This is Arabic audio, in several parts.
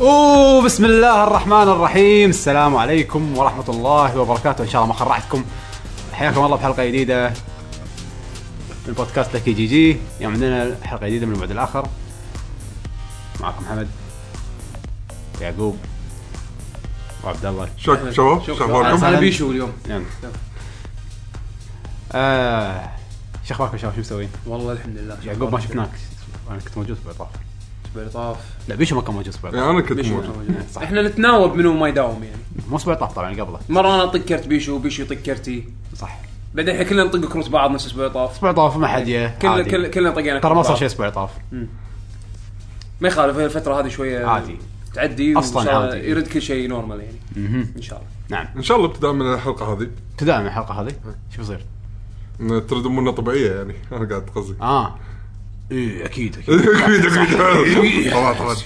اوه بسم الله الرحمن الرحيم السلام عليكم ورحمه الله وبركاته ان شاء الله ما خرعتكم حياكم الله بحلقه جديده من بودكاست لكي جي جي اليوم عندنا حلقه جديده من البعد الاخر معكم حمد يعقوب وعبد الله شوف طيب، شباب شو شباب. اخباركم؟ أهلاً. انا بيشو اليوم نعم آه شو اخبارك يا شباب شو مسويين؟ والله الحمد لله يعقوب ما شفناك انا كنت موجود في الاطراف بعطاف لا بيشو ما كان موجود في يعني الاطراف انا كنت بيشو موجود موجود. آه، صح. احنا نتناوب منو ما يداوم يعني مو في الاطراف طبعا قبله مره انا اطق كرت بيشو وبيشو يطق كرتي صح بعدين احنا كلنا نطق كروت بعض نفس اسبوع طاف اسبوع طاف ما حد جه كلنا عادي. كل- كلنا طقينا ترى ما كروت صار بعض. شيء اسبوع طاف ما يخالف هي الفتره هذه شويه عادي. تعدي أصلاً وإن شاء الله عادي. يرد كل شيء نورمال يعني مهم. ان شاء الله نعم ان شاء الله ابتداء من الحلقه هذه ابتداء من الحلقه هذه شو بيصير؟ إن ترد امورنا طبيعيه يعني انا قاعد قصدي اه ايه اكيد اكيد أكيد، أكيد. طبعا طبعا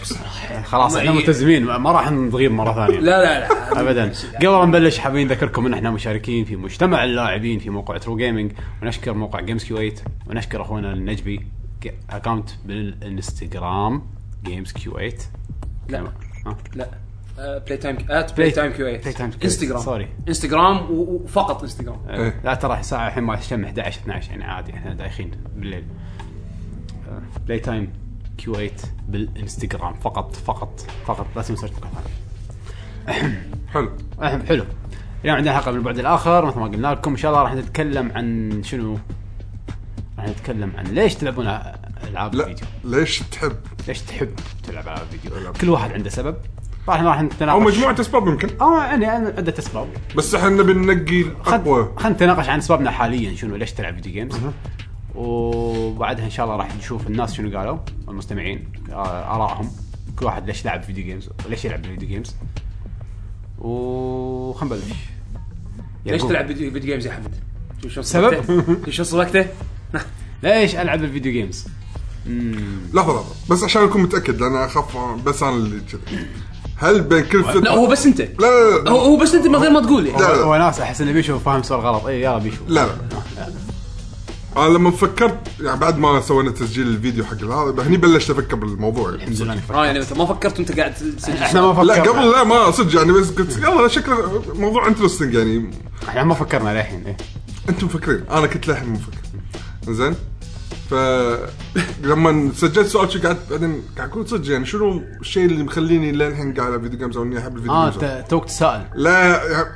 إيه، خلاص احنا ملتزمين ما- ما راح نغيب مره ثانيه لا لا لا ابدا قبل ما نبلش حابين نذكركم ان احنا مشاركين في مجتمع اللاعبين في موقع ترو جيمنج ونشكر موقع جيمز كيو 8 ونشكر اخونا النجبي ك- اكونت بالانستغرام جيمز كيو 8 لا ها؟ لا آه، بلاي تايم ات بلاي تايم كيو 8 بلاي تايم كيو إيت. انستغرام سوري. انستغرام و- وفقط انستغرام إيه. لا ترى الساعه الحين ما تشم 11 12 يعني عادي احنا دايخين بالليل آه، بلاي تايم كيو 8 بالانستغرام فقط فقط فقط لا تنسوا موقع ثاني حلو أهم، حلو اليوم عندنا حلقه من البعد الاخر مثل ما قلنا لكم ان شاء الله راح نتكلم عن شنو راح نتكلم عن ليش تلعبون العاب لا الفيديو ليش تحب ليش تحب تلعب العاب الفيديو ألعاب. كل واحد عنده سبب راح راح نتناقش او مجموعه اسباب يمكن اه يعني أنا عدة اسباب بس احنا نبي ننقي اقوى خلينا نتناقش عن اسبابنا حاليا شنو ليش تلعب فيديو جيمز وبعدها ان شاء الله راح نشوف الناس شنو قالوا المستمعين آه، ارائهم كل واحد ليش لعب فيديو جيمز ليش يلعب فيديو جيمز وخلنا نبلش ليش يعقوب. تلعب فيديو فيديو جيمز يا حمد؟ شوف شو سبب؟ صبغته؟ شوف شو صبغته؟ ليش العب الفيديو جيمز؟ لحظه لحظه بس عشان اكون متاكد لان اخاف بس انا اللي كذا هل بين كل لا فتره هو بس انت لا لا هو لا هو بس انت من غير ما تقول يعني لا. هو ناس احس انه بيشو فاهم سؤال غلط إيه، اي يلا بيشو لا لا انا لما فكرت يعني بعد ما سوينا تسجيل الفيديو حق هذا هني بلشت افكر بالموضوع يعني الحمد لله إنك فكرت. اه يعني انت ما فكرت وانت قاعد تسجل احنا ما لا فكرنا قبل لا ما صدق يعني بس قلت يلا شكله موضوع انترستنج يعني احنا ما فكرنا للحين إيه. انتم مفكرين انا كنت للحين مو مفكر زين ف لما سجلت سؤال شو قعدت بعدين قاعد اقول صدق يعني شنو الشيء اللي مخليني للحين قاعد العب فيديو جيمز او اني احب الفيديو اه آه جيمز انت توك تسال لا يعني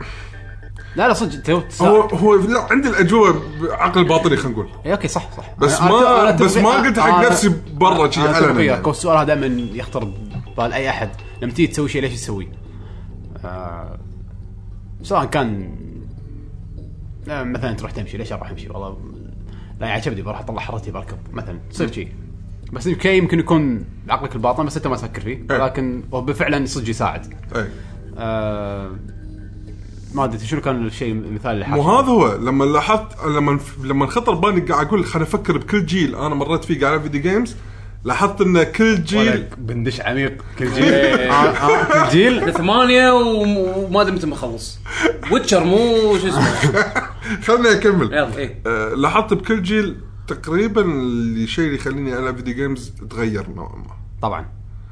لا لا صدق تو هو تسال هو لا عندي الاجوبه عقل باطني خلينا نقول اي اوكي إيه، صح صح بس أنا- ما- أنا أتفق- بس ما قلت حق أنا- نفسي برا شي أنا أتفق علنا وياك، يعني. والسؤال هذا دائما يخطر ببال اي احد لما تيجي تسوي شيء ليش تسويه؟ آه، سواء كان آه، مثلا تروح تمشي ليش اروح امشي والله لا يعني عجبني بروح اطلع حرتي بركض مثلا تصير شيء بس اوكي يمكن يكون عقلك الباطن بس انت ما تفكر فيه إيه. لكن هو فعلا صدق يساعد اي آه، ما ادري شنو كان الشيء المثال اللي مو حاطه؟ هذا هو لما لاحظت لما لما خطر بالي قاعد اقول خليني افكر بكل جيل انا مريت فيه قاعد العب فيديو جيمز لاحظت ان كل جيل ولك بندش عميق كل جيل آه، آه، كل جيل إيه. ثمانية وم- وما ادري متى مخلص ويتشر مو شو اسمه خليني اكمل يلا ايه آه، لاحظت بكل جيل تقريبا الشيء اللي يخليني العب فيديو جيمز تغير نوعا ما طبعا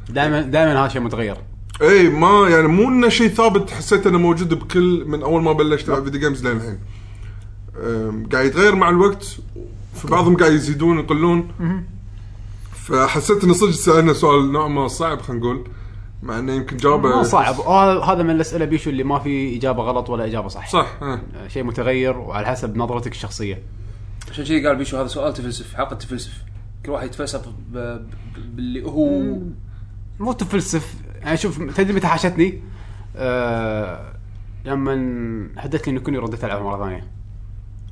دائما دائما هذا شيء متغير اي ما يعني مو انه شيء ثابت حسيت انه موجود بكل من اول ما بلشت العب فيديو جيمز للحين آم، قاعد يتغير مع الوقت في بعضهم قاعد يزيدون يقلون فحسيت انه صدق سالنا سؤال نوعا ما صعب خلينا نقول مع انه يمكن جوابه مو آه، صعب وهذا- هذا من الاسئله بيشو اللي ما في اجابه غلط ولا اجابه صح صح آه. آه، شيء متغير وعلى حسب نظرتك الشخصيه عشان كذي قال بيشو هذا سؤال تفلسف حلقة تفلسف كل واحد يتفلسف ب- ب- باللي هو مو تفلسف يعني شوف تدري متى حاشتني؟ آه لما حدث لي انه كوني رديت العبها مره ثانيه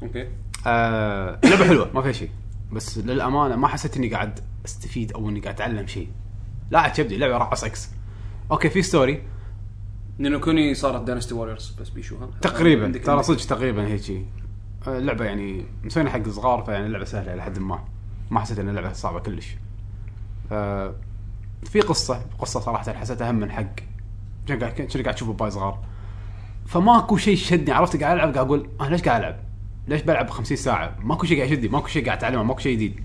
اوكي آه لعبه حلوه ما فيها شيء بس للامانه ما حسيت اني قاعد استفيد او اني قاعد اتعلم شيء لا عجبني اللعبه راح اكس اوكي في ستوري نينو كوني صارت داينستي واريورز بس بيشو ها تقريبا عندك- ترى صدق تقريبا هيك شيء آه، اللعبه يعني مسوينا حق صغار فيعني اللعبه سهله الى حد ما ما حسيت ان اللعبه صعبه كلش آه، في قصه قصه صراحه حسيتها اهم من حق شنو قاعد شنو قاعد تشوفه باي صغار فماكو شيء شدني عرفت قاعد العب قاعد اقول انا ليش قاعد العب؟ ليش بلعب 50 ساعه؟ ماكو شيء قاعد يشدني ماكو شيء قاعد اتعلمه ماكو شيء جديد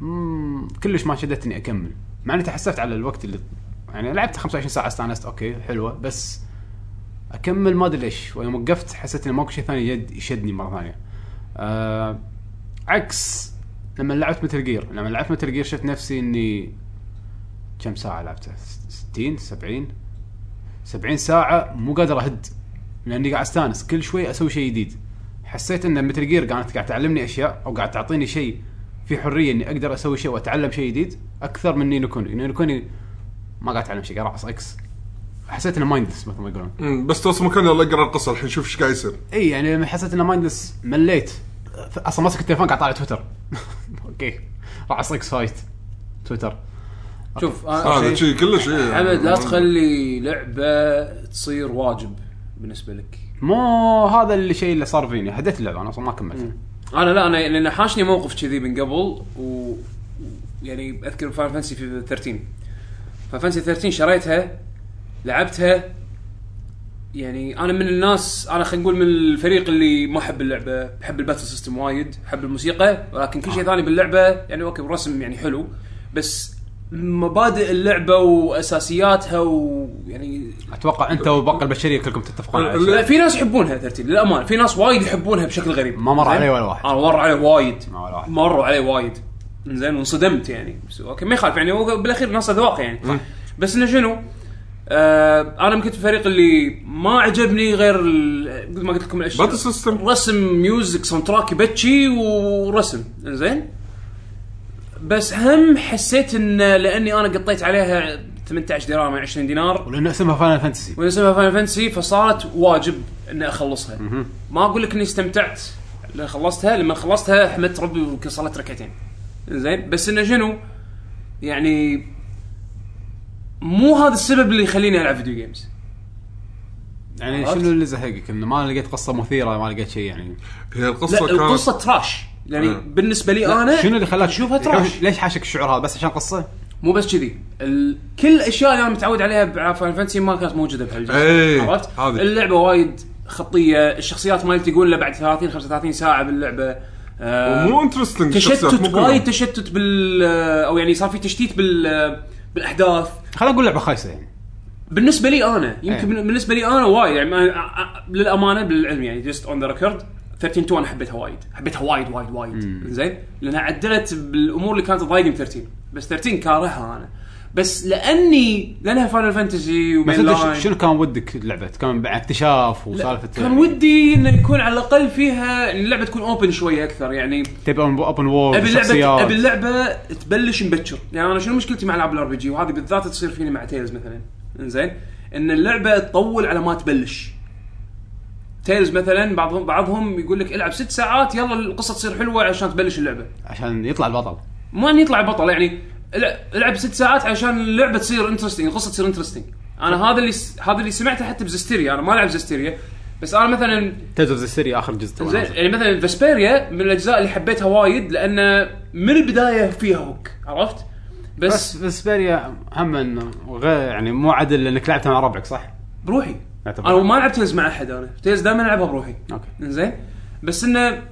مم، كلش ما شدتني اكمل مع اني تحسفت على الوقت اللي يعني لعبت 25 ساعه استانست اوكي حلوه بس اكمل ما ادري ليش ويوم وقفت حسيت انه ماكو شيء ثاني يد يشدني مره ثانيه آه عكس لما لعبت متل جير لما لعبت متل جير شفت نفسي اني كم ساعه لعبتها 60 70 70 ساعه مو قادر اهد لاني قاعد استانس كل شوي اسوي شيء جديد حسيت ان متل جير كانت قاعد تعلمني اشياء او قاعد تعطيني شيء في حريه اني اقدر اسوي شيء واتعلم شيء جديد اكثر من نينو كوني نينو كوني ما قاعد اتعلم شيء قاعد احفظ اكس حسيت انه مايندلس مثل ما يقولون مم، بس توصل مكان يلا اقرا القصه الحين شوف ايش قاعد يصير اي يعني لما حسيت انه مايندلس مليت اصلا ماسك التليفون قاعد طالع تويتر اوكي راح اصيق سايت تويتر شوف هذا انا شيء كلش إيه. حمد لا تخلي لعبه تصير واجب بالنسبه لك مو هذا الشيء اللي صار فيني هديت اللعبه انا اصلا ما كملت انا لا انا لان حاشني موقف كذي من قبل و يعني اذكر فاين فانسي في 13 فاين فانسي 13 شريتها لعبتها يعني انا من الناس انا خلينا نقول من الفريق اللي ما احب اللعبه بحب الباتل سيستم وايد احب الموسيقى ولكن كل شيء ثاني باللعبه يعني اوكي الرسم يعني حلو بس مبادئ اللعبه واساسياتها ويعني اتوقع انت وباقي البشريه كلكم تتفقون على لا. شيء. لا في ناس يحبونها ترتيب للامانه في ناس وايد يحبونها بشكل غريب ما مر زين؟ علي ولا واحد. انا مر علي وايد ما ولا واحد. مروا علي وايد زين وانصدمت يعني بس اوكي ما يخالف يعني هو بالاخير ناس اذواق يعني بس انه شنو؟ آه انا يمكن في الفريق اللي ما عجبني غير ال- مثل ما قلت لكم الاشياء باتل سيستم رسم ميوزك ساوند تراك يبكي ورسم زين بس هم حسيت ان لاني انا قطيت عليها 18 دراهم 20 دينار ولانه اسمها فاينل فانتسي ونزلها فاينل فانتسي فصارت واجب اني اخلصها ما اقول لك اني استمتعت لان خلصتها لما خلصتها حمدت ربي ويمكن صليت ركعتين زين بس انه شنو يعني مو هذا السبب اللي يخليني العب فيديو جيمز يعني عرفت؟ شنو اللي زهقك انه ما لقيت قصه مثيره ما لقيت شيء يعني هي لا القصه كانت القصه تراش يعني آه. بالنسبه لي انا شنو اللي خلاك اشوفها تراش ليش حاشك الشعور هذا بس عشان قصه؟ مو بس كذي ال... كل الاشياء اللي انا متعود عليها بفاينل فانتسي ما كانت موجوده إيه، بهالجزء عرفت؟ هذه. اللعبه وايد خطيه، الشخصيات مالتي يقول له بعد 30 35 ساعه باللعبه آه، مو انترستنج تشتت وايد تشتت بال او يعني صار في تشتيت بال بالاحداث خلينا نقول لعبه خايسه يعني بالنسبه لي انا يمكن إيه. أيه. بالنسبه لي انا وايد يعني أنا للامانه بالعلم يعني جست اون ذا ريكورد 13 2 انا حبيتها وايد حبيتها وايد وايد وايد زين لانها عدلت بالامور اللي كانت تضايقني ب 13 بس 13 كارهها انا بس لاني لانها فاينل بس فانتسي ومين انت لاين ش- شنو كان ودك اللعبه؟ كان بعد اكتشاف وسالفه كان ودي انه يكون على الاقل فيها إن اللعبه تكون اوبن شويه اكثر يعني تبي اوبن وورد ابي شخصيات. اللعبه ابي اللعبه تبلش مبكر يعني انا شنو مشكلتي مع العاب الار بي جي وهذه بالذات تصير فيني مع تيلز مثلا انزين ان اللعبه تطول على ما تبلش تيلز مثلا بعضهم بعضهم يقول لك العب ست ساعات يلا القصه تصير حلوه عشان تبلش اللعبه عشان يطلع البطل مو ان يطلع بطل يعني الع- العب ست ساعات عشان اللعبه تصير انترستنج القصه تصير انترستنج انا هذا اللي س- هذا اللي سمعته حتى بزستيريا انا ما العب زستيريا بس انا مثلا تيلز اوف ذا سيري اخر جزء تو زين نازل. يعني مثلا فاسبيريا من الاجزاء اللي حبيتها وايد لان من البدايه فيها هوك عرفت؟ بس, بس فيسبيريا هم انه غير يعني مو عدل لانك لعبتها مع ربعك صح؟ بروحي لا طبعاً. انا ما لعبت تيلز مع احد انا تيلز دائما العبها بروحي اوكي زين بس انه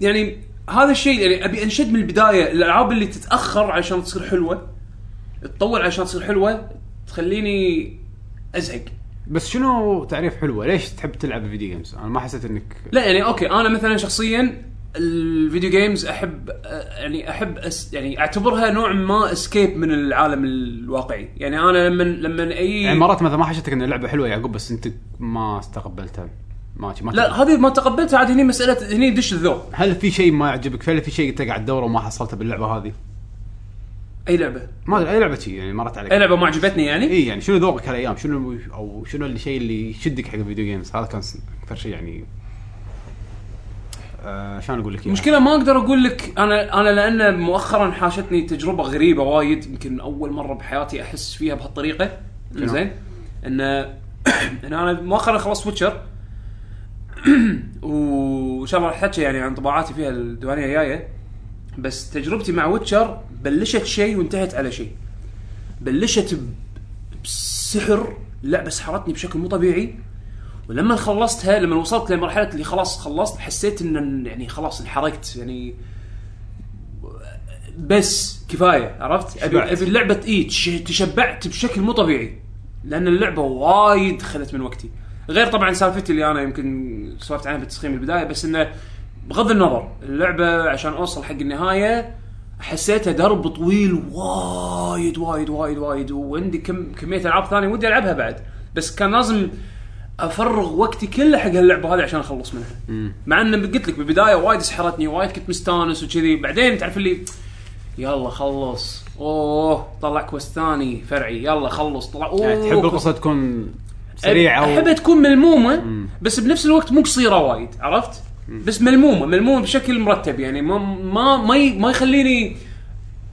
يعني هذا الشيء يعني ابي انشد من البدايه الالعاب اللي تتاخر عشان تصير حلوه تطول عشان تصير حلوه تخليني ازعج بس شنو تعريف حلوه؟ ليش تحب تلعب فيديو جيمز؟ انا ما حسيت انك لا يعني اوكي انا مثلا شخصيا الفيديو جيمز احب أ- يعني احب أس يعني اعتبرها نوع ما اسكيب من العالم الواقعي يعني انا لما لما اي يعني مرات مثلا ما حسيتك ان اللعبه حلوه يعقوب بس انت ما استقبلتها ما ما لا هذه ما تقبلتها عاد هني مساله هني دش الذوق هل في شيء ما يعجبك؟ هل في شيء انت قاعد تدوره وما حصلته باللعبه هذه؟ اي لعبه ما ادري اي لعبه شيء يعني مرت عليك اي لعبه ما عجبتني يعني اي يعني شنو ذوقك هالايام؟ شنو او شنو الشيء اللي يشدك حق الفيديو جيمز؟ هذا كان س- اكثر شيء يعني آه، شلون اقول لك إياه؟ المشكله ما اقدر اقول لك انا انا لان مؤخرا حاشتني تجربه غريبه وايد يمكن اول مره بحياتي احس فيها بهالطريقه شنو؟ زين ان ان انا مؤخرا خلصت ويتشر وان شاء الله راح احكي يعني عن انطباعاتي فيها الديوانيه الجايه بس تجربتي مع ويتشر بلشت شيء وانتهت على شيء بلشت ب- بسحر لعبه سحرتني بشكل مو طبيعي ولما خلصتها لما وصلت لمرحله اللي خلاص خلصت حسيت ان يعني خلاص انحرقت يعني بس كفايه عرفت؟ ابي شبعت. ابي اللعبه اي إيه، تش- تشبعت بشكل مو طبيعي لان اللعبه وايد خلت من وقتي غير طبعا سالفتي اللي انا يمكن سولفت عنها بالتسخين بالبدايه بس انه بغض النظر اللعبه عشان اوصل حق النهايه حسيتها درب طويل وايد وايد وايد وايد وعندي كم كميه العاب ثانيه ودي العبها بعد بس كان لازم افرغ وقتي كله حق هاللعبه هذه عشان اخلص منها مع ان قلت لك بالبدايه وايد سحرتني وايد كنت مستانس وكذي بعدين تعرف اللي يلا خلص اوه طلع كويست ثاني فرعي يلا خلص طلع اوه يعني تحب القصه تكون سريعه احبها تكون ملمومه بس بنفس الوقت مو قصيره وايد عرفت؟ بس ملمومه ملمومه بشكل مرتب يعني ما ما ما, ي- ما يخليني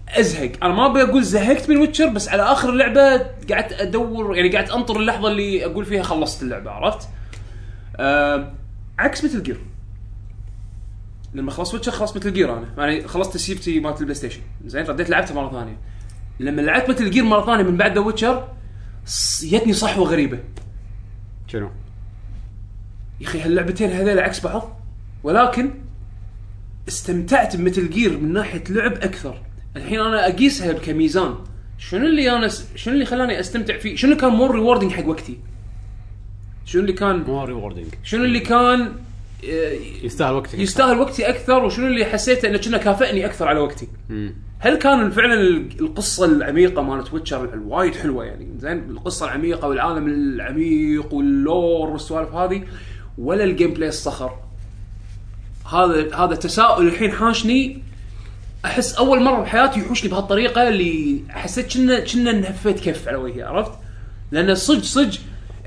ازهق انا ما ابي اقول زهقت من ويتشر بس على اخر لعبه قعدت ادور يعني قعدت انطر اللحظه اللي اقول فيها خلصت اللعبه عرفت؟ آه عكس مثل جير لما خلصت ويتشر خلصت مثل جير انا يعني خلصت سيفتي مالت البلاي ستيشن زين رديت لعبتها مره ثانيه لما لعبت مثل جير مره ثانيه من بعد ذا ويتشر جتني صحوه غريبه شنو؟ يا اخي هاللعبتين هذيل عكس بعض ولكن استمتعت بمتل جير من ناحيه لعب اكثر الحين انا اقيسها كميزان شنو اللي انا س... شنو اللي خلاني استمتع فيه شنو اللي كان مور ريوردنج حق وقتي شنو اللي كان مو ريوردنج شنو اللي كان آه، يستاهل وقتك يستاهل وقتي اكثر وشنو اللي حسيته انه كنا كافئني اكثر على وقتي هل كان فعلا ال- القصه العميقه مالت ويتشر الوايد حلوه يعني زين القصه العميقه والعالم العميق واللور والسوالف هذه ولا الجيم بلاي الصخر هذا هذا تساؤل الحين حاشني احس اول مره بحياتي يحوشني بهالطريقه اللي حسيت كنا كنا نهفيت كف على وجهي عرفت؟ لان صج صج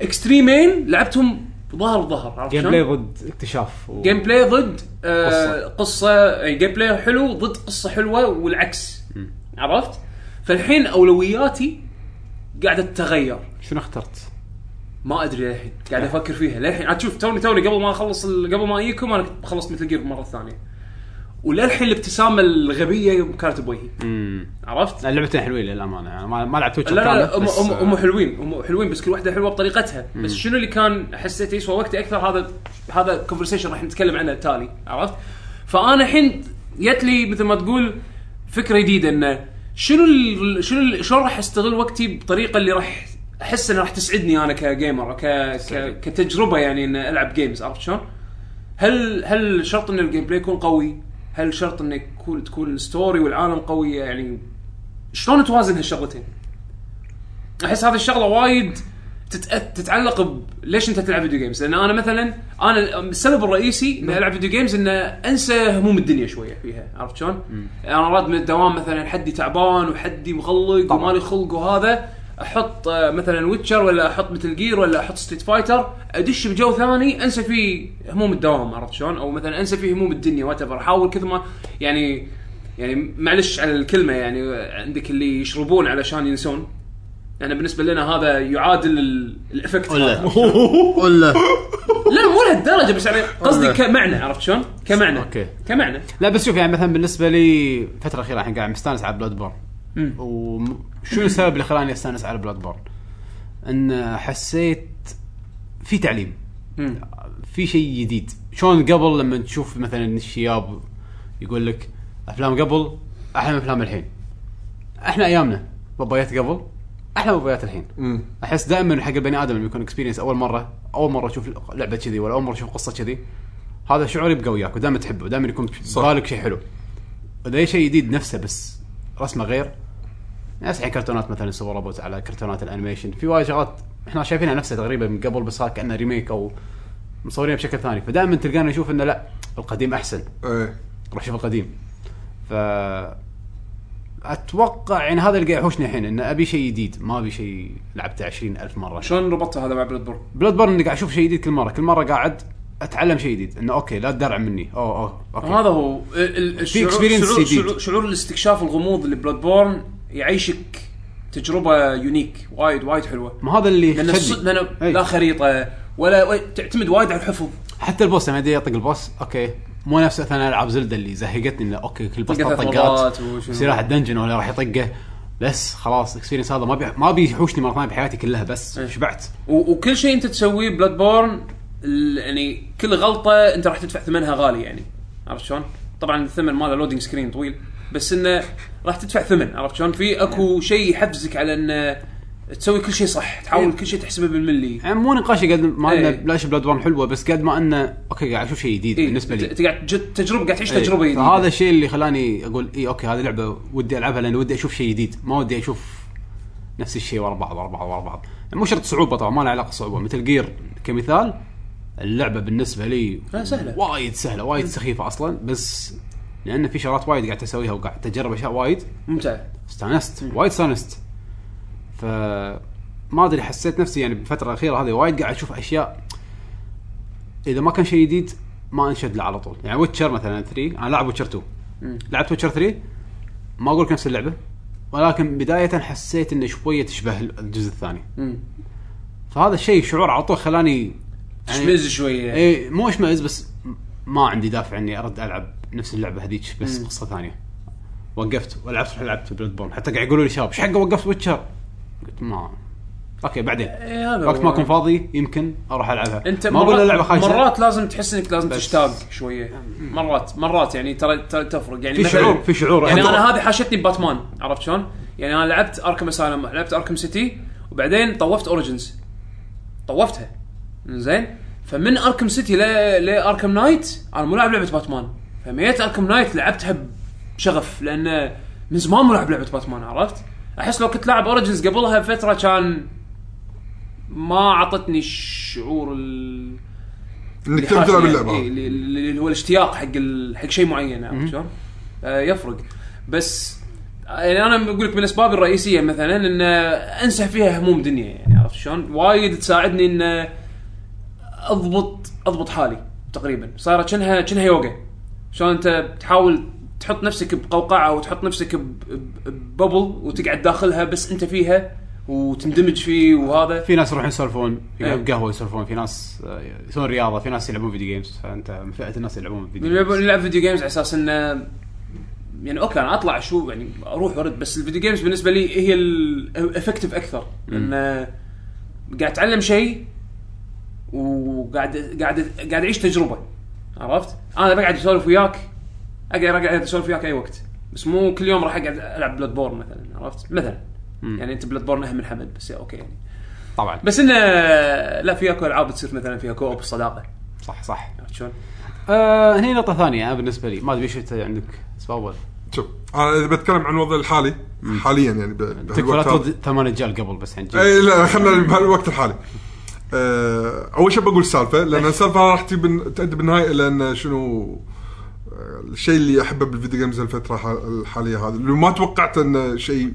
اكستريمين لعبتهم ظهر ظهر عرفت جيم شلون؟ بلاي ضد اكتشاف و... جيم بلاي ضد آه قصه, قصة آه، جيم بلاي حلو ضد قصه حلوه والعكس عرفت؟ فالحين اولوياتي قاعده تتغير شنو اخترت؟ ما ادري للحين قاعد افكر فيها للحين عاد شوف توني توني قبل ما اخلص ال- قبل ما اجيكم انا كنت خلصت مثل جير مره ثانيه وللحين الابتسامه الغبيه كانت بوجهي عرفت؟ اللعبتين حلوين للامانه يعني ما, ما لعبت ويتشر لا لا كامل، هم بس، هم آه، هم حلوين هم حلوين بس كل واحده حلوه بطريقتها بس شنو اللي كان حسيت يسوى وقتي اكثر هذا هذا كونفرسيشن راح نتكلم عنه التالي عرفت؟ فانا الحين جت لي مثل ما تقول فكره جديده انه شنو ال- شنو ال- شلون راح استغل وقتي بطريقه اللي راح احس انها راح تسعدني انا كجيمر ك... ك... كتجربه يعني ان العب جيمز عرفت شلون؟ هل هل شرط ان الجيم بلاي يكون قوي؟ هل شرط ان يكون تكون الستوري والعالم قويه يعني شلون توازن هالشغلتين؟ احس هذه الشغله وايد تتأ- تتعلق ب ليش انت تلعب فيديو جيمز؟ لان انا مثلا انا السبب الرئيسي اني العب فيديو جيمز انه انسى هموم الدنيا شويه فيها، عرفت شلون؟ انا راد من الدوام مثلا حدي تعبان وحدي مغلق طبعاً. ومالي خلق وهذا احط آه، مثلا ويتشر ولا احط مثل جير ولا احط ستريت فايتر ادش بجو ثاني انسى فيه هموم الدوام عرفت شلون؟ او مثلا انسى فيه هموم الدنيا وات احاول كثر ما يعني يعني معلش على الكلمه يعني عندك اللي يشربون علشان ينسون يعني بالنسبه لنا هذا يعادل ال- الافكت هذا. ولا لا مو لهالدرجه بس يعني قصدي كمعنى عرفت شلون؟ كمعنى أوكي. كمعنى لا بس شوف يعني مثلا بالنسبه لي الفتره الاخيره الحين قاعد مستانس على بلاد بورن وشو السبب اللي خلاني استانس على بلاد بورن؟ ان حسيت في تعليم مم. في شيء جديد شلون قبل لما تشوف مثلا الشياب يقول لك افلام قبل احلى من افلام الحين احنا ايامنا بابايات قبل احلى من بابايات الحين مم. احس دائما حق البني ادم لما يكون اكسبيرينس اول مره اول مره تشوف لعبه كذي ولا اول مره تشوف قصه كذي هذا شعور يبقى وياك ودائما تحبه دائما يكون بالك شيء حلو اذا أي شيء جديد نفسه بس رسمه غير نفس الحين كرتونات مثلا سوبر روبوت على كرتونات الانيميشن في وايد شغلات احنا شايفينها نفسها تقريبا من قبل بس هذا كانه ريميك او مصورينها بشكل ثاني فدائما تلقانا نشوف انه لا القديم احسن ايه روح شوف القديم ف اتوقع يعني هذا اللي قاعد يحوشني الحين انه ابي شيء جديد ما ابي شيء لعبته 20000 مره شلون ربطتها هذا مع بلاد بورن؟ بلاد بورن قاعد اشوف شيء جديد كل مره كل مره قاعد اتعلم شيء جديد انه اوكي لا تدرع مني اوه اوه اوكي هذا هو ال- ال- الشعور experience شعور, جديد. شعور, شعور الاستكشاف الغموض اللي بلاد بورن يعيشك تجربه يونيك وايد وايد حلوه ما هذا اللي إيه. لان الص- شدني لان أي. لا خريطه ولا ولا- تعتمد وايد على الحفظ حتى البوس لما ادري اطق البوس اوكي مو نفس مثلا العاب زلدة اللي زهقتني انه اوكي كل بوس طقة ثلاث ثلاث طقات مرات وشنو. يصير راح الدنجن ولا راح يطقه بس خلاص اكسبيرينس هذا ما بي ما بيحوشني مره ثانيه بحياتي كلها بس إيه. شبعت و- وكل شيء انت تسويه بلاد بورن ال- يعني كل غلطه انت راح تدفع ثمنها غالي يعني عرفت شلون؟ طبعا الثمن ماله لودينج سكرين طويل بس انه راح تدفع ثمن عرفت شلون؟ في نعم. اكو شيء يحفزك على انه تسوي كل شيء صح، تحاول نعم. كل شيء تحسبه بالملي. يعني مو نقاشي قد ما انه إيه. بلاش بلاد وورم حلوه بس قد ما انه اوكي قاعد اشوف شيء جديد إيه، بالنسبه لي انت قاعد تج- تجربه قاعد تعيش إيه. تجربه جديده. فهذا الشيء اللي خلاني اقول اي اوكي هذه لعبه ودي العبها لان ودي اشوف شيء جديد ما ودي اشوف نفس الشيء ورا بعض ورا بعض ورا بعض يعني مو شرط صعوبه طبعا ما له علاقه صعوبه مثل جير كمثال اللعبه بالنسبه لي لا، سهلة. وايد سهله وايد سخيفه اصلا بس لان في شغلات وايد قاعد اسويها وقاعد تجرب اشياء وايد ممتع. استانست وايد استانست ف ما ادري حسيت نفسي يعني بالفتره الاخيره هذه وايد قاعد اشوف اشياء اذا ما كان شيء جديد ما انشد له على طول يعني ويتشر مثلا 3 انا لاعب ويتشر 2 مم. لعبت ويتشر 3 ما اقول لك نفس اللعبه ولكن بدايه حسيت انه شويه تشبه الجزء الثاني مم. فهذا الشيء شعور على طول خلاني يعني تشمئز شويه. اي إيه، مو اشمئز بس ما عندي دافع اني ارد العب نفس اللعبه هذيك بس مم. قصه ثانيه وقفت ولعبت لعبت بلاد بورن حتى قاعد يقولوا لي شباب ايش حق وقفت ويتشر؟ قلت ما اوكي بعدين إيه، هذا وقت هو. ما اكون فاضي يمكن اروح العبها انت ما اقول مرات- اللعبه خايسه مرات لازم تحس انك لازم بس- تشتاق شويه مرات مرات يعني ترى ترى تفرق يعني في مثلاً- شعور في شعور يعني أنت- انا هذه حاشتني باتمان عرفت شلون؟ يعني انا لعبت اركم اسالم لعبت اركم سيتي وبعدين طوفت اوريجنز طوفتها زين فمن اركم سيتي ل لاركم نايت انا مو لاعب لعبه باتمان فميت اركم نايت لعبتها بشغف لان من زمان مو لاعب لعبه باتمان عرفت؟ احس لو كنت لاعب اوريجنز قبلها بفتره كان ما عطتني الشعور ال... انك اللي تبي تلعب حاش- اللعبه إيه، اللي اللي هو الاشتياق حق ال... حق شيء معين عرفت شلون؟ آه، يفرق بس آه، يعني انا بقول لك من اسبابي الرئيسيه مثلا ان آه، انسى فيها هموم دنيا يعني عرفت شلون؟ وايد تساعدني ان آه، اضبط اضبط حالي تقريبا صارت شنها شنها يوغا شلون انت بتحاول تحط نفسك بقوقعه وتحط نفسك ب- ب- بببل وتقعد داخلها بس انت فيها وتندمج فيه وهذا في ناس يروحون يسولفون في إيه. قهوه يسولفون في ناس آه، يسوون رياضه في ناس يلعبون فيديو جيمز فانت من فئه الناس اللي يلعبون فيديو نلعب جيمز نلعب فيديو جيمز على اساس انه يعني اوكي انا اطلع شو يعني اروح وارد بس الفيديو جيمز بالنسبه لي هي الافكتيف اكثر لان قاعد اتعلم شيء وقاعد قاعد قاعد اعيش تجربه عرفت؟ انا بقعد اسولف وياك اقدر اقعد اسولف وياك اي وقت بس مو كل يوم راح اقعد العب بلاد بورن مثلا عرفت؟ مثلا مم. يعني انت بلاد بورن اهم من حمد بس اوكي يعني طبعا بس انه لا في اكو العاب تصير مثلا فيها كوب الصداقه صح صح عرفت شلون؟ آه هني نقطه ثانيه انا بالنسبه لي ما ادري ايش أنت عندك اسباب ولا شوف انا اذا بتكلم عن الوضع الحالي حاليا يعني ب- تكفى لا بهالوقت هذا. ترد ثمان رجال قبل بس يعني عن جد. اي لا خلينا بهالوقت الحالي أه اول شيء بقول السالفه لان السالفه راح تجيب تؤدي بالنهايه الى ان شنو آه، الشيء اللي احبه بالفيديو جيمز الفتره ح- الحاليه هذه اللي ما توقعت انه شيء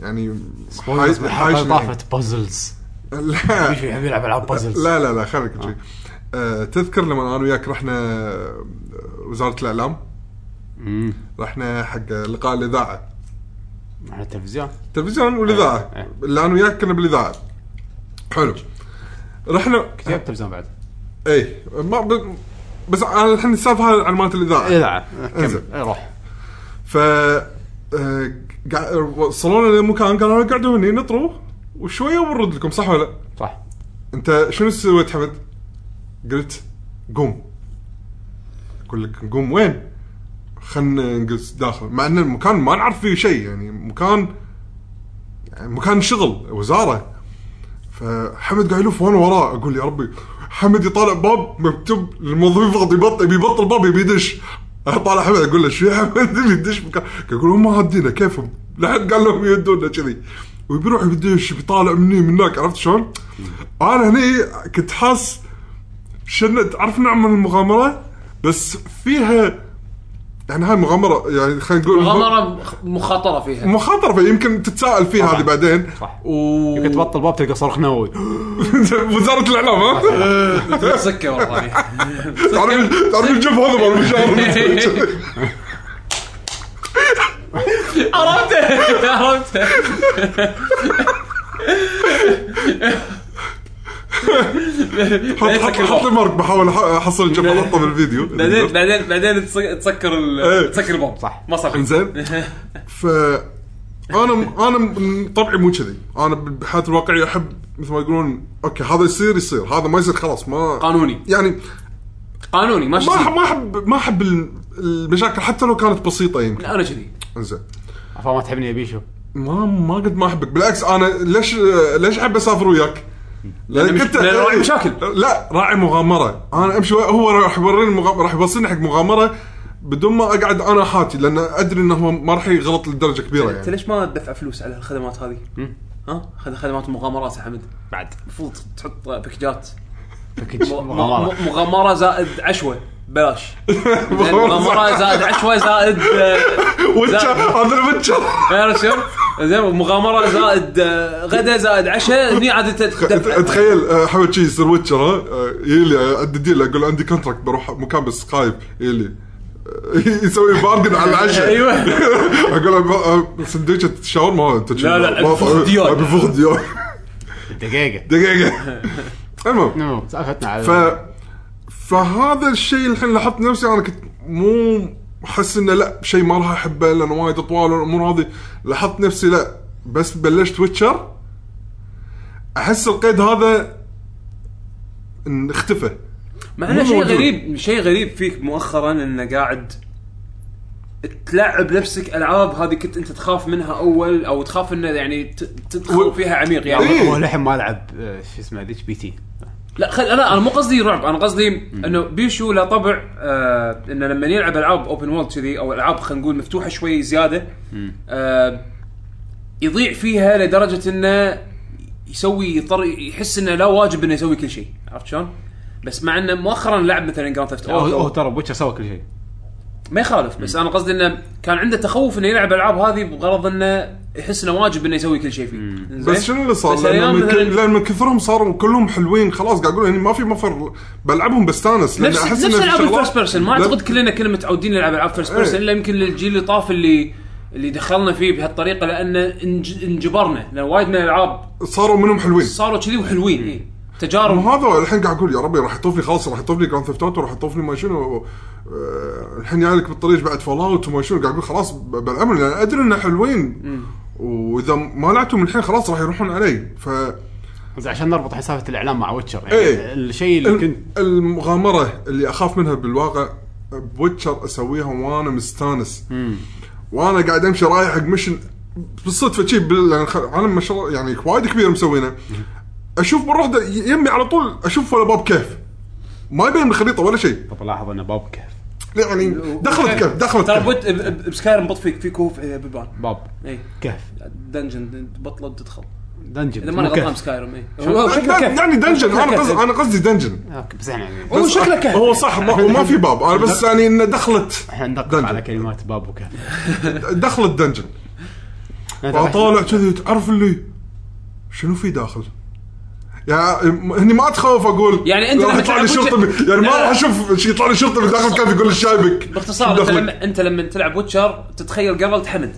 يعني سبويلرز حايش- بالحلقه اللي حايشني يعني. طافت بازلز لا في شيء يعني يحب يلعب العاب بازلز آه. لا لا لا خليك بشي. آه. تذكر لما انا وياك رحنا وزاره الاعلام مم. رحنا حق لقاء الاذاعه على التلفزيون التلفزيون والاذاعه إيه. اللي انا وياك كنا بالاذاعه حلو رحنا كتير التلفزيون بعد اي ما ب... بس انا الحين السالفه هذه عن مالت الاذاعه اذاعه آه. انزين. كمل إيه، روح ف آه، قا- وصلونا لمكان قالوا لنا قعدوا هني نطروا وشويه وبنرد لكم صح ولا لا؟ صح انت شنو سويت حمد؟ قلت قوم اقول لك نقوم وين؟ خلنا نجلس داخل مع ان المكان ما نعرف فيه شيء يعني مكان يعني مكان شغل وزاره فحمد قاعد يلف وانا وراه اقول يا ربي حمد يطالع باب مكتوب للموظفين فاضي بطل بيبطل باب يبي يدش طالع حمد اقول له شو يا حمد يبي يدش مكان يقول هم هادينا كيفهم لحد قال لهم يدونا كذي وبيروح يدش بيطالع مني من هناك عرفت شلون؟ انا هني كنت حاس شن تعرف نوع من المغامره بس فيها يعني هاي مغامره يعني خلينا نقول مغامره مخاطره فيها مخاطره فيمكن تتساءل فيها طبعاً. هذه بعدين صح. و... يمكن تبطل باب تلقى صاروخ نووي وزاره الاعلام ها سكه والله تعرف تعرف الجف هذا مال المشاهد عرفته عرفته حط حط حط لي مارك بحاول أح- احصل الجف احطه بالفيديو بعدين بعدين بعدين تسك- تسكر إيه. ال- تسكر البوم صح. ما صار شيء. انزين ف انا انا من طبعي مو كذي انا بالحياه الواقعيه احب مثل ما يقولون اوكي هذا يصير يصير هذا ما يصير خلاص ما قانوني يعني قانوني ماشي ما زين. احب ما احب ما احب ال- المشاكل حتى لو كانت بسيطه يمكن لا انا كذي زين عفوا ما تحبني يا بيشو ما ما قد ما احبك بالعكس انا ليش ليش احب اسافر وياك؟ مش- لان كنت لأن راعي مشاكل. لا راعي مغامره انا امشي وياه، هو راح يوريني مغامره راح يوصلني حق مغامره بدون ما اقعد انا حاتي لان ادري انه هو ما راح يغلط لدرجه كبيره انت يعني ليش ما تدفع فلوس على الخدمات هذه؟ ها؟ خد- خدمات المغامرات يا حمد بعد المفروض تحط باكجات باكج م- مغامرة. م- مغامره زائد عشوه بلاش زين، مغامره زائد عشوه زائد آه، ويتشر زائد- هذا الويتشر عرفت شلون؟ زين مغامره زائد آه، غدا زائد عشاء هني عاد انت تدفع. تخيل آه، حمد شي يصير ويتشر ها آه، يلي ادي ديل اقول عندي كونتراكت بروح مكان بالسكايب يلي آه، يسوي بارجن على العشاء أيوة. اقول له، آه، سندويشة شاورما انت لا، لا، الفخذ ديال. الفخذ ديال دقيقة دقيقه المهم نو سالفتنا على ف فهذا الشيء الحين لاحظت نفسي انا كنت مو حس انه لا شيء ما راح احبه لانه وايد اطوال والامور هذه لاحظت نفسي لا بس بلشت ويتشر احس القيد هذا إن اختفى مع مو انه شيء موجود. غريب شيء غريب فيك مؤخرا انه قاعد تلعب نفسك العاب هذه كنت انت تخاف منها اول او تخاف انه يعني ت- تدخل و- فيها عميق يعني إيه. هو للحين ما لعب آه، شو اسمه ذيك بي تي لا خل لا انا مو قصدي رعب انا قصدي انه بيشو له طبع آه انه لما يلعب العاب اوبن وورلد كذي او العاب خلينا نقول مفتوحه شوي زياده آه يضيع فيها لدرجه انه يسوي يضطر يحس انه لا واجب انه يسوي كل شيء عرفت شلون؟ بس مع انه مؤخرا لعب مثلا جراند ثيفت هو هو ترى بوتشر سوى كل شيء ما يخالف بس انا قصدي انه كان عنده تخوف انه يلعب العاب هذه بغرض انه يحس انه واجب انه يسوي كل شيء فيه إنزين؟ بس شنو اللي صار؟ بس لان اليوم من, ك... مثلاً لأن من كثرهم صاروا كلهم حلوين خلاص قاعد اقول يعني ما في مفر بلعبهم بستانس لان نفس احس نفس إن في العاب شغلات- الفيرست بيرسون ما لا- اعتقد كلنا كنا متعودين نلعب العاب فيرست إيه. بيرسون الا يمكن للجيل اللي طاف اللي اللي دخلنا فيه بهالطريقه لان انج- انجبرنا لان وايد من الالعاب صاروا منهم حلوين صاروا كذي وحلوين إيه. تجارب ما هذا الحين قاعد اقول يا ربي راح يطوف لي خلاص راح يطوف لي جراند ثيفت اوتو راح يطوف لي ما شنو آه، الحين جاي لك بالطريق بعد فول اوت وما شنو قاعد اقول خلاص ب- بلعبهم لان ادري انه حلوين واذا ما لعبتهم الحين خلاص راح يروحون علي ف زين، عشان نربط حين سالفه الاعلام مع ويتشر إيه. يعني الشيء اللي كنت ال- المغامره اللي اخاف منها بالواقع بوتشر اسويها وانا مستانس وانا قاعد امشي رايح حق مشن بالصدفه شي بال- لأن خ- عالم ما شاء الله يعني وايد كبير مسوينه اشوف بالوحده ي- يمي على طول اشوف ولا باب كيف ما يبين بالخريطه ولا شيء طب لاحظ انه باب كهف يعني دخلت كيف دخلت ترى كيف بود- ب- ب- بسكاير مبط فيك في كهوف آه، بيبان باب اي كهف دنجن بطلة تدخل دنجن اذا ماني مو كهف. غلطان إيه. سكايروم اي هو شكله كهف. يعني دنجن شكله انا كهف. قصدي انا قصدي دنجن اوكي بس احنا يعني هو بس- شكله كهف. هو صح ما, وما في باب انا بس يعني انه دخلت احنا ندقق دنجن. على كلمات باب وكهف دخلت دنجن طيب. فطالع كذي تعرف اللي شنو في داخل؟ يا هني ما اتخوف اقول يعني أنت راح لما يطلع لي تلعب شرطي وجه- ب- يعني ما لا، لا. راح اشوف شي يطلع لي شرطي من داخل كيف يقول لي شايبك شنو باختصار انت دخلك؟ لما انت لما تلعب ويتشر تتخيل جرالت حمد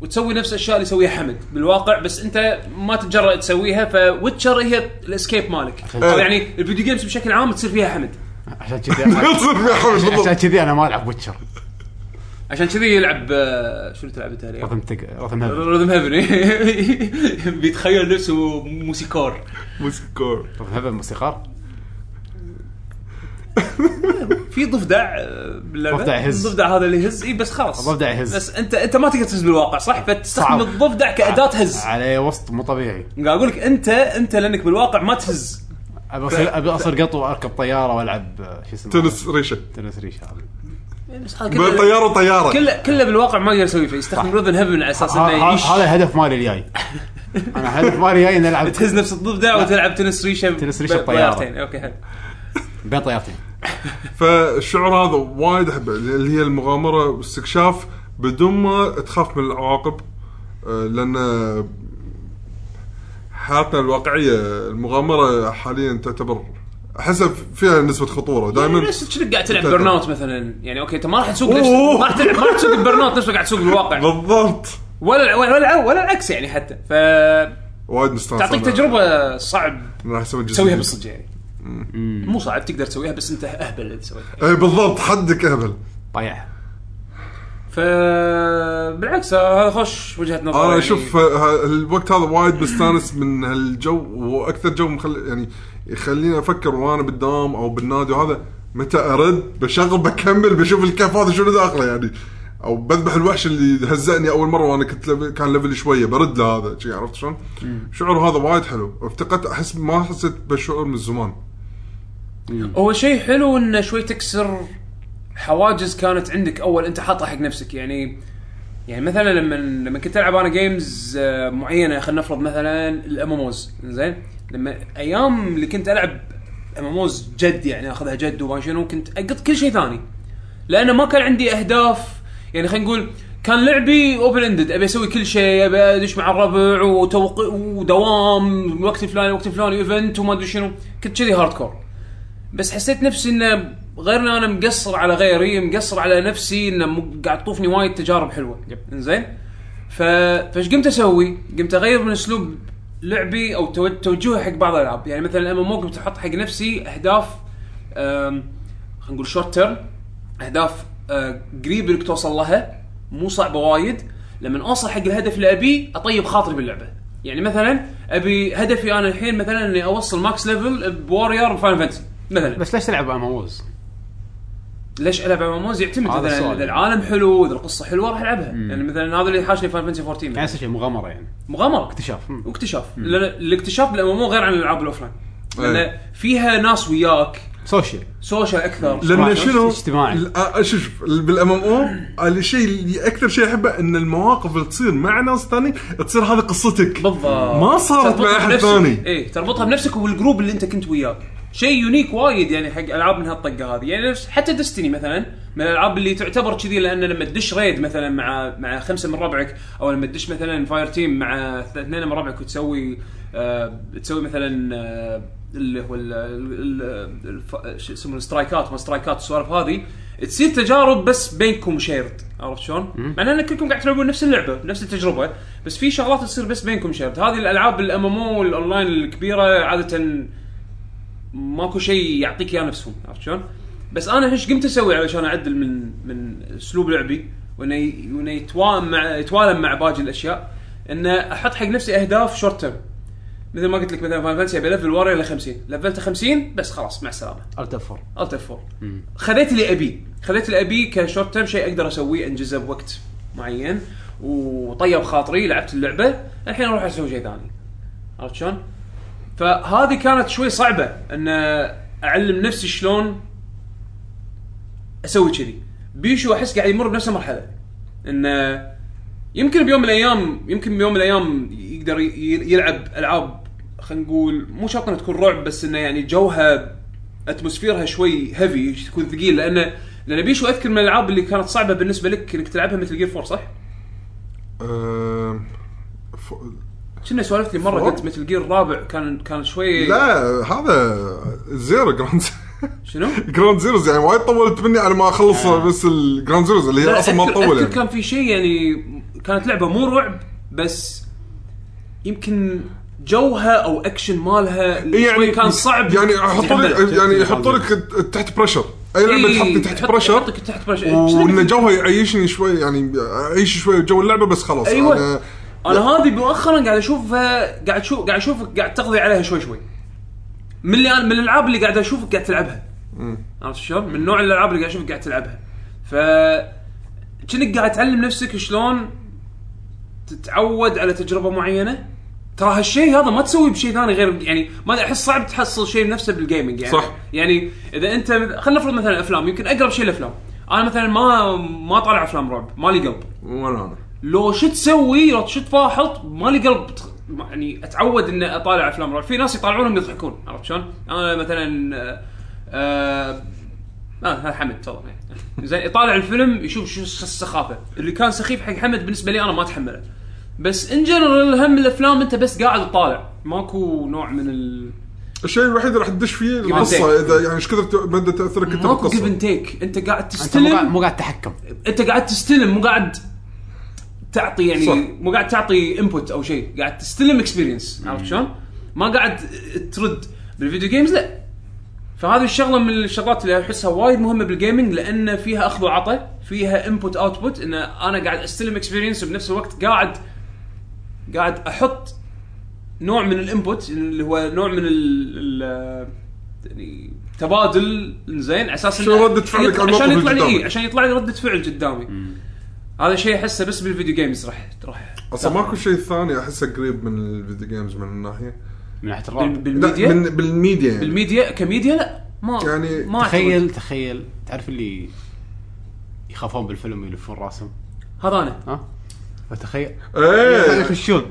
وتسوي نفس الاشياء اللي يسويها حمد بالواقع بس انت ما تتجرأ تسويها فويتشر هي الاسكيب مالك او يعني الفيديو جيمز بشكل عام تصير فيها حمد عشان كذي أنا- يصير في حرج عشان بالضبط كذي انا ما العب ويتشر عشان كذي يلعب آه، شنو تلعب انت اليوم؟ رقم تق رقم هبل رذم هيفن بيتخيل نفسه موسيقار موسيقار رقم هبل موسيقار في ضفدع آه، باللعبة. ضفدع يهز. الضفدع هذا اللي يهز اي بس خلاص الضفدع يهز. بس انت انت ما تقدر تهز بالواقع صح؟ فتستخدم صعب. الضفدع كاداه هز عليه وسط مو طبيعي قاعد اقول لك انت انت لانك بالواقع ما تهز ابي اصير ابي اصير قط واركب طياره والعب آه، شو اسمه تنس ريشه تنس ريش هذا بس هذا كله- طياره طياره كله كله بالواقع ما يقدر يسوي شيء يستخدم روذن هيفن على اساس انه ه- ه- يعيش هذا الهدف مالي الجاي انا الهدف مالي الجاي اني العب تهز نفس الضفدع وتلعب تنس ريشه ب- تنس ريشة ب- بطيارة. بطيارتين. اوكي حلو بين طيارتين فالشعور هذا وايد احبه اللي هي المغامره والاستكشاف بدون ما تخاف من العواقب آه، لان حياتنا الواقعيه المغامره حاليا تعتبر احس فيها نسبه إيه، خطوره دائما نفس كأنك قاعد تلعب أنت- برن اوت مثلا يعني اوكي انت ما راح تسوق نفس طيب. أوه. ما راح تلعب ما راح تسوق برن اوت نفس ما قاعد تسوق بالواقع بالضبط ولا ولا ولا, ولا العكس يعني حتى ف وايد مستانس تعطيك أنا. تجربه صعب أنا راح اسوي الجزء تسويها الجديد. بالصدق يعني مو صعب تقدر تسويها بس انت اهبل اللي تسويها اي إيه، بالضبط حدك اهبل طيعها ف بالعكس هذا خوش وجهه نظر انا يعني. اشوف ه- الوقت هذا وايد مستانس من هالجو واكثر جو مخلي يعني يخليني افكر وانا بالدوام او بالنادي وهذا متى ارد بشغل بكمل بشوف الكهف هذا شنو داخله يعني او بذبح الوحش اللي هزأني اول مره وانا كنت ليفل كان ليفل شويه برد له هذا شي عرفت شلون؟ شعور هذا وايد حلو افتقدت احس ما حسيت بالشعور من زمان هو شيء حلو انه شوي تكسر حواجز كانت عندك اول انت حاطها حق نفسك يعني يعني مثلا لما لما كنت العب انا جيمز آه، معينه خلينا نفرض مثلا الام ام اوز زين لما ايام اللي كنت العب ام ام اوز جد يعني اخذها جد وما شنو كنت اقط كل شيء ثاني لانه ما كان عندي اهداف يعني خلينا نقول كان لعبي اوبن اندد ابي اسوي كل شيء ابي ادش مع الربع وتوق... ودوام وقت فلان وقت فلان ايفنت وما ادري شنو كنت كذي هارد كور بس حسيت نفسي انه غير ان انا مقصر على غيري مقصر على نفسي انه م- قاعد تطوفني وايد تجارب حلوه يب. زين ف... فايش قمت اسوي؟ قمت اغير من اسلوب لعبي او تو- توجهي حق بعض الالعاب يعني مثلا الام ام قمت احط حق نفسي اهداف أم، خلينا نقول شورت تيرم اهداف أه، قريب انك توصل لها مو صعبه وايد لما اوصل حق الهدف اللي ابيه اطيب خاطري باللعبه يعني مثلا ابي هدفي انا الحين مثلا اني اوصل ماكس ليفل بورير فاين فانتسي مثلا بس ليش تلعب ام اوز؟ ليش العب ام موز يعتمد هذا اذا السؤال. اذا العالم حلو اذا القصه حلوه راح العبها يعني مثلا هذا اللي حاشني فاين فانتسي 14 يعني مثلاً. نفس الشيء مغامره يعني مغامره اكتشاف مم. إيه. واكتشاف لأن الاكتشاف بالام غير عن الالعاب الاوفلاين لان أي. فيها ناس وياك سوشيال سوشيال اكثر لان اجتماعي. شنو اجتماعي. ال- آه، شوف شوف بالام ام او الشيء اللي اكثر شيء احبه ان المواقف اللي تصير مع ناس ثاني تصير هذه قصتك بالضبط ما صارت تربطها مع احد بنفسك. ثاني ايه تربطها بنفسك والجروب اللي انت كنت وياه شيء يونيك وايد يعني حق العاب من هالطقه هذه يعني نفس حتى دستني مثلا من الالعاب اللي تعتبر كذي لان لما تدش ريد مثلا مع مع خمسه من ربعك او لما تدش مثلا فاير تيم مع ث- اثنين من ربعك وتسوي آه تسوي مثلا آه اللي هو ال- ال- ال- الف- شو اسمه السترايكات ما سترايكات السوالف هذه تصير تجارب بس بينكم شيرد عرفت شلون؟ مع ان كلكم قاعد تلعبون نفس اللعبه نفس التجربه بس في شغلات تصير بس بينكم شيرد هذه الالعاب الام ام او الاونلاين الكبيره عاده ماكو شيء يعطيك اياه نفسهم عرفت شلون؟ بس انا ايش قمت اسوي علشان اعدل من من اسلوب لعبي وانه ي- وانه يتوائم مع يتوالم مع باقي الاشياء انه احط حق نفسي اهداف شورت تيرم مثل ما قلت لك مثلا فاين فانسي ابي الفل وارير ل 50 لفلته 50 بس خلاص مع السلامه التفر الت 4 خذيت اللي ابيه خذيت اللي ابيه كشورت تيرم شيء اقدر اسويه انجزه بوقت معين وطيب خاطري لعبت اللعبه الحين اروح اسوي شيء ثاني عرفت شلون؟ فهذه كانت شوي صعبه ان اعلم نفسي شلون اسوي كذي بيشو احس قاعد يمر بنفس المرحله انه يمكن بيوم من الايام يمكن بيوم من الايام يقدر ي- يلعب العاب خلينا نقول مو شرط انها تكون رعب بس انه يعني جوها اتموسفيرها شوي هيفي تكون ثقيل لانه لان بيشو اذكر من الالعاب اللي كانت صعبه بالنسبه لك انك تلعبها مثل جير فور صح؟ أم، ف- كنا سولفت لي مره فور؟ قلت مثل جير رابع كان كان شوي لا هذا زيرو جراوند شنو؟ جراوند زيروز يعني وايد طولت مني على ما اخلص بس الجراوند زيروز اللي هي آه. لا، اصلا ما أذكر- تطول اذكر يعني كان في شيء يعني كانت لعبه مو رعب بس يمكن جوها او اكشن مالها شوي كان صعب يعني يحطوا لك يعني تحمل. يحطوا لك تحت بريشر اي لعبه إيه، تحطني تحت يحط- بريشر يحطك تحت إيه، بريشر وان شلون- جوها يعيشني شوي يعني اعيش شوي جو اللعبه بس خلاص ايوه أنا- انا هذه مؤخرا قاعد اشوفها قاعد شو قاعد اشوفك قاعد تقضي عليها شوي شوي من اللي أنا- من الالعاب اللي قاعد اشوفك قاعد تلعبها عرفت شلون؟ من نوع الالعاب اللي قاعد اشوفك قاعد تلعبها ف كأنك قاعد تعلم نفسك شلون تتعود على تجربه معينه ترى هالشيء هذا ما تسوي بشيء ثاني غير يعني ما احس صعب تحصل شيء نفسه بالجيمنج يعني صح. يعني اذا انت مث- خلينا نفرض مثلا افلام يمكن اقرب شيء الافلام انا مثلا ما ما طالع افلام رعب مالي قلب ولا انا لو شو تسوي لو شو تفاحط مالي قلب تخ- ما- يعني اتعود ان اطالع افلام رعب في ناس يطالعونهم يضحكون عرفت شلون؟ انا مثلا آه، آه آه حمد تفضل زين يطالع الفيلم يشوف شو الس- السخافه اللي كان سخيف حق حمد بالنسبه لي انا ما اتحمله بس ان جنرال هم الافلام انت بس قاعد تطالع ماكو نوع من ال الشيء الوحيد اللي راح تدش فيه and القصه take. اذا يعني ايش كثر ت- مدى تاثرك انت ماكو جيف بالقصه اند تيك انت قاعد انت مو قاعد- تستلم مو قاعد تحكم انت قاعد تستلم مو قاعد تعطي يعني صح. صح. مو قاعد تعطي انبوت او شيء قاعد تستلم اكسبيرينس عرفت شلون؟ ما قاعد ترد بالفيديو جيمز لا فهذه الشغله من الشغلات اللي احسها وايد مهمه بالجيمنج لان فيها اخذ وعطى فيها انبوت اوتبوت ان انا قاعد استلم اكسبيرينس وبنفس الوقت قاعد قاعد احط نوع من الانبوت اللي هو نوع من ال- ال- يعني تبادل زين على اساس إنه- شو ردة فعلك على الموقف عشان يطلع لي اللي إيه قدامك. عشان يطلع لي رده فعل قدامي هذا شيء احسه بس بالفيديو جيمز راح راح اصلا ماكو شيء ثاني احسه قريب من الفيديو جيمز من الناحيه من ناحيه بال- الرعب لا بالميديا من بالميديا يعني بالميديا كميديا لا ما يعني ما أعتقد. تخيل تخيل تعرف اللي يخافون بالفيلم يلفون راسهم هذا انا ها فتخيل خليه ايه يخشون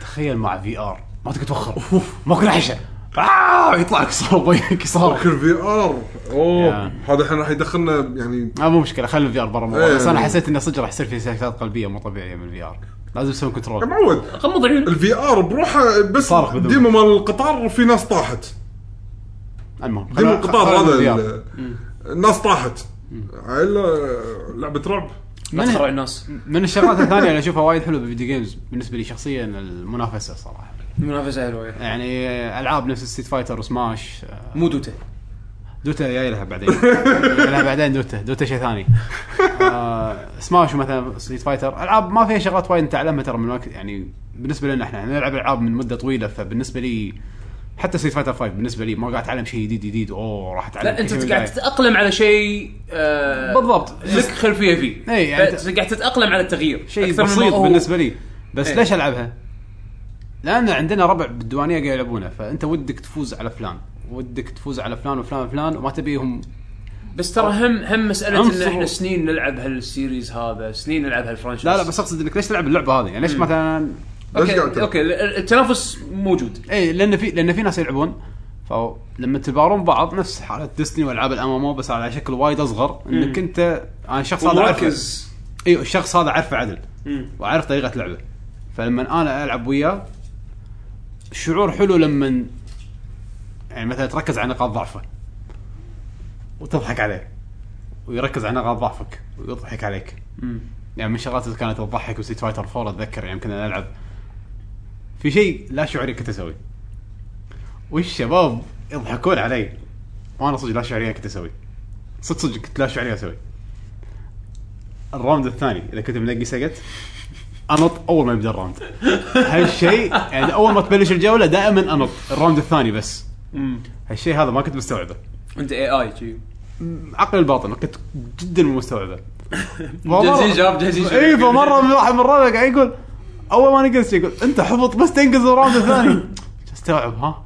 تخيل مع في ار ما تقدر توخر ماكو عشاء آه يطلع لك صار بيك صار كل في ار اوه يا. هذا الحين راح يدخلنا يعني آه مو مشكله خلي الفي ار برا الموضوع إيه. بس انا حسيت انه صدق راح يصير في سكتات قلبيه مو طبيعيه من الفي ار لازم يسوون يا كنترول معود غمض عيونك الفي ار بروحه بس صارخ بدون. ديمو مال القطار في ناس طاحت المهم ديمو خلنا- القطار خلنا هذا بالVR. ال- الناس طاحت الا لعبه رعب لا من- تخرع الناس من الشغلات الثانيه اللي اشوفها وايد حلوه بالفيديو جيمز بالنسبه لي شخصيا المنافسه صراحه منافسه حلوه يعني. يعني العاب نفس ستيت فايتر وسماش آه، مو دوتا دوتا جاي لها بعدين جاي لها بعدين دوتا دوتا شيء ثاني آه سماش مثلا ستيت فايتر العاب ما فيها شغلات وايد نتعلمها ترى من وقت يعني بالنسبه لنا احنا إحنا نلعب العاب من مده طويله فبالنسبه لي حتى ستيت فايتر 5 بالنسبه لي ما قاعد اتعلم شيء جديد جديد اوه راح اتعلم لا انت شيء قاعد جديد. تتاقلم على شيء آه بالضبط. لك خلفيه فيه إي، يعني فأنت قاعد تتاقلم على التغيير شيء أكثر مما بسيط هو- بالنسبه لي بس إيه. ليش العبها؟ لان عندنا ربع بالديوانيه قاعد يلعبونه فانت ودك تفوز على فلان ودك تفوز على فلان وفلان وفلان وما تبيهم بس ترى هم هم مساله ان عنصر. احنا سنين نلعب هالسيريز هذا سنين نلعب هالفرانشايز لا لا بس اقصد انك ليش تلعب اللعبه هذه؟ يعني ليش مثلا ليش قاعد اوكي تلعب؟ اوكي التنافس موجود اي لان إيه، في لان في ناس يلعبون فلما تبارون بعض نفس حاله ديستني والعاب الام بس على شكل وايد اصغر انك انت انا الشخص هذا اعرفه مركز ايوه الشخص هذا اعرفه عدل مم. واعرف طريقه لعبه فلما انا العب وياه شعور حلو لما يعني مثلا تركز على نقاط ضعفه وتضحك عليه ويركز على نقاط ضعفك ويضحك عليك يعني من الشغلات اللي كانت تضحك وسيت فايتر 4 اتذكر يعني كنا نلعب في شيء لا شعوري كنت اسويه والشباب يضحكون علي وانا صدق لا شعوري كنت اسويه صدق صدق كنت لا شعوري اسويه الراوند الثاني اذا كنت منقي سقط انط اول ما يبدا الراوند هالشيء يعني اول ما تبلش الجوله دائما انط الراوند الثاني بس مم. هالشيء هذا ما كنت مستوعبه انت اي اي عقل الباطن كنت جدا مو مستوعبه جاهزين شباب، جاهزين شباب. اي فمره من واحد من الربع قاعد يقول اول ما نقز يقول انت حبط بس تنقز الراوند الثاني استوعب ها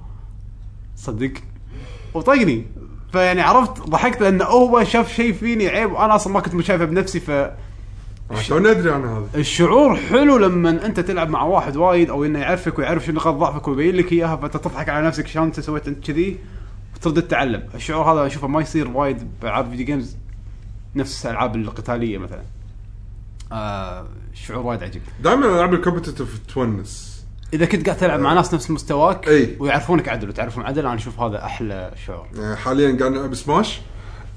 صدق وطقني فيعني عرفت ضحكت لانه هو شاف شيء فيني عيب وانا اصلا ما كنت مشايفه بنفسي فالشعور تو ندري عن هذا حلو لما انت تلعب مع واحد وايد او انه يعرفك ويعرف شنو نقاط ضعفك ويبين لك اياها فانت تضحك على نفسك شلون انت سويت انت كذي وترد تتعلم الشعور هذا اشوفه ما يصير وايد بالعاب فيديو جيمز نفس الالعاب القتاليه مثلا آه شعور وايد عجيب دائما العاب الكومبتتف تونس اذا كنت قاعد تلعب مع ناس نفس مستواك أي. ويعرفونك عدل وتعرفهم عدل انا اشوف هذا احلى شعور يعني حاليا قاعد نلعب سماش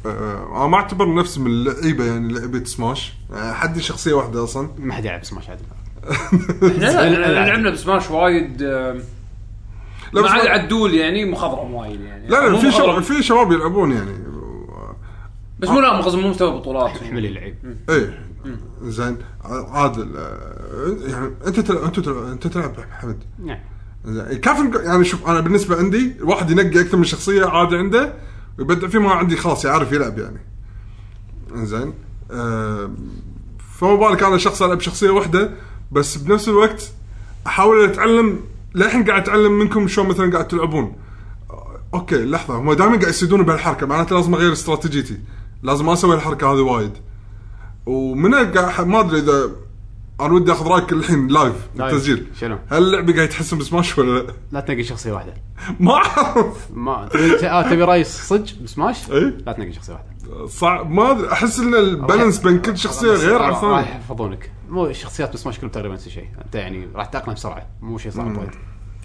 آه، انا ما اعتبر نفسي من اللعيبه يعني لعبه سماش آه، حدي شخصيه واحده اصلا ما حد يلعب سماش عدل لا لا، لا. لا لعبنا بسماش وايد آم، لا ما بس عاد ما- عدول يعني مخضرم وايد يعني لا لا مو في مخضرم، شباب في شباب يلعبون يعني بس مو لا مخزن مو مستوى بطولات احمل اللعيب ايه زين عادل آه، يعني انت تلعب انت تلعب انت تلعب حمد نعم زين، كافي نق- يعني شوف انا بالنسبه عندي الواحد ينقي اكثر من شخصيه عادي عنده ويبدع فيه ما عندي خلاص يعرف يلعب يعني زين آم، فما بالك انا شخص العب شخصيه واحده بس بنفس الوقت احاول اتعلم للحين قاعد اتعلم منكم شلون مثلا قاعد تلعبون اوكي لحظه هم دائما قاعد يصيدون بهالحركه معناته لازم اغير استراتيجيتي لازم ما اسوي الحركه هذه وايد ومن قاعد- ما ادري اذا انا ودي اخذ رايك الحين لايف بالتسجيل شنو؟ هل اللعبه قاعد تحسن بسماش ولا لا؟ لا تنقي شخصيه واحده ما اعرف ما تبي- آه، تبي رئيس صدق بسماش؟ إي. لا تنقي شخصيه واحده صعب ما ادري احس ان البالانس بين كل شخصيه غير عن راح الثانيه يحفظونك مو الشخصيات بس مش كلهم تقريبا نفس الشيء انت يعني راح تتاقلم بسرعه مو شيء صعب وايد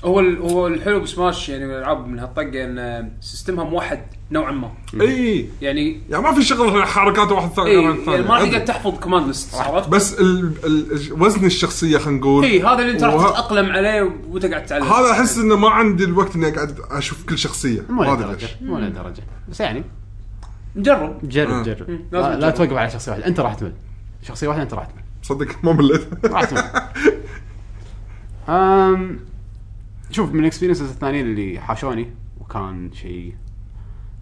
هو ال- هو الحلو بسماش يعني من الالعاب من هالطقه ان سيستمها موحد نوعا ما اي يعني يعني ما في شغل حركات واحد ثاني إيه غير عن يعني ما الثانيه تقدر عدل. تحفظ كوماند ليست عرفت؟ بس ال... ال... وزن الشخصيه خلينا نقول اي هذا اللي انت راح وه- تتاقلم عليه وانت قاعد تتعلم هذا احس انه ما عندي الوقت اني اقعد اشوف كل شخصيه مو ما ادري لهالدرجه ليش مو لهالدرجه بس يعني نجرب جرب آه. جرب مم، لازم لا, لا تجرب. توقف على شخصيه واحده انت راح تمل شخصيه واحده انت راح تمل صدق ما مليت راح تمل أم... شوف من الاكسبيرينسز الثانيين اللي حاشوني وكان شيء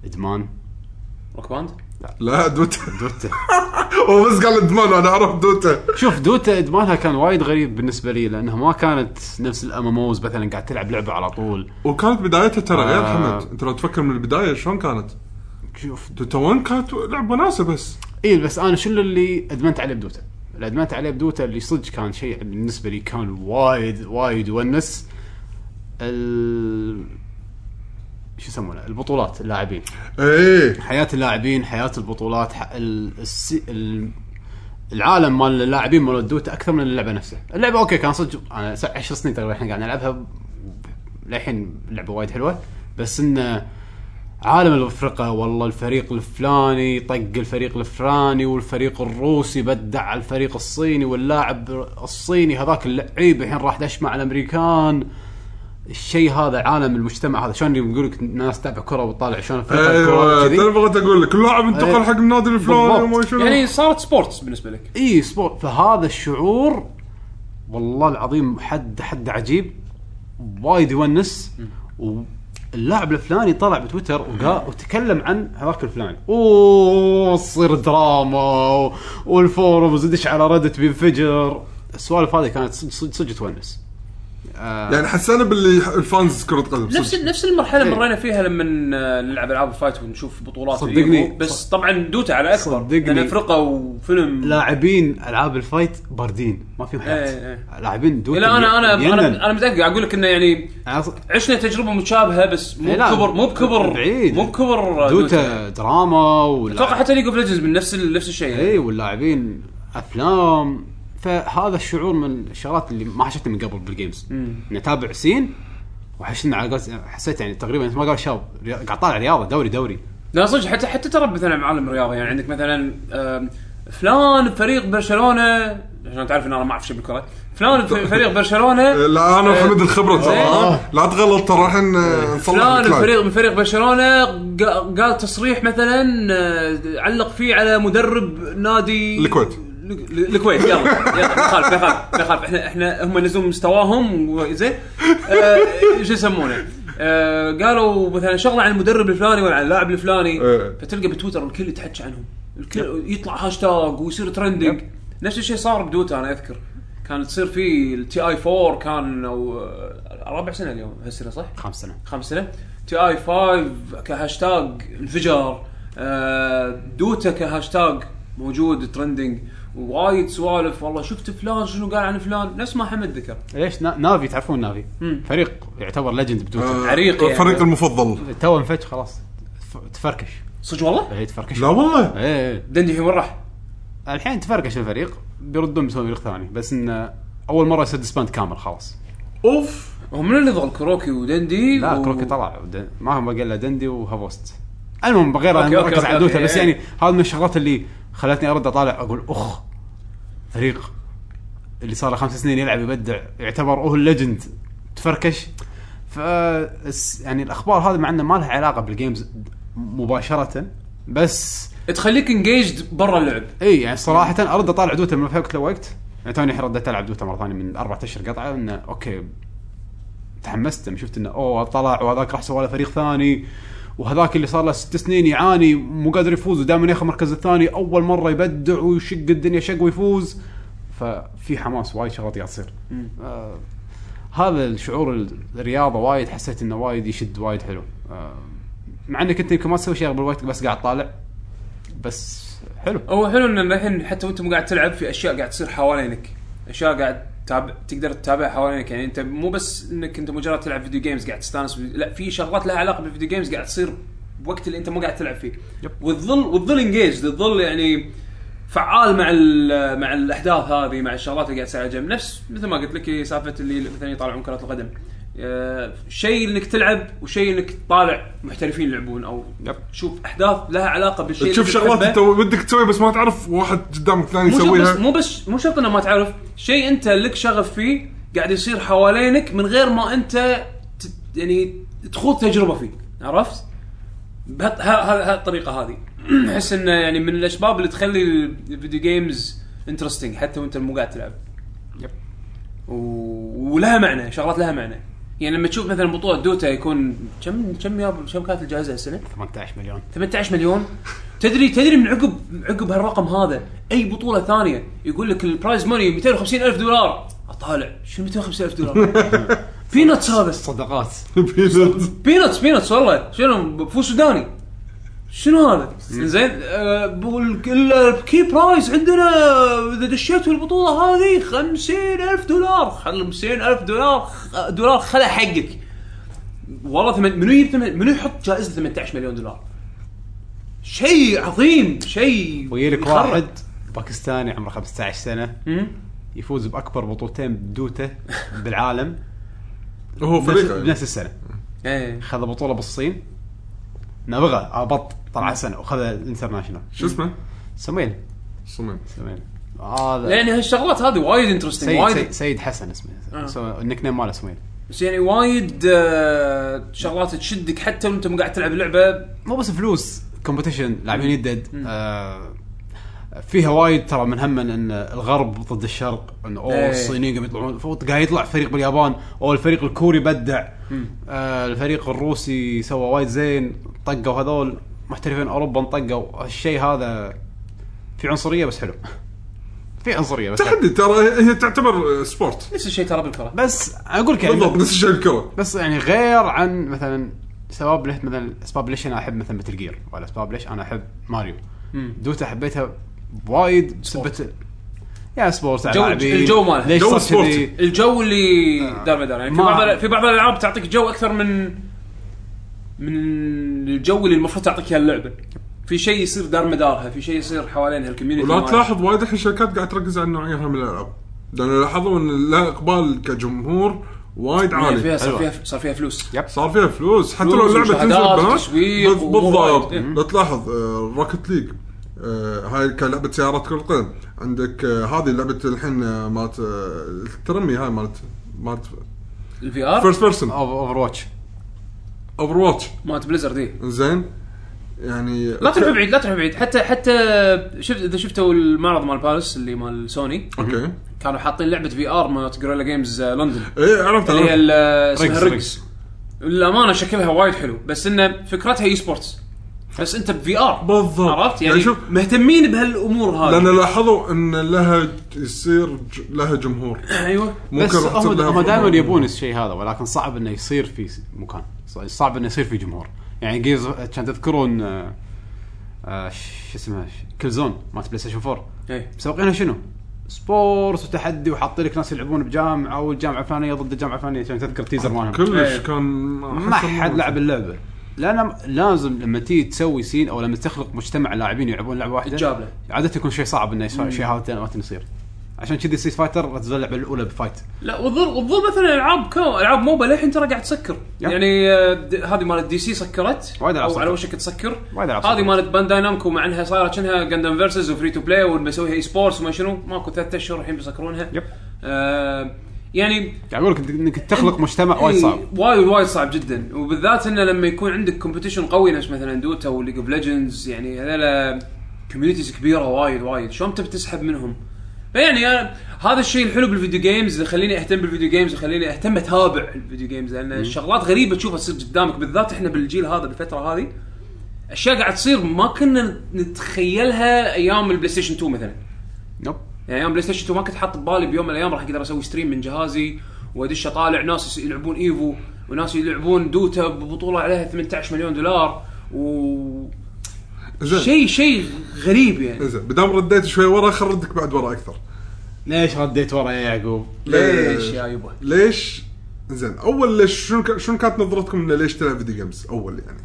ادمان روك باند لا دوتا دوتا هو بس قال ادمان انا اعرف دوتا شوف دوتا ادمانها كان وايد غريب بالنسبه لي لانها ما كانت نفس الاماموز مثلا قاعد تلعب لعبه على طول وكانت بدايتها ترى غير آه. حمد انت لو تفكر من البدايه شلون كانت؟ شوف دوتا 1 كانت لعبه وناسه بس اي إيه، بس انا شنو اللي ادمنت عليه بدوتا؟ اللي ادمنت عليه بدوتا اللي صدق كان شيء بالنسبه لي كان وايد وايد يونس ال شو يسمونه البطولات اللاعبين ايه حياه اللاعبين حياه البطولات ح... ال... الس... ال... العالم مال اللاعبين مال الدوتا اكثر من اللعبه نفسها اللعبه اوكي كان صدق انا 10 سنين تقريبا الحين قاعد نلعبها للحين اللعبه وايد حلوه بس انه عالم الفرقه والله الفريق الفلاني طق الفريق الفلاني والفريق الروسي بدع على الفريق الصيني واللاعب الصيني هذاك اللعيب الحين راح دش مع الامريكان الشيء هذا عالم المجتمع هذا شلون يقول لك الناس تتابع كره وتطالع شلون فرقه ايوه الكرة انا كذي. بغيت اقول لك كل لاعب انتقل إيه. حق النادي الفلاني بالضبط. وما شنو يعني صارت سبورتس بالنسبه لك اي سبورت فهذا الشعور والله العظيم حد حد عجيب وايد يونس واللاعب الفلاني طلع بتويتر وقا- وتكلم عن هذاك الفلاني اوه تصير دراما و- والفورمز دش على ردت بينفجر السوالف هذه كانت صدق صدق صدق تونس آه. يعني حسنا باللي الفانز كره قدم نفس صدق. نفس المرحله إيه. اللي مرينا فيها لما آه، نلعب العاب الفايت ونشوف بطولات صدقني. اليمو. بس طبعا دوتا على اكبر صدقني. لان فرقه وفيلم لاعبين العاب الفايت باردين ما فيهم إيه، حياه لاعبين دوت لا انا انا ينن. انا, أنا متاكد قاعد اقول لك انه يعني أنا- عشنا تجربه مشابهه بس مو إيه، لا، بكبر مو بكبر بعيد. مو بكبر دوتا دراما ولا اتوقع حتى ليج اوف ليجندز من نفس ال- نفس الشيء اي إيه، واللاعبين افلام فهذا الشعور من الشغلات اللي ما حشتني من قبل بالجيمز اني اتابع سين وحشتني على قولت- حسيت يعني تقريبا مثل ما قال شاب ري- قاعد طالع رياضه دوري دوري لا صدق حتى حتى ترى مثلا عالم الرياضه يعني عندك مثلا آم، فلان فريق برشلونه عشان تعرف ان انا ما اعرف شيء بالكره فلان ف- فريق برشلونه إيه، لا انا وحمد الخبره ترى إيه. لا تغلط ترى الحين آه، نصلح إيه. فلان الكلايب. الفريق من فريق برشلونه قا- قال تصريح مثلا آه، علق فيه على مدرب نادي الكويت. ال- ال- الكويت يلا يلا ما يخالف ما يخالف ما يخالف احنا احنا هم ينزلون مستواهم و- زين آه، شو يسمونه آه، قالوا مثلا شغله عن المدرب الفلاني ولا عن اللاعب الفلاني إيه. فتلقى بتويتر الكل يتحكى عنهم الكل يطلع هاشتاج ويصير ترندنج نفس الشيء صار بدوتا انا اذكر كان تصير في التي اي 4 كان او آه، رابع سنه اليوم هالسنه صح؟ خمس سنة خمس سنه تي اي 5 كهاشتاج انفجار آه، دوتا كهاشتاج موجود ترندنج وايد سوالف والله شفت فلان شنو قال عن فلان نفس ما حمد ذكر ليش نا- نافي تعرفون نافي مم. فريق يعتبر ليجند بدوتا آه، عريق يعني. فريق المفضل تو انفج خلاص تف- تفركش صدق والله اي تفركش لا والله ايه إيه. دندي الحين وين راح؟ الحين تفركش الفريق بيردون بيسوون فريق ثاني بس انه اول مره يصير ديسباند كامل خلاص اوف هو من اللي ضل كروكي ودندي لا و- كروكي طلع ود- ما هم باقي الا دندي وهافوست المهم بغير أوكي، انا أوكي، مركز على أوكي، دوتا أوكي، بس إيه. يعني هذا من الشغلات اللي خلتني ارد اطالع اقول اخ فريق اللي صار له خمس سنين يلعب يبدع يعتبر هو الليجند تفركش ف يعني الاخبار هذه مع انه ما لها علاقه بالجيمز مباشره بس تخليك انجيجد برا اللعب اي يعني صراحه ارد اطالع دوتا من وقت لوقت يعني توني الحين رديت العب دوتا مره ثانيه من اربع اشهر قطعه انه اوكي تحمست لما شفت انه اوه طلع وهذاك راح سوى له فريق ثاني وهذاك اللي صار له ست سنين يعاني مو قادر يفوز ودائما ياخذ المركز الثاني اول مره يبدع ويشق الدنيا شق ويفوز ففي حماس وايد شغلات قاعد تصير آه هذا الشعور ال- الرياضه وايد حسيت انه وايد يشد وايد حلو آه مع انك انت يمكن ما تسوي شيء بالوقت بس قاعد طالع بس حلو هو حلو ان الحين حتى وانت مو قاعد تلعب في اشياء قاعد تصير حوالينك اشياء قاعد تتابع تقدر تتابع حوالينك يعني انت مو بس انك انت مجرد تلعب فيديو جيمز قاعد تستانس بي- لا في شغلات لها علاقه بالفيديو جيمز قاعد تصير بوقت اللي انت مو قاعد تلعب فيه يب. وتظل وتظل انجيج تظل يعني فعال مع ال- مع الاحداث هذه مع الشغلات اللي قاعد تصير على جنب نفس مثل ما قلت لك هي سالفه اللي مثلا يطالعون كره القدم آه، شيء انك تلعب وشيء انك تطالع محترفين يلعبون او يب. تشوف احداث لها علاقه بالشيء اللي تشوف أنت شغلات تحبه. انت ودك تسويها بس ما تعرف واحد قدامك ثاني مو شرط بس يسويها مو بس مو شرط انه ما تعرف شيء انت لك شغف فيه قاعد يصير حوالينك من غير ما انت ت- يعني تخوض تجربه فيه عرفت؟ بهالط- ه- ه- هالطريقه هذه احس انه يعني من الاسباب اللي تخلي الفيديو جيمز انترستنج حتى وانت مو قاعد تلعب يب. و... ولها معنى شغلات لها معنى يعني لما تشوف مثلا بطوله دوتا يكون كم كم ياب كم كانت الجائزه هالسنه؟ 18 مليون 18 مليون تدري تدري من عقب عقب هالرقم هذا اي بطوله ثانيه يقول لك البرايز موني 250 الف دولار اطالع شنو 250 الف دولار؟ بينتس هذا صدقات بينات. بينتس بينتس والله شنو بفو سوداني شنو هذا؟ Hmm. زين آه بقول- ال- الكي برايز عندنا اذا دشيت البطوله هذه 50 الف دولار 50 الف دولار خ- دولار خلا حقك والله ثمن منو يجيب ثمن- منو يحط جائزه 18 مليون دولار؟ شيء عظيم شيء ويجي لك يخرب. واحد باكستاني عمره 15 سنه مم. يفوز باكبر بطولتين بدوته بالعالم هو بنفس- فريق يعني. بنفس السنه ايه خذ بطوله بالصين نابغه ابط نعم. طلع سنه وخذ الانترناشونال شو اسمه؟ سمين صمم سمين هذا لان يعني هالشغلات هذه وايد انترستنج سيد, وايد سيد, سيد حسن اسمه آه. سو- النيك نيم ماله سمين بس يعني وايد آه، شغلات تشدك حتى وانت مو قاعد تلعب لعبه مو بس فلوس كومبetition لاعبين يدد آه فيها وايد ترى من هم ان الغرب ضد الشرق انه اوه إيه. الصينيين قاعد يطلعون فوق- قاعد يطلع فريق باليابان او الفريق الكوري بدع آه الفريق الروسي سوى وايد زين طقوا هذول محترفين اوروبا انطقوا الشيء هذا في عنصريه بس حلو في عنصريه بس حلو. تحدي ترى هي تعتبر سبورت نفس الشيء ترى بالكره بس اقول لك يعني بالضبط نفس الشيء الكره بس يعني غير عن مثلا سبب ليش مثلا الاسباب ليش انا احب مثلا مثل جير ولا اسباب ليش انا احب ماريو مم. دوتا حبيتها وايد بسبة يا سبورت على جو- لاعبين. الجو ماله. ليش صار جو كذي؟ سبورت. الجو اللي دار ما دار يعني في ما- بعض في بعض الالعاب تعطيك جو اكثر من من الجو اللي المفروض تعطيك اياه اللعبه في شيء يصير دار مدارها في شيء يصير حوالينها الكوميونتي ولا تلاحظ وايد الحين الشركات قاعد تركز على النوعيه هاي من الالعاب لان لاحظوا ان لها اقبال كجمهور وايد فيها عالي صار حلوة. فيها صار فيها فلوس يب. صار فيها فلوس حتى لو فلوس اللعبه تنزل ومشاهدات ببلاش وتسويق بز- بالضبط ووايد. إيه. لو تلاحظ آه، راكت ليج آه، هاي كلعبه سيارات كره قدم عندك آه، هذه لعبه الحين آه، مالت آه، الترمي هاي مالت مالت الفي ار فيرست بيرسون اوفر واتش اوفر واتش مالت بليزر دي زين يعني لا تروح بعيد لا تروح بعيد حتى حتى شفت اذا شفتوا المعرض مال بالاس اللي مال سوني اوكي كانوا حاطين لعبه في ار مالت جوريلا جيمز آه، لندن ايه عرفت اللي هي عرفت. ال- اسمها ريكس، ريكس ريكس. الامانه شكلها وايد حلو بس انه فكرتها اي سبورتس بس انت بفي ار بالضبط. عرفت يعني يعني شوف- مهتمين بهالامور هذه لان لاحظوا ان لها ج- يصير ج- لها جمهور ايوه بس راح هم تصير لها هم فروع. دائما يبون الشيء هذا ولكن صعب انه يصير في س- مكان ص- صعب انه يصير في جمهور يعني جيز كان تذكرون آه، آه، شو اسمه كل زون مالت بلاي ستيشن 4 إيه. مسوقينها شنو؟ سبورت وتحدي وحاطين لك ناس يلعبون بجامعه والجامعه الفلانيه ضد الجامعه الفلانيه عشان تذكر تيزر مالهم كلش إيه. كان ما أحس إنه- حد لعب اللعبه لان لازم لما تيجي تسوي سين او لما تخلق مجتمع لاعبين يلعبون لعبه واحده تجاب له. عاده يكون شيء صعب انه يصير شيء هذا تاني- ما يصير عشان كذي سيت فايتر نزل اللعبه الاولى بفايت لا وتظل وتظل مثلا العاب كو العاب موبا للحين ترى قاعد تسكر يب. يعني آه، د- هذه مالت دي سي سكرت وايد ألعاب او على سكرت. وشك تسكر وايد ألعاب هذه سكرت. مالت بانداي نامكو مع انها صايره كأنها جندم فيرسز وفري تو بلاي ومسويها اي سبورتس وما شنو ماكو ثلاث اشهر الحين بيسكرونها يب. آه يعني يعني اقول لك انك تخلق مجتمع وايد إي، صعب وايد وايد صعب جدا وبالذات انه لما يكون عندك كومبيتيشن قوي نفس مثلا دوتا وليج اوف ليجندز يعني هذول كوميونيتيز كبيره وايد وايد شلون انت بتسحب منهم؟ فيعني أنا- هذا الشيء الحلو بالفيديو جيمز اللي يخليني اهتم بالفيديو جيمز ويخليني اهتم اتابع الفيديو جيمز لان الشغلات غريبه تشوفها تصير قدامك بالذات احنا بالجيل هذا بالفتره هذه اشياء قاعد تصير ما كنا نتخيلها ايام البلاي ستيشن 2 مثلا نوب يعني ايام بلاي ستيشن 2 ما كنت حاط ببالي بيوم من الايام راح اقدر اسوي ستريم من جهازي وادش اطالع ناس يس- يلعبون ايفو وناس يلعبون دوتا ببطوله عليها 18 مليون دولار و زين. شيء شيء غريب يعني زين بدام رديت شوي ورا خل ردك بعد ورا اكثر ليش رديت ورا يا يعقوب؟ ليش يا يبا ليش زين اول ليش شنو ك- شنو كانت نظرتكم انه ليش تلعب فيديو جيمز اول يعني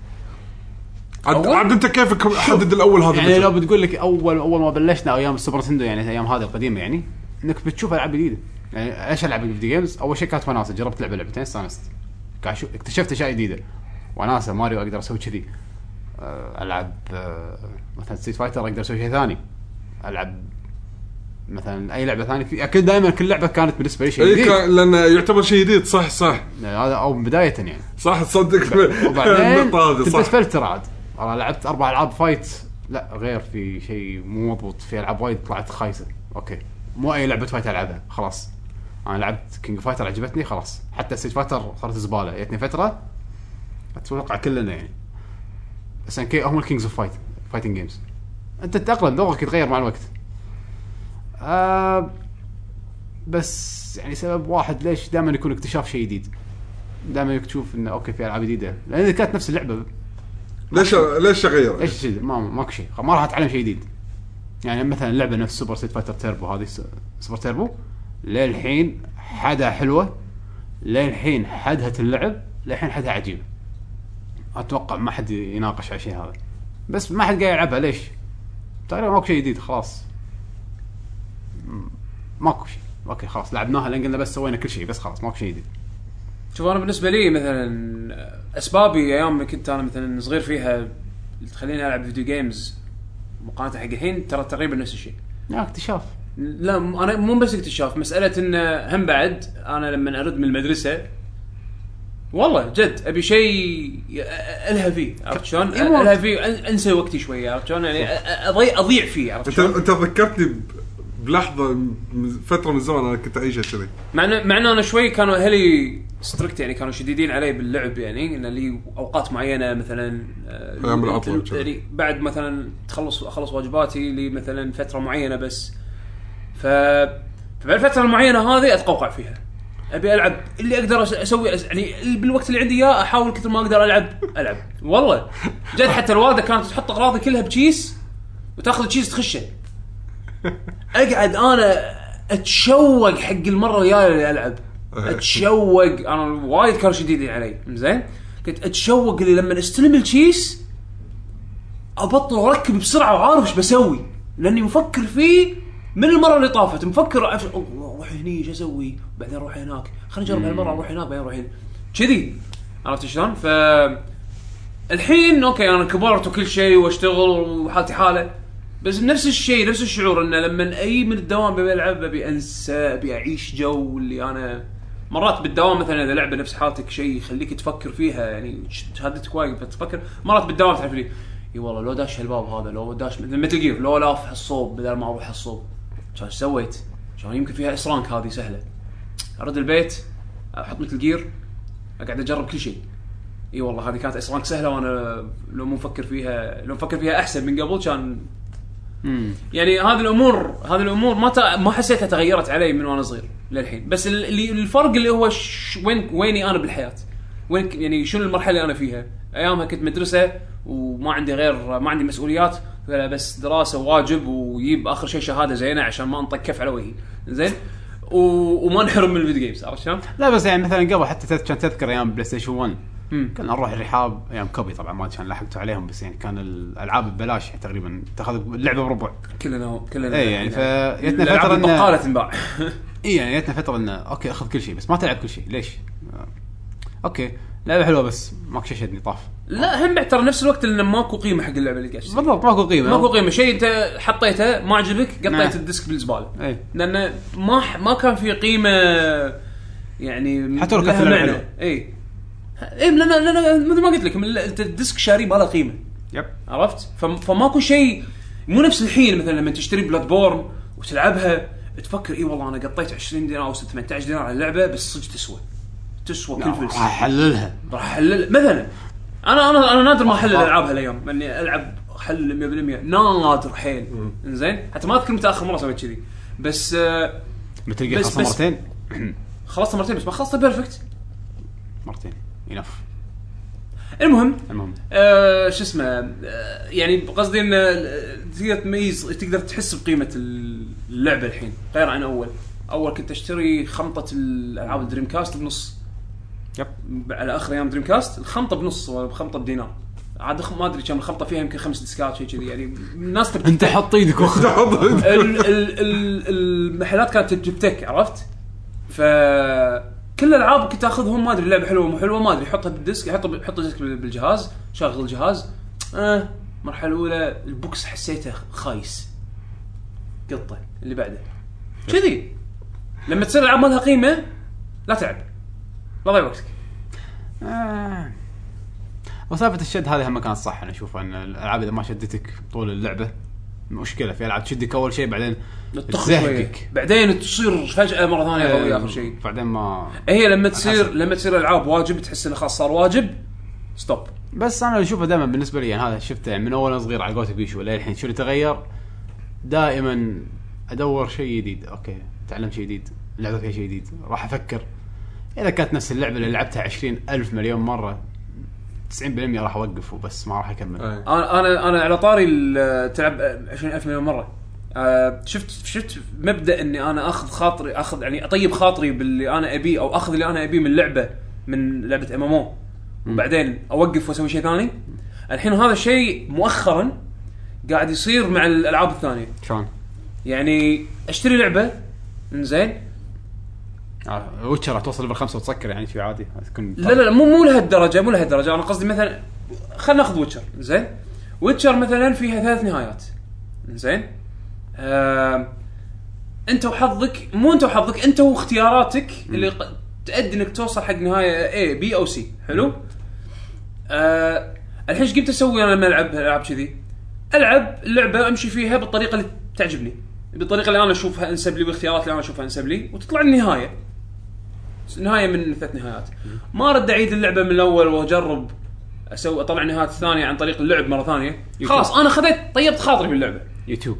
عاد أول؟ عاد انت كيفك حدد الاول هذا يعني لو المجال. بتقول لك اول اول ما بلشنا ايام السوبر نتندو يعني ايام هذه القديمه يعني انك بتشوف العاب جديده يعني ايش العب الفيديو جيمز؟ اول شيء كانت وناسه جربت لعبه لعبتين استانست قاعد أشوف- اكتشفت اشياء جديده وناسه ماريو اقدر اسوي كذي آه، العب آه، مثلا ستريت فايتر اقدر اسوي شيء ثاني العب مثلا اي لعبه ثانيه في اكيد دائما كل لعبه كانت بالنسبه لي شيء اي جديد إيه، كان- لان يعتبر شيء جديد صح صح يعني هذا او بدايه يعني صح تصدق وبعدين النقطة هذه تلبس صح فلتر إيه، عاد انا لعبت اربع العاب فايت لا غير في شيء مو مضبوط في العاب وايد طلعت خايسه اوكي مو اي لعبه فايت العبها خلاص انا لعبت كينج فايتر عجبتني خلاص حتى سيت فايتر صارت زباله جتني فتره اتوقع كلنا يعني بس يعني كي هم الكينجز اوف فايت فايتنج جيمز انت تتاقلم ذوقك يتغير مع الوقت آه بس يعني سبب واحد ليش دائما يكون اكتشاف شيء جديد دائما تشوف انه اوكي في العاب جديده لان اذا كانت نفس اللعبه ليش ليش اغير؟ ايش شيء ما ماكو شيء ما راح اتعلم شيء جديد يعني مثلا لعبه نفس سوبر سيت فايتر تيربو هذه س- سوبر تيربو للحين حدها حلوه للحين حدها اللعب للحين حدها عجيب اتوقع ما حد يناقش على الشيء هذا بس ما حد قاعد يلعبها ليش؟ تقريبا ماكو شيء جديد خلاص م- ماكو شيء اوكي خلاص لعبناها لان قلنا بس سوينا كل شيء بس خلاص ماكو شيء جديد شوف انا بالنسبه لي مثلا اسبابي ايام ما كنت انا مثلا صغير فيها اللي تخليني العب فيديو جيمز مقارنه حق الحين ترى تقريبا نفس الشيء لا اكتشاف لا م- انا مو بس اكتشاف مساله انه هم بعد انا لما ارد من المدرسه والله جد ابي شيء ي- الها فيه عرفت شلون؟ إي مو- الها فيه أن- انسى وقتي شويه عرفت شلون؟ يعني أ- أ- اضيع اضيع فيه عرفت انت شلون؟ انت ذكرتني ب- بلحظه من- فتره من الزمن انا كنت اعيشها كذي مع إن- مع إن انا شوي كانوا اهلي ستريكت يعني كانوا شديدين علي باللعب يعني ان لي اوقات معينه مثلا آه، أيام العطلة ال- وكذا. يعني بعد مثلا تخلص اخلص واجباتي لي مثلا فتره معينه بس ف فبالفتره المعينه هذه اتقوقع فيها ابي العب اللي اقدر أس- اسوي أس... يعني ال- بالوقت اللي عندي اياه احاول كثر ما اقدر العب العب والله جد حتى الوالده كانت تحط اغراضي كلها بكيس وتاخذ الكيس تخشه اقعد انا اتشوق حق المره الجايه اللي العب اتشوق انا وايد كانوا شديدين علي زين كنت اتشوق اللي لما استلم الكيس ابطل اركب بسرعه وعارف ايش بسوي لاني مفكر فيه من المره اللي طافت مفكر عارف- أوه، اروح هني ايش اسوي بعدين اروح هناك خليني اجرب هالمره اروح هناك بعدين اروح هنا كذي عرفت شلون ف الحين اوكي انا كبرت وكل شيء واشتغل وحالتي حاله بس نفس الشيء نفس الشعور انه لما اي من الدوام ببي العب ابي انسى ابي اعيش جو اللي انا مرات بالدوام مثلا اذا لعبه نفس حالتك شيء يخليك تفكر فيها يعني شهادتك وايد فتفكر مرات بالدوام تعرف لي اي والله لو داش هالباب هذا لو داش مثل جير لو لاف هالصوب بدل ما اروح هالصوب كان إيش سويت؟ كان يمكن فيها اسرانك هذه سهله ارد البيت احط مثل جير اقعد اجرب كل شيء اي والله هذه كانت اسرانك سهله وانا لو مو مفكر فيها لو مفكر فيها احسن من قبل كان يعني هذه الامور هذه الامور ما تا... ما حسيتها تغيرت علي من وانا صغير للحين بس ال- اللي الفرق اللي هو ش... وين ويني انا بالحياه وين ك- يعني شنو المرحله اللي انا فيها ايامها كنت مدرسه وما عندي غير ما عندي مسؤوليات ولا بس دراسه وواجب ويجيب اخر شيء شهاده زينه عشان ما انطق كف على وجهي زين و... وما نحرم من الفيديو جيمز عرفت شلون؟ لا بس يعني مثلا قبل حتى تذ- كان تذكر ايام بلاي ستيشن 1 مم. كنا نروح الرحاب ايام كوبي طبعا ما كان لحقتوا عليهم بس يعني كان الالعاب ببلاش يعني تقريبا تاخذ اللعبه بربع كلنا كلنا إيه يعني فجتنا الألعاب فترة إن- البقاله تنباع اي يعني جتنا فتره انه اوكي اخذ كل شيء بس ما تلعب كل شيء ليش؟ آه، اوكي لعبه حلوه بس ماكو شيء شدني طاف لا هم بعد ترى نفس الوقت انه ماكو قيمه حق اللعبه اللي قاعد تشتريها. بالضبط ماكو قيمه ماكو قيمه شيء انت حطيته ما عجبك نعم. إيه. قطيت الديسك بالزباله اي لانه ما ح- ما كان في قيمه يعني إيه. حتى لو كانت اللعبة حلوة. اي اي لان لان مثل ما قلت لك من- انت الديسك شاري ما له قيمه يب عرفت؟ فم- فماكو شيء مو نفس الحين مثلا لما تشتري بلاد بورن وتلعبها تفكر اي والله انا قطيت 20 دينار او 18 دينار على اللعبه بس صدق تسوى تسوى كل فلس نعم. راح احللها راح احلل مثلا انا انا انا نادر ما احلل العاب هالايام اني العب حل 100% نادر حيل زين حتى ما اذكر متى اخر مره سويت كذي بس آه، متل جير بس- خلصها بس- مرتين خلصت مرتين بس ما خلصت بيرفكت مرتين انف المهم المهم آه شو اسمه آه يعني قصدي ان آه، تقدر تميز تقدر تحس بقيمه اللعبه الحين غير عن اول اول كنت اشتري خمطه الالعاب الدريم كاست بنص يب. على اخر ايام دريم كاست الخمطه بنص خمطه بدينار عاد خ- ما ادري كم الخمطه فيها يمكن خمس ديسكات شيء كذي يعني الناس تبتك انت حط ايدك وخذ ال- ال- ال- المحلات كانت تبتك عرفت؟ ف كل الالعاب كنت اخذهم ما ادري اللعبه حلوه مو حلوه ما ادري حطها بالديسك حط حط الديسك بال- بالجهاز شغل الجهاز آه المرحله الاولى البوكس حسيته خايس قطه اللي بعده كذي لما تصير العاب ما لها قيمه لا تعب لا ضيع وقتك آه. وسالفه الشد هذه هم كانت صح انا اشوفها ان الالعاب اذا ما شدتك طول اللعبه مشكله في العاب تشدك اول شيء بعدين تطخ شويه تزهقك. بعدين تصير فجاه مره ثانيه قوي اخر شيء آه، بعدين ما هي لما تصير لما تصير العاب واجب تحس انه خلاص صار واجب ستوب بس انا اللي اشوفه دائما بالنسبه لي يعني هذا شفته يعني من اول أنا صغير على قولتك بيشو للحين شو اللي تغير دائما ادور شيء جديد اوكي تعلمت شيء جديد لعبه فيها شيء جديد راح افكر اذا كانت نفس اللعبه اللي لعبتها عشرين ألف مليون مره 90% راح اوقف وبس ما راح اكمل أي. انا انا انا على طاري ال- تلعب 20000 مليون مره آه، شفت شفت مبدا اني انا اخذ خاطري اخذ يعني اطيب خاطري باللي انا ابيه او اخذ اللي انا ابيه من لعبه من لعبه ام ام او وبعدين اوقف واسوي شيء ثاني الحين هذا الشيء مؤخرا قاعد يصير مع الالعاب الثانيه شلون؟ يعني اشتري لعبه زين آه، ويتشر راح توصل ليفل خمسه وتسكر يعني شيء عادي تكون لا لا لا مو مو لهالدرجه مو لهالدرجه انا قصدي مثلا خلينا ناخذ ويتشر زين ويتشر مثلا فيها ثلاث نهايات زين آه انت وحظك مو انت وحظك انت واختياراتك اللي ق- تؤدي انك توصل حق نهايه A B او سي حلو آه الحين ايش قمت اسوي انا لما العب العاب كذي العب اللعبه امشي فيها بالطريقه اللي تعجبني بالطريقه اللي انا اشوفها انسب لي والاختيارات اللي انا اشوفها انسب لي وتطلع النهايه نهايه من ثلاث نهايات ما ارد اعيد اللعبه من الاول واجرب اسوي اطلع نهايات ثانيه عن طريق اللعب مره ثانيه خلاص انا خذيت طيبت خاطري باللعبه يوتيوب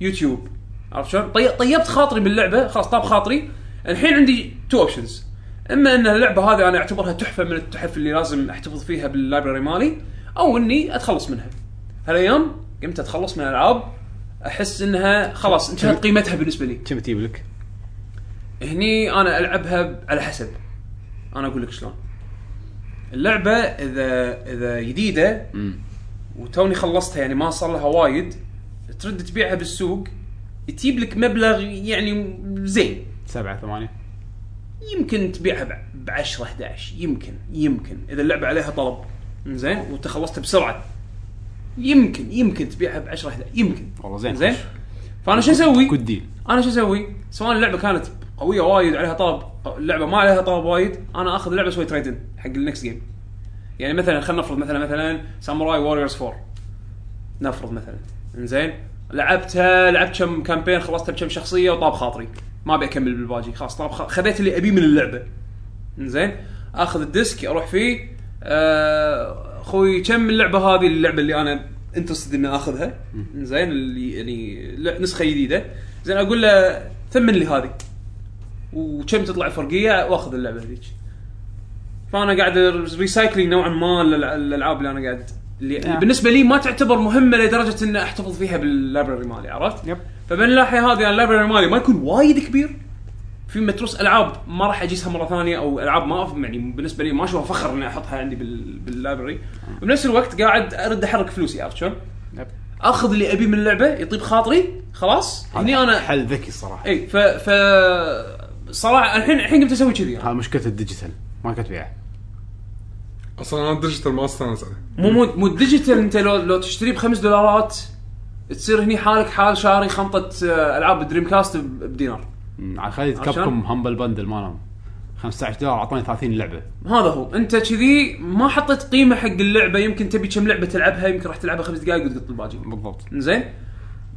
يوتيوب عرفت شلون؟ طي- طيبت خاطري باللعبه خلاص طاب خاطري الحين عندي تو اوبشنز اما ان اللعبه هذه انا اعتبرها تحفه من التحف اللي لازم احتفظ فيها باللايبرري مالي او اني اتخلص منها هالايام قمت اتخلص من العاب احس انها خلاص انتهت قيمتها بالنسبه لي كم تجيب لك؟ هني انا العبها على حسب انا اقول لك شلون اللعبه اذا اذا جديده وتوني خلصتها يعني ما صار لها وايد ترد تبيعها بالسوق تجيب لك مبلغ يعني زين سبعه ثمانيه يمكن تبيعها ب 10 11 يمكن يمكن اذا اللعبه عليها طلب زين وانت خلصتها بسرعه يمكن يمكن تبيعها ب 10 11 يمكن والله زين زين فانا شو اسوي؟ كود ديل انا شو اسوي؟ سواء اللعبه كانت قويه وايد عليها طلب أو اللعبه ما عليها طلب وايد انا اخذ اللعبه اسوي تريدن حق النكست جيم يعني مثلا خلينا نفرض مثلا مثلا ساموراي ووريرز 4 نفرض مثلا انزين لعبتها لعبت كم كامبين خلصتها بكم شخصيه وطاب خاطري ما ابي اكمل بالباجي خلاص طاب خ... خذيت اللي ابيه من اللعبه انزين اخذ الديسك اروح فيه آه، اخوي كم اللعبه هذه اللعبه اللي انا انترستد اني اخذها زين اللي يعني ل- نسخه جديده زين اقول له ثمن لي هذه وكم تطلع الفرقيه واخذ اللعبه هذيك فانا قاعد ريسايكلينج نوعا ما للأ- الالعاب اللي انا قاعد اللي اللي نعم. بالنسبه لي ما تعتبر مهمه لدرجه ان احتفظ فيها باللايبرري مالي عرفت؟ يب. فمن الناحيه هذه انا اللايبرري مالي ما يكون وايد كبير في متروس العاب ما راح اجيسها مره ثانيه او العاب ما أف- يعني بالنسبه لي ما اشوفها فخر اني احطها عندي بال... باللايبرري وبنفس الوقت قاعد ارد احرك فلوسي عرفت شلون؟ يب. اخذ اللي ابيه من اللعبه يطيب خاطري خلاص هني إيه. انا حل ذكي صراحه اي ف ف صراحه الحين الحين قمت اسوي كذي يعني. هذا مشكله الديجيتال ما كنت بيعه اصلا انا ديجيتال ما استانس عليه مو مو مو الديجيتال انت لو لو تشتري بخمس دولارات تصير هني حالك حال شاري خنطه آه، العاب دريم كاست ب- بدينار مم، على خليت عشان؟ كابكم همبل بندل مالهم 15 دولار اعطاني 30 لعبه هذا هو انت كذي ما حطيت قيمه حق اللعبه يمكن تبي كم لعبه تلعبها يمكن راح تلعبها خمس دقائق وتقط الباجي بالضبط زين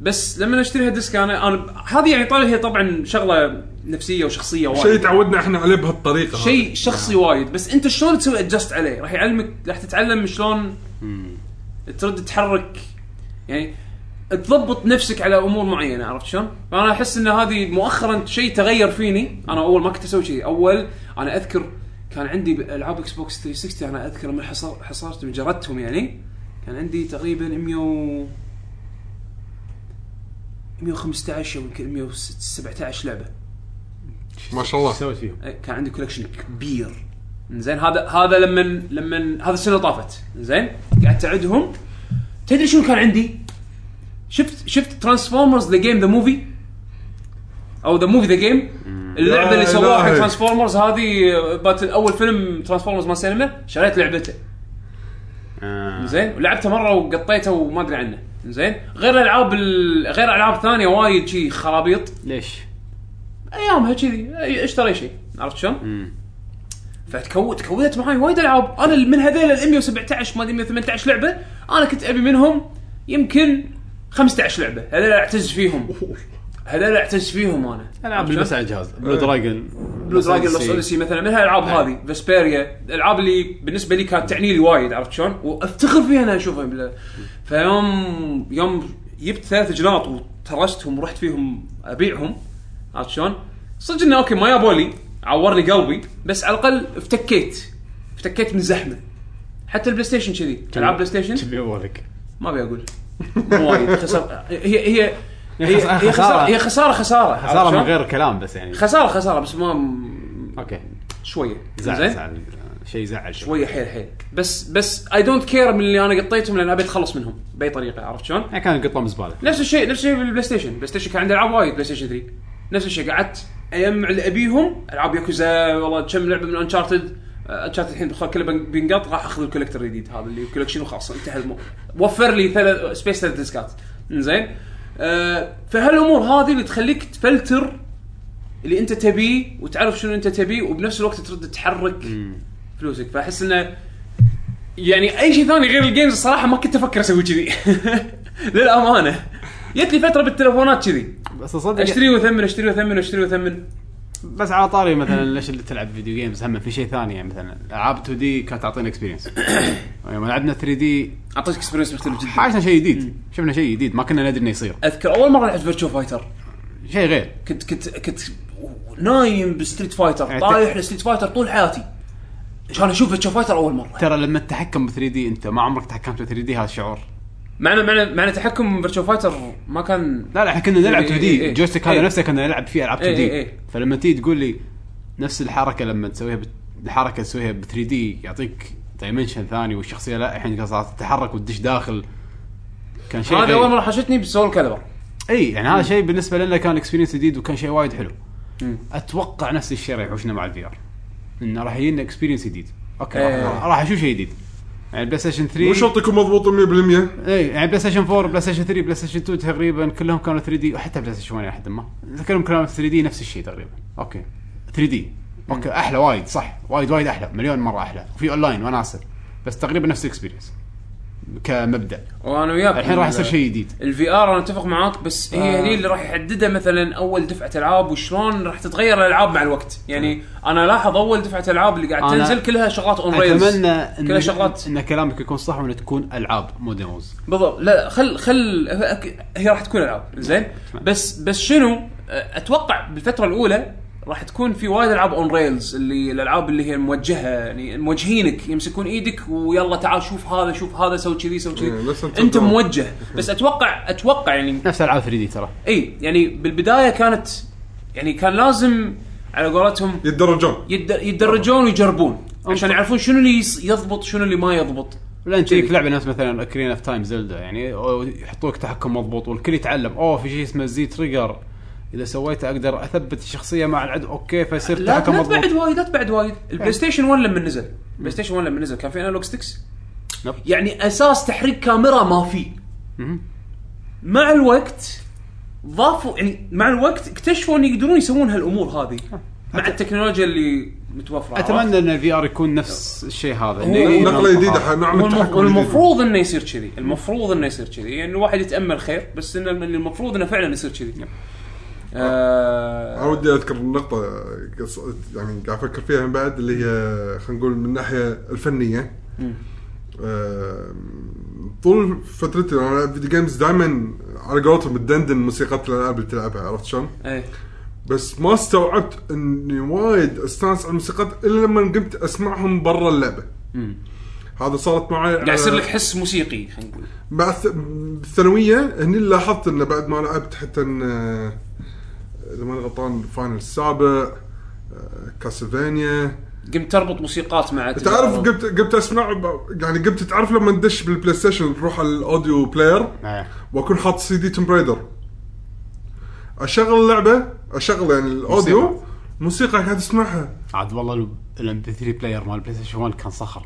بس لما اشتريها ديسك انا انا هذه يعني طالع هي طبعا شغله نفسيه وشخصيه وايد شيء تعودنا احنا عليه بهالطريقه شيء شخصي وايد بس انت شلون تسوي ادجست عليه راح يعلمك راح تتعلم شلون ترد تحرك يعني تضبط نفسك على امور معينه عرفت شلون؟ فانا احس ان هذه مؤخرا شيء تغير فيني انا اول ما كنت اسوي شيء اول انا اذكر كان عندي العاب اكس بوكس 360 انا اذكر لما حصر حصرتهم جردتهم يعني كان عندي تقريبا 100 و 115 او يمكن 117 لعبه ما شاء الله. ايش سويت فيهم؟ إيه، كان عندي كولكشن كبير زين هذا هذا لما لما هذا السنه طافت زين قعدت اعدهم تدري شنو كان عندي؟ شفت شفت ترانسفورمرز ذا جيم ذا موفي او ذا موفي ذا جيم اللعبه يا اللي سواها حق إلهي. ترانسفورمرز هذه آه، باتل اول فيلم ترانسفورمرز ما سينما شريت لعبته آه. زين ولعبته مره وقطيته وما ادري عنه زين غير العاب ال- غير العاب ثانيه وايد شي خرابيط ليش؟ ايامها كذي أي- اشتري شيء عرفت شلون؟ فتكون تكونت معي وايد العاب انا من هذيل ال 117 ما ادري 118 لعبه انا كنت ابي منهم يمكن 15 لعبه هذول اعتز فيهم هذول اعتز فيهم انا العاب عرفت بس شلون؟ على الجهاز بلو آه. دراجون بلو دراجون لوس اوديسي مثلا من هالالعاب نعم. هذه فيسبيريا الالعاب اللي بالنسبه لي كانت تعني لي وايد عرفت شلون؟ وافتخر فيها انا اشوفها بلا- فيوم يوم جبت ثلاث جناط وترستهم ورحت فيهم ابيعهم عرفت شلون؟ صدق انه اوكي ما يابولي عور لي قلبي بس على الاقل افتكيت افتكيت من الزحمه حتى البلاي ستيشن كذي العاب بلاي ستيشن كذي اولك ما ابي اقول مو وايد خسر هي هي هي خسارة- هي خساره خسارة. هي خساره خساره خساره عرفت من شلون؟ غير كلام بس يعني خساره خساره بس ما اوكي شويه زعل زين زعل شيء زعل شوي شويه حيل حيل بس بس اي دونت كير من اللي انا قطيتهم لان ابي اتخلص منهم باي طريقه عرفت شلون؟ يعني كان قطه من زباله نفس الشيء نفس الشيء بالبلاي ستيشن، بلاي ستيشن كان عندي العاب وايد بلاي ستيشن 3 نفس الشيء قعدت اجمع اللي ابيهم العاب ياكوزا والله كم لعبه من انشارتد انشارتد الحين خل- كله بن- بينقط راح اخذ الكوليكتر الجديد هذا اللي كولكشن وخلاص انتهى المو... وفر لي ثلاث سبيس ثلاث ديسكات زين أه فهالامور هذه اللي تخليك تفلتر اللي انت تبيه وتعرف شنو انت تبيه وبنفس الوقت ترد تحرك فلوسك فاحس انه يعني اي شيء ثاني غير الجيمز الصراحه ما كنت افكر اسوي كذي للامانه جت لي فتره بالتلفونات كذي بس اصدق اشتري واثمن اشتري واثمن اشتري واثمن بس على طاري مثلا ليش اللي تلعب فيديو جيمز هم في شيء ثاني يعني مثلا العاب 2 دي كانت تعطينا اكسبيرينس يوم لعبنا 3 دي اعطيتك اكسبيرينس مختلف جدا حاشنا شيء جديد شفنا شيء جديد ما كنا ندري انه يصير اذكر اول مره لعبت فيرتشو فايتر شيء غير كنت كنت كنت نايم بستريت فايتر يعني طايح لستريت فايتر طول حياتي كان اشوف فيرتشو فايتر اول مره ترى لما تتحكم ب 3 دي انت ما عمرك تحكمت ب 3 دي هذا شعور معنى معنى معنى تحكم فيرتشو فايتر ما كان لا لا احنا كنا نلعب إيه، 2 إيه، دي إيه. الجويستيك هذا إيه. نفسه كنا نلعب فيه العاب 2 إيه، دي إيه. فلما تيجي تقول لي نفس الحركه لما تسويها بت... الحركه اللي تسويها ب 3 دي يعطيك دايمنشن ثاني والشخصيه لا الحين قاعدة تتحرك وتدش داخل كان شيء هذا غير. اول مره حشتني بالسول كالبر اي يعني هذا شيء بالنسبه لنا كان اكسبيرينس جديد وكان شيء وايد حلو مم. اتوقع نفس الشيء راح يحوشنا مع الفي ار انه راح يجينا اكسبيرينس جديد اوكي راح- إيه. راح اشوف شيء جديد يعني بلاي ستيشن 3 مو شرط يكون مضبوط 100% اي يعني بلاي ستيشن 4 بلاي ستيشن 3 بلاي ستيشن 2 تقريبا كلهم كانوا 3 دي وحتى بلاي ستيشن 1 لحد ما كلهم كانوا 3 دي نفس الشيء تقريبا اوكي 3 دي اوكي احلى وايد صح وايد وايد احلى مليون مره احلى وفي اون لاين وناسه بس تقريبا نفس الاكسبيرينس كمبدا وانا وياك الحين راح يصير شيء جديد الفي ار انا اتفق معاك بس هي آه. هني اللي راح يحددها مثلا اول دفعه العاب وشلون راح تتغير الالعاب مع الوقت يعني انا لاحظ اول دفعه العاب اللي قاعد آه. أنا تنزل كلها شغلات اون ريلز اتمنى ان كلها شغلات ان كلامك يكون صح وان تكون العاب مو ديموز بالضبط لا خل خل أك- هي راح تكون العاب زين بس بس شنو اتوقع بالفتره الاولى راح تكون في وايد العاب اون ريلز اللي الالعاب اللي هي موجهه يعني موجهينك يمسكون ايدك ويلا تعال شوف هذا شوف هذا سوي كذي سوي إيه، كذي بس أنت انت تعال. موجه بس اتوقع اتوقع يعني نفس العاب 3 دي ترى اي يعني بالبدايه كانت يعني كان لازم على قولتهم يتدرجون يد- يتدرجون ويجربون عشان يعرفون شنو اللي يص- يضبط شنو اللي ما يضبط ولا انت تجيك كذي. لعبه نفس مثلا اكرين اوف تايم زلدا يعني أو يحطوك تحكم مضبوط والكل يتعلم اوه في شيء اسمه زي تريجر اذا سويته اقدر اثبت الشخصيه مع العدو اوكي فيصير لا تحكم لا تبعد مضبوط وايد لا تبعد وايد البلاي ستيشن 1 لما نزل البلاي ستيشن 1 لما نزل كان في انالوج ستكس نعم. يعني اساس تحريك كاميرا ما في مهم. مع الوقت ضافوا يعني مع الوقت اكتشفوا ان يقدرون يسوون هالامور هذه مع التكنولوجيا اللي متوفره اتمنى ان الفي ار يكون نفس الشيء هذا إنه إيه، يجينا نقله جديده الصحافة. ح- نوع من والم- التحكم الجديد. والمفروض انه يصير كذي المفروض انه يصير كذي يعني الواحد يتامل خير بس انه المفروض انه فعلا يصير كذي نعم. يب. انا آه ودي اذكر نقطة قص- يعني قاعد افكر فيها من بعد اللي هي خلينا نقول من الناحية الفنية آم، طول فترتي انا العب فيديو جيمز دائما على قولتهم تدندن موسيقى الالعاب اللي تلعبها عرفت شلون؟ ايه بس ما استوعبت اني وايد استانس على الموسيقات الا لما قمت اسمعهم برا اللعبه. هذا صارت معي آه، قاعد يصير لك حس موسيقي خلينا نقول مع الث- الثانويه هني اللي لاحظت انه بعد ما لعبت حتى إن، آه، اذا ماني غلطان فاينل السابع آه، كاسلفانيا قمت تربط موسيقات مع تعرف قمت قمت اسمع ب- يعني قمت تعرف لما ندش بالبلاي ستيشن نروح على الاوديو بلاير إيه. واكون حاط سي دي توم برايدر اشغل اللعبه اشغل يعني الاوديو موسيقى. موسيقى قاعد اسمعها عاد والله الام بي 3 بلاير مال بلاي ستيشن 1 كان صخر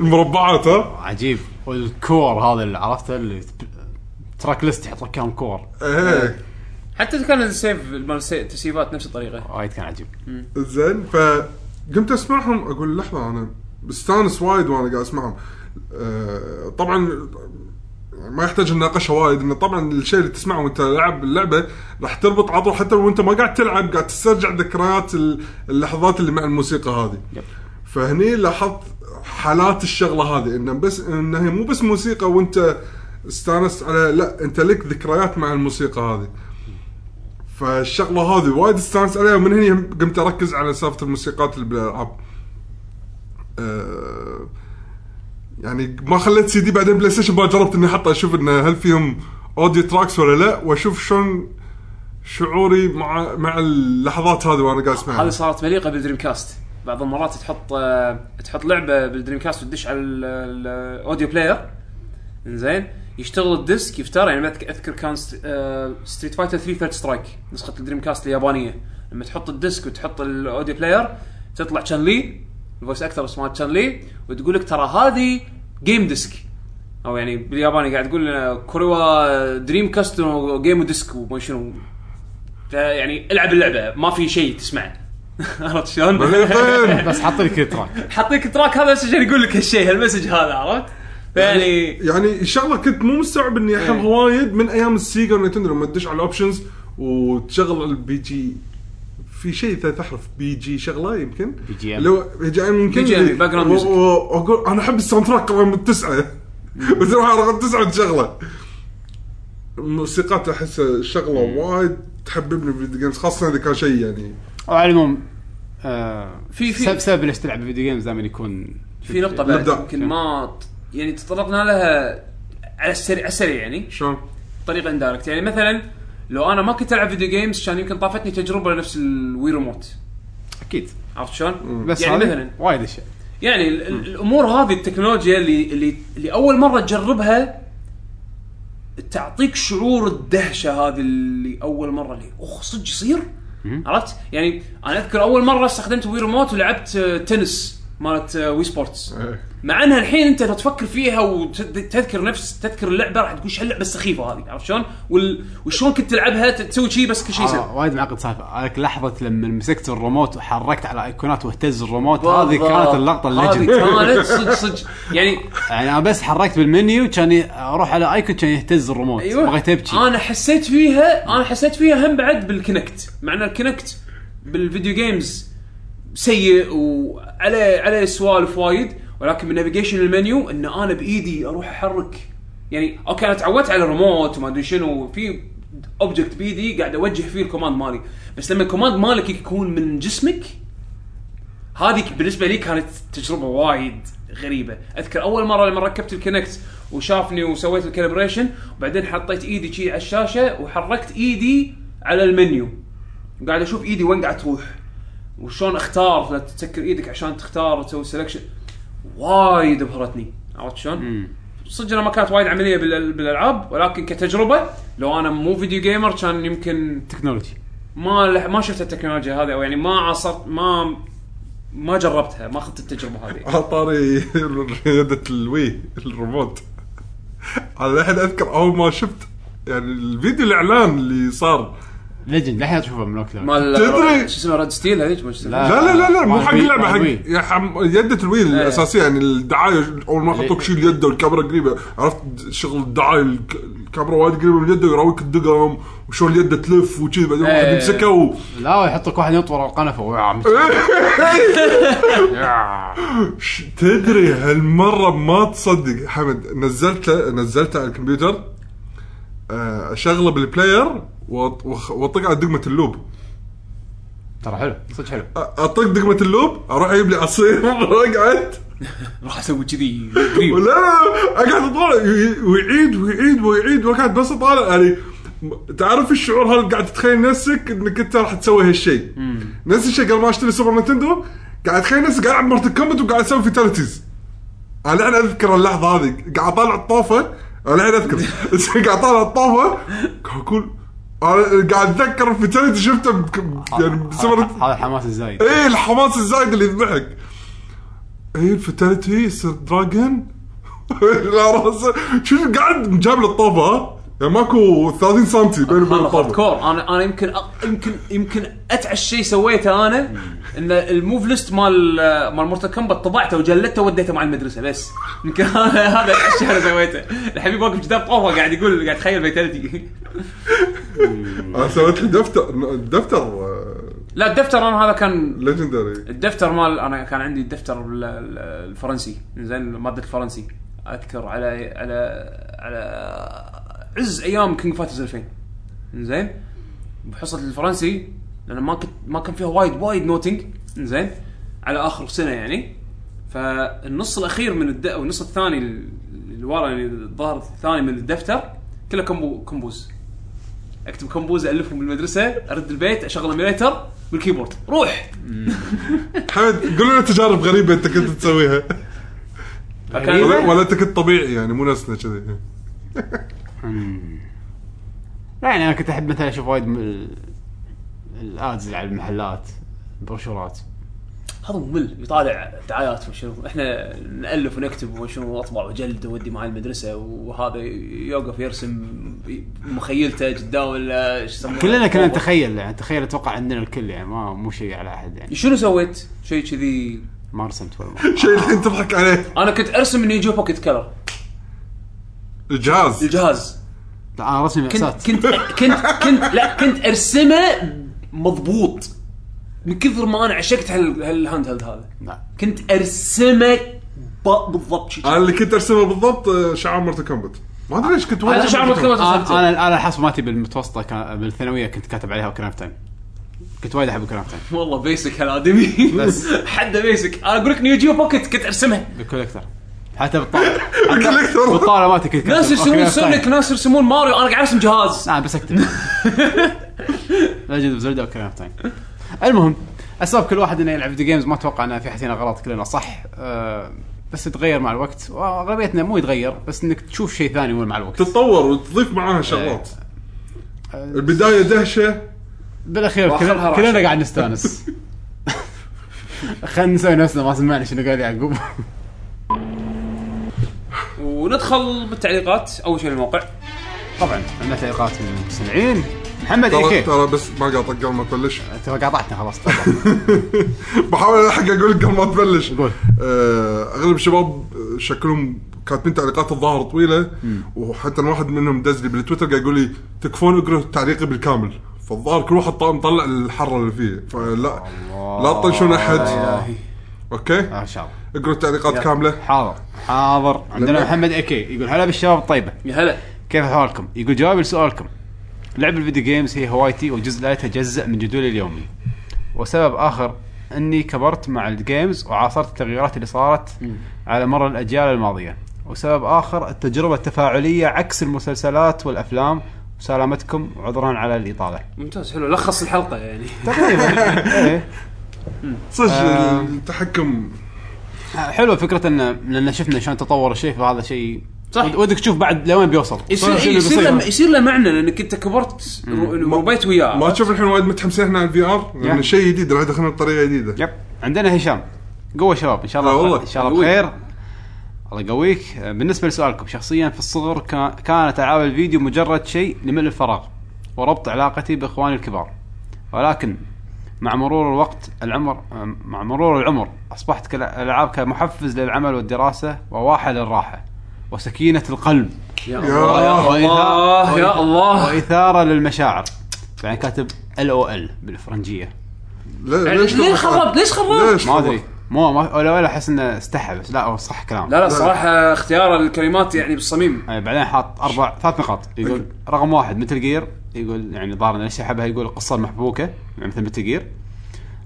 المربعات ها عجيب والكور هذا اللي عرفته اللي تراك ليست يحط لك اياهم كور ايه حتى كان السيف مال السي- التسييفات نفس الطريقه وايد كان عجيب زين فقمت اسمعهم اقول لحظه انا بستانس وايد وانا قاعد اسمعهم آه، طبعا يعني ما يحتاج نناقشها وايد انه طبعا الشيء اللي تسمعه وانت تلعب اللعبه راح تربط عضو حتى وانت ما قاعد تلعب قاعد تسترجع ذكريات ال- اللحظات اللي مع الموسيقى هذه يب. فهني لاحظت حالات الشغله هذه انه بس انه هي مو بس موسيقى وانت استانست على لا انت لك ذكريات مع الموسيقى هذه فالشغله هذه وايد استانست عليها ومن هنا قمت اركز على سالفه الموسيقات اللي بالالعاب آه، يعني ما خليت سي دي بعدين بلاي ستيشن ما جربت اني احط اشوف انه هل فيهم اوديو تراكس ولا لا واشوف شلون شعوري مع مع اللحظات هذه وانا قاعد اسمعها هذه صارت مليقه بالدريم كاست بعض المرات تحط آه، تحط لعبه بالدريم كاست وتدش على ال- ال- الاوديو بلاير زين يشتغل الديسك يفتر يعني ما أذك- اذكر كان آه، ستريت فايتر 3 ثيرد سترايك نسخه الدريم كاست اليابانيه لما تحط الديسك وتحط الاوديو بلاير تطلع تشان لي الفويس اكتر مال تشان لي وتقول لك ترى هذه جيم ديسك او يعني بالياباني قاعد تقول لنا كوريوا دريم كاست جيم ديسك وما شنو يعني العب اللعبه ما في شيء تسمعه عرفت شلون؟ مليقين. بس حاط لك تراك حاطيك تراك هذا بس عشان يقول لك هالشيء هالمسج هذا عرفت؟ فيعني يعني شغله كنت مو مستوعب اني احب إيه. وايد من ايام السيجا والنينتندو لما تدش على الاوبشنز وتشغل البي جي في شيء ثلاث احرف بي جي شغله يمكن بي جي إم. لو بي جي ام يمكن بي جي إم، background و- music. و- واقول انا احب الساوند تراك رقم تسعه وتروح على رقم تسعه تشغله الموسيقات احس شغله وايد تحببني بالفيديو جيمز خاصه اذا كان شيء يعني وعلى العموم آه في- في- سبب سبب ليش تلعب فيديو جيمز دائما يكون في نقطة بعد نبدأ. يمكن ما ت- يعني تطرقنا لها على السريع على السريع يعني شلون؟ بطريقة اندايركت يعني مثلا لو انا ما كنت العب فيديو جيمز كان يمكن طافتني تجربة نفس الوي ريموت اكيد عرفت شلون؟ بس يعني هذه مثلا وايد اشياء يعني ال- ال- الامور هذه التكنولوجيا اللي اللي اللي اول مره تجربها تعطيك شعور الدهشه هذه اللي اول مره اللي اخ صدق يصير؟ عرفت؟ يعني انا اذكر اول مره استخدمت وي ريموت ولعبت آه، تنس مالت آه، وي سبورتس إيه. مع انها الحين انت لو تفكر فيها وتذكر نفس تذكر اللعبه راح تقول شو هاللعبه السخيفه هذه عرفت شلون؟ وال- وشلون كنت تلعبها ت- تسوي شيء بس كل شيء يصير آه وايد معقد سالفه هذيك لحظه لما مسكت الريموت وحركت على ايقونات واهتز الريموت هذه كانت اللقطه الليجند هذه كانت صدق صدق يعني يعني انا بس حركت بالمنيو كان ي- اروح على ايكون كان يهتز الريموت ايوه بغيت ابكي انا حسيت فيها انا حسيت فيها هم بعد بالكونكت مع ان الكونكت بالفيديو جيمز سيء وعليه عليه سوالف وايد ولكن بالنافيجيشن المنيو ان انا بايدي اروح احرك يعني اوكي انا تعودت على الريموت وما ادري شنو في اوبجكت بايدي قاعد اوجه فيه الكوماند مالي بس لما الكوماند مالك يكون من جسمك هذه بالنسبه لي كانت تجربه وايد غريبه اذكر اول مره لما ركبت الكونكت وشافني وسويت الكالبريشن وبعدين حطيت ايدي شي على الشاشه وحركت ايدي على المنيو قاعد اشوف ايدي وين قاعد تروح وشلون اختار لا تسكر ايدك عشان تختار تسوي سلكشن وايد ابهرتني عرفت شلون؟ صدق أنا ما كانت وايد عمليه بالأل- بالالعاب ولكن كتجربه لو انا مو فيديو جيمر كان يمكن تكنولوجي ما لح- ما شفت التكنولوجيا هذه او يعني ما عصرت ما ما جربتها ما اخذت التجربه هذه على طاري رياده الوي الريموت انا الحين اذكر اول ما شفت يعني الفيديو الاعلان اللي صار ليجند للحين تشوفه من وقت لوقت. مال تدري؟ شو اسمه ريد ستيل هذيك ما شو اسمه؟ لا. لا لا لا لا مو مال حق وي- اللعبه مال حق وي. يا حم- يدة الوي الاساسيه يعني الدعايه اول ما يحطوك شيل يده والكاميرا قريبه عرفت شغل الدعايه الك- الكاميرا وايد قريبه من يده ويراويك الدقم وشلون اليد تلف وكذي بعدين واحد إيه. يمسكها و... لا يحطك واحد ينط ورا القنفه ويا ش- تدري هالمره ما تصدق حمد نزلته نزلته على الكمبيوتر آه، اشغله بالبلاير وأط- وأخ- واطق على دقمه اللوب ترى حلو صدق حلو أ- اطق دقمه اللوب اروح اجيب لي عصير واقعد راح اسوي كذي قريب ولا اقعد اطالع وي- ويعيد ويعيد ويعيد واقعد بس اطالع يعني م- تعرف الشعور هذا قاعد تتخيل نفسك انك انت راح تسوي هالشيء نفس الشيء قبل ما اشتري سوبر نينتندو قاعد اتخيل نفسي قاعد العب مارتن كومبت وقاعد اسوي فيتاليتيز انا الحين اذكر اللحظه هذه قاعد اطالع الطوفه انا الحين اذكر قاعد اطالع الطوفه قاعد اقول انا قاعد اتذكر الفيتاليتي شفته بك- يعني بسوبر هذا الحماس الزايد ايه الحماس الزايد اللي يذبحك ايه الفتاليتي يصير دراجون لا راسه شوف قاعد مجاب له الطابه ها؟ يعني ماكو 30 سم بين وبين انا هارد الطابق كور انا انا يمكن أ- يمكن يمكن اتعش شيء سويته انا ان الموف ليست مال مال مورتال كومبات طبعته وجلدته وديته مع المدرسه بس يمكن هذا هذا اتعش شيء انا سويته الحبيب واقف قدام قهوه قاعد يقول قاعد يتخيل فيتاليتي انا سويت لي دفتر دفتر آه، لا الدفتر انا هذا كان ليجندري الدفتر مال انا كان عندي الدفتر ال- ال- الفرنسي زين ماده الفرنسي اذكر على على على عز ايام كينج فاترز 2000 زين بحصه الفرنسي لان ما كنت ما كان فيها وايد وايد نوتنج زين على اخر سنه يعني فالنص الاخير من الد... او النص الثاني ال- اللي ورا يعني الظهر الثاني من الدفتر كله كومبو كومبوز اكتب كومبوز الفهم بالمدرسه ارد البيت اشغل ايميليتر بالكيبورد روح حمد قول لنا تجارب غريبه انت كنت تسويها يعني فكان- ولا ولا انت كنت طبيعي يعني مو نفسنا كذي لا يعني انا كنت احب مثلا اشوف وايد من ال- الادز على المحلات بروشورات هذا ممل يطالع دعايات وشنو احنا نالف ونكتب وشنو واطبع وجلد وودي معاه المدرسه وهذا يوقف يرسم مخيلته قدام ولا ايش يسمونه كلنا كنا نتخيل يعني تخيل اتوقع عندنا الكل يعني ما مو شيء على احد يعني شنو سويت؟ شيء كذي ما رسمت ولا شيء الحين تضحك عليه انا كنت ارسم اني يجيب بوكيت كلر إيه. الجهاز الجهاز لا انا رسمي مأساة كنت كنت كنت كنت لا كنت ارسمه مضبوط من كثر ما انا عشقت هال- هالهاند هيلد هذا لا كنت ارسمه ب- بالضبط شي. انا اللي كنت ارسمه بالضبط آه، شعار مرت كومبت ما ادري ليش كنت وايد هذا أحب شعر Mortal Kombat. مكتوب انا انا أنا الحصه مالتي بالمتوسطه كان بالثانويه كنت كاتب عليها كرام تايم كنت وايد احب كرام تايم والله بيسك هالادمي بس. حده بيسك انا اقول لك نيو جيو بوكيت كنت ارسمها بالكوليكتر حتى بالطاوله حتى بالكوليكتر. بالطاوله مالتي كنت ناس يرسمون Ocarina of Time. سونيك ناس يرسمون ماريو انا قاعد ارسم جهاز نعم بس اكتب ليجند اوف زلدا وكلام تايم طيب. المهم اسباب كل واحد انه يلعب فيديو جيمز ما اتوقع انه في احد هنا غلط كلنا صح أه بس يتغير مع الوقت واغلبيتنا مو يتغير بس انك تشوف شيء ثاني مو مع الوقت تتطور وتضيف معاها شغلات إيه. البدايه دهشه بالاخير وآخرها كلنا راح. كلنا قاعد نستانس خلينا نسوي نفسنا ما سمعنا شنو قال يعقوب وندخل بالتعليقات اول شيء الموقع طبعا عندنا تعليقات من المستمعين محمد اي ترى كي ترى بس ما قاطع قبل ما تبلش ترى قاطعتنا خلاص تفضل. بحاول الحق اقول لك قبل ما تبلش قول. آه، اغلب الشباب آه، شكلهم كاتبين تعليقات الظاهر طويله وحتى أنا واحد منهم دز لي بالتويتر قاعد يقول لي تكفون اقروا تعليقي بالكامل فالظاهر كل واحد طا- مطلع الحره اللي فيه فلا لا تطنشون احد اوكي آه، ان شاء الله اقروا التعليقات كامله حاضر حاضر عندنا لما- محمد اي كي يقول هلا بالشباب الطيبه يا هلا كيف حالكم؟ يقول جوابي لسؤالكم لعب الفيديو جيمز هي هوايتي وجزء لا يتجزأ من جدولي اليومي وسبب آخر أني كبرت مع الجيمز وعاصرت التغييرات اللي صارت على مر الأجيال الماضية وسبب آخر التجربة التفاعلية عكس المسلسلات والأفلام وسلامتكم وعذرا على الإطالة ممتاز حلو لخص الحلقه يعني إيه. صدق آه. التحكم حلو فكرة أن لأن شفنا شلون تطور الشيء فهذا شيء صح. ود- ودك تشوف بعد لوين بيوصل يصير شنو إيه، اللي يصير بيصير. له يصير له معنى لانك انت كبرت رو- ربيت وياه ما تشوف الحين وايد متحمسين احنا على الفي ار لان Yeah. شيء جديد راح يدخلنا بطريقه جديده يب عندنا هشام قوة شباب ان شاء الله لا والله. ان شاء الله آه، قوي. بخير الله يقويك آه، بالنسبه لسؤالكم شخصيا في الصغر كا- كانت العاب الفيديو مجرد شيء لملء الفراغ وربط علاقتي باخواني الكبار ولكن مع مرور الوقت العمر آه، مع مرور العمر اصبحت الالعاب كمحفز للعمل والدراسه وواحه للراحه وسكينه القلب يا يا الله يا الله يا الله واثاره للمشاعر يعني كاتب ال او ال بالفرنجيه لا- ليش ليه تضحك؟ خربت ليش خربت ليش ما خربت؟ ادري مو ما ولا ولا احس انه استحى بس لا هو صح كلام لا لا صراحه اختيار الكلمات يعني بالصميم يعني بعدين حاط اربع ثلاث نقاط يقول رقم واحد مثل جير يقول يعني ظاهر ليش احبها يقول القصه المحبوكه يعني مثل مثل جير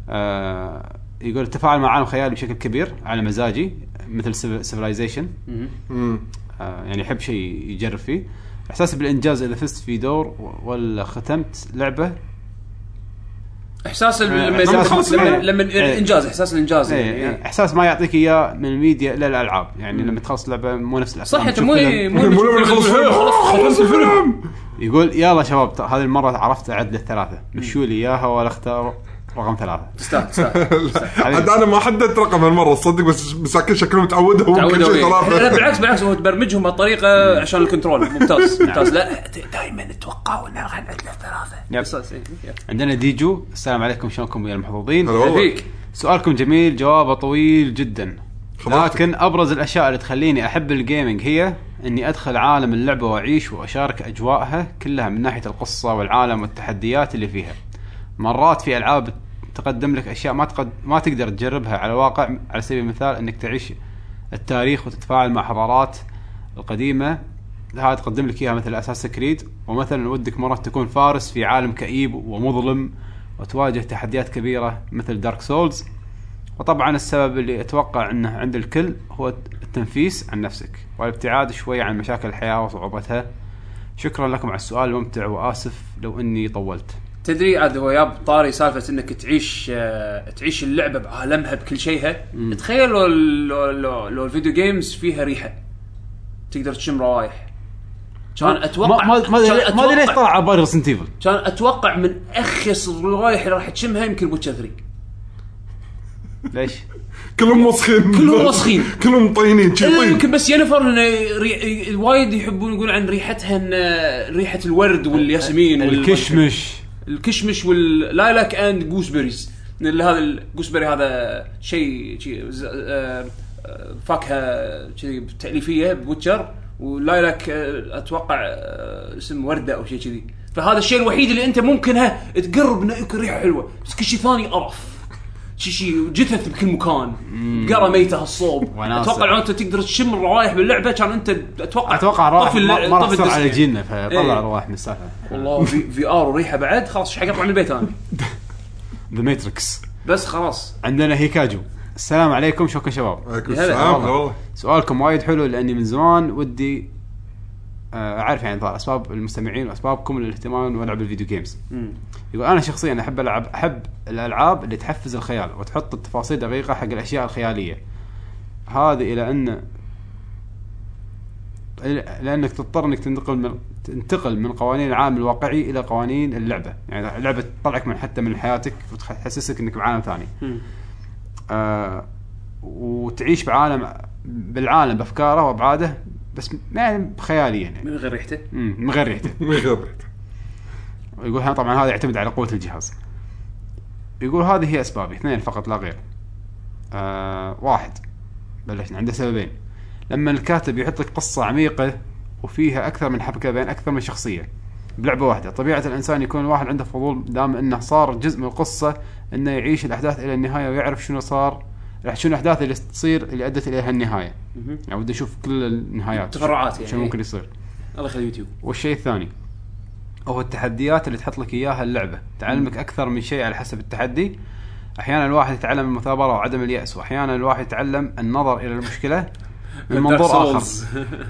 آه يقول التفاعل مع عالم خيالي بشكل كبير على مزاجي مثل سيفلايزيشن مم. آه يعني يحب شيء يجرب فيه احساس بالانجاز اذا فزت في دور و- ولا ختمت لعبه احساس إيه، لما إحساس لما- لما بالصميم. لما إيه. الانجاز احساس الانجاز إيه، يعني يعني احساس ما يعطيك اياه من الميديا الى الالعاب يعني لما تخلص لعبه مو نفس صح الافلام انت تشوف مو فيلم. مو مو لما نخلص الفيلم. خلص الفيلم يقول يلا شباب ت- هذه المره عرفت اعد للثلاثه مشوا لي اياها ولا اختار رقم ثلاثه تستاهل تستاهل عاد انا ما حددت رقم هالمره تصدق بس مساكين شكلهم تعودوا كل إيه. شيء تعودوا لا ثلاثه بالعكس بالعكس هو تبرمجهم بطريقه عشان الكنترول ممتاز نعم. ممتاز لا دائما اتوقعوا انه راح نعدله يب. ثلاثه عندنا ديجو السلام عليكم شلونكم يا المحظوظين هلا والله. فيك سؤالكم جميل جوابه طويل جدا خبرتك. لكن ابرز الاشياء اللي تخليني احب الجيمنج هي اني ادخل عالم اللعبه واعيش واشارك اجواءها كلها من ناحيه القصه والعالم والتحديات اللي فيها مرات في العاب تقدم لك اشياء ما تقد... ما تقدر تجربها على الواقع على سبيل المثال انك تعيش التاريخ وتتفاعل مع حضارات القديمه هذا تقدم لك اياها مثل اساس كريد ومثلا ودك مرات تكون فارس في عالم كئيب ومظلم وتواجه تحديات كبيره مثل دارك سولز وطبعا السبب اللي اتوقع انه عند الكل هو التنفيس عن نفسك والابتعاد شوي عن مشاكل الحياه وصعوبتها شكرا لكم على السؤال الممتع واسف لو اني طولت تدري عاد هو ياب طاري سالفه انك تعيش آه، تعيش اللعبه بعالمها بكل شيئها تخيل لو لو لو, لو الفيديو جيمز فيها ريحه تقدر تشم روايح كان اتوقع ما ما ما كان أدري- ما ادري ليش أتوقع- طلع على بالي ريزنت ايفل كان اتوقع من اخس الروايح اللي راح تشمها يمكن بوتشر 3 ليش؟ كلهم وسخين كلهم وسخين. كلهم طينين شي الا طين. إيه، يمكن بس ينفر انه ري- وايد يحبون يقولون عن ريحتها ان آه، ريحه الورد والياسمين وال- الكشمش الكشمش واللايلاك اند جوسبريز اللي هذا الجوسبري هذا شيء شيء ز- آه، آه، فاكهه كذي تاليفيه بوتشر واللايلاك آه، اتوقع آه، اسم ورده او شيء كذي فهذا الشيء الوحيد اللي انت ممكن ها تقرب انه يكون ريحه حلوه بس كل شيء ثاني قرف شي شي جثث بكل مكان قرى ميته هالصوب وناسة. اتوقع لو انت تقدر تشم الروايح باللعبه كان انت اتوقع اتوقع راح طفي ما ال- ما راح طفي تصير على الديسك. جيلنا فطلع إيه. رواح من السالفه والله في, في ار وريحه بعد خلاص ايش حق اطلع من البيت انا ذا ماتريكس بس خلاص عندنا هيكاجو السلام عليكم شكرا شباب عليكم هلا السلام والله. هلا والله سؤالكم وايد حلو لاني من زمان ودي آه، اعرف يعني ظاهر اسباب المستمعين واسبابكم للاهتمام والعب الفيديو جيمز. يقول انا شخصيا احب العب احب الالعاب اللي تحفز الخيال وتحط التفاصيل دقيقه حق الاشياء الخياليه. هذه الى ان إلى- لانك تضطر انك تنتقل من تنتقل من قوانين العالم الواقعي الى قوانين اللعبه، يعني اللعبه تطلعك من حتى من حياتك وتحسسك انك بعالم ثاني. آه وتعيش بعالم بالعالم بافكاره وابعاده بس م- يعني خياليا يعني من غير ريحته مم، من غير ريحته ما يخرب. يقول ها طبعا هذا يعتمد على قوه الجهاز يقول هذه هي اسبابي اثنين فقط لا غير آه واحد بلشنا عنده سببين لما الكاتب يحط لك قصه عميقه وفيها اكثر من حبكه بين اكثر من شخصيه بلعبه واحده طبيعه الانسان يكون الواحد عنده فضول دام انه صار جزء من القصه انه يعيش الاحداث الى النهايه ويعرف شنو صار شنو الاحداث اللي تصير اللي ادت اليها النهايه يعني ودي اشوف كل النهايات تفرعات يعني. شنو ممكن يصير الله يخلي اليوتيوب والشيء الثاني هو التحديات اللي تحط لك اياها اللعبه، تعلمك اكثر من شيء على حسب التحدي. احيانا الواحد يتعلم المثابره وعدم الياس، واحيانا الواحد يتعلم النظر الى المشكله من منظور اخر.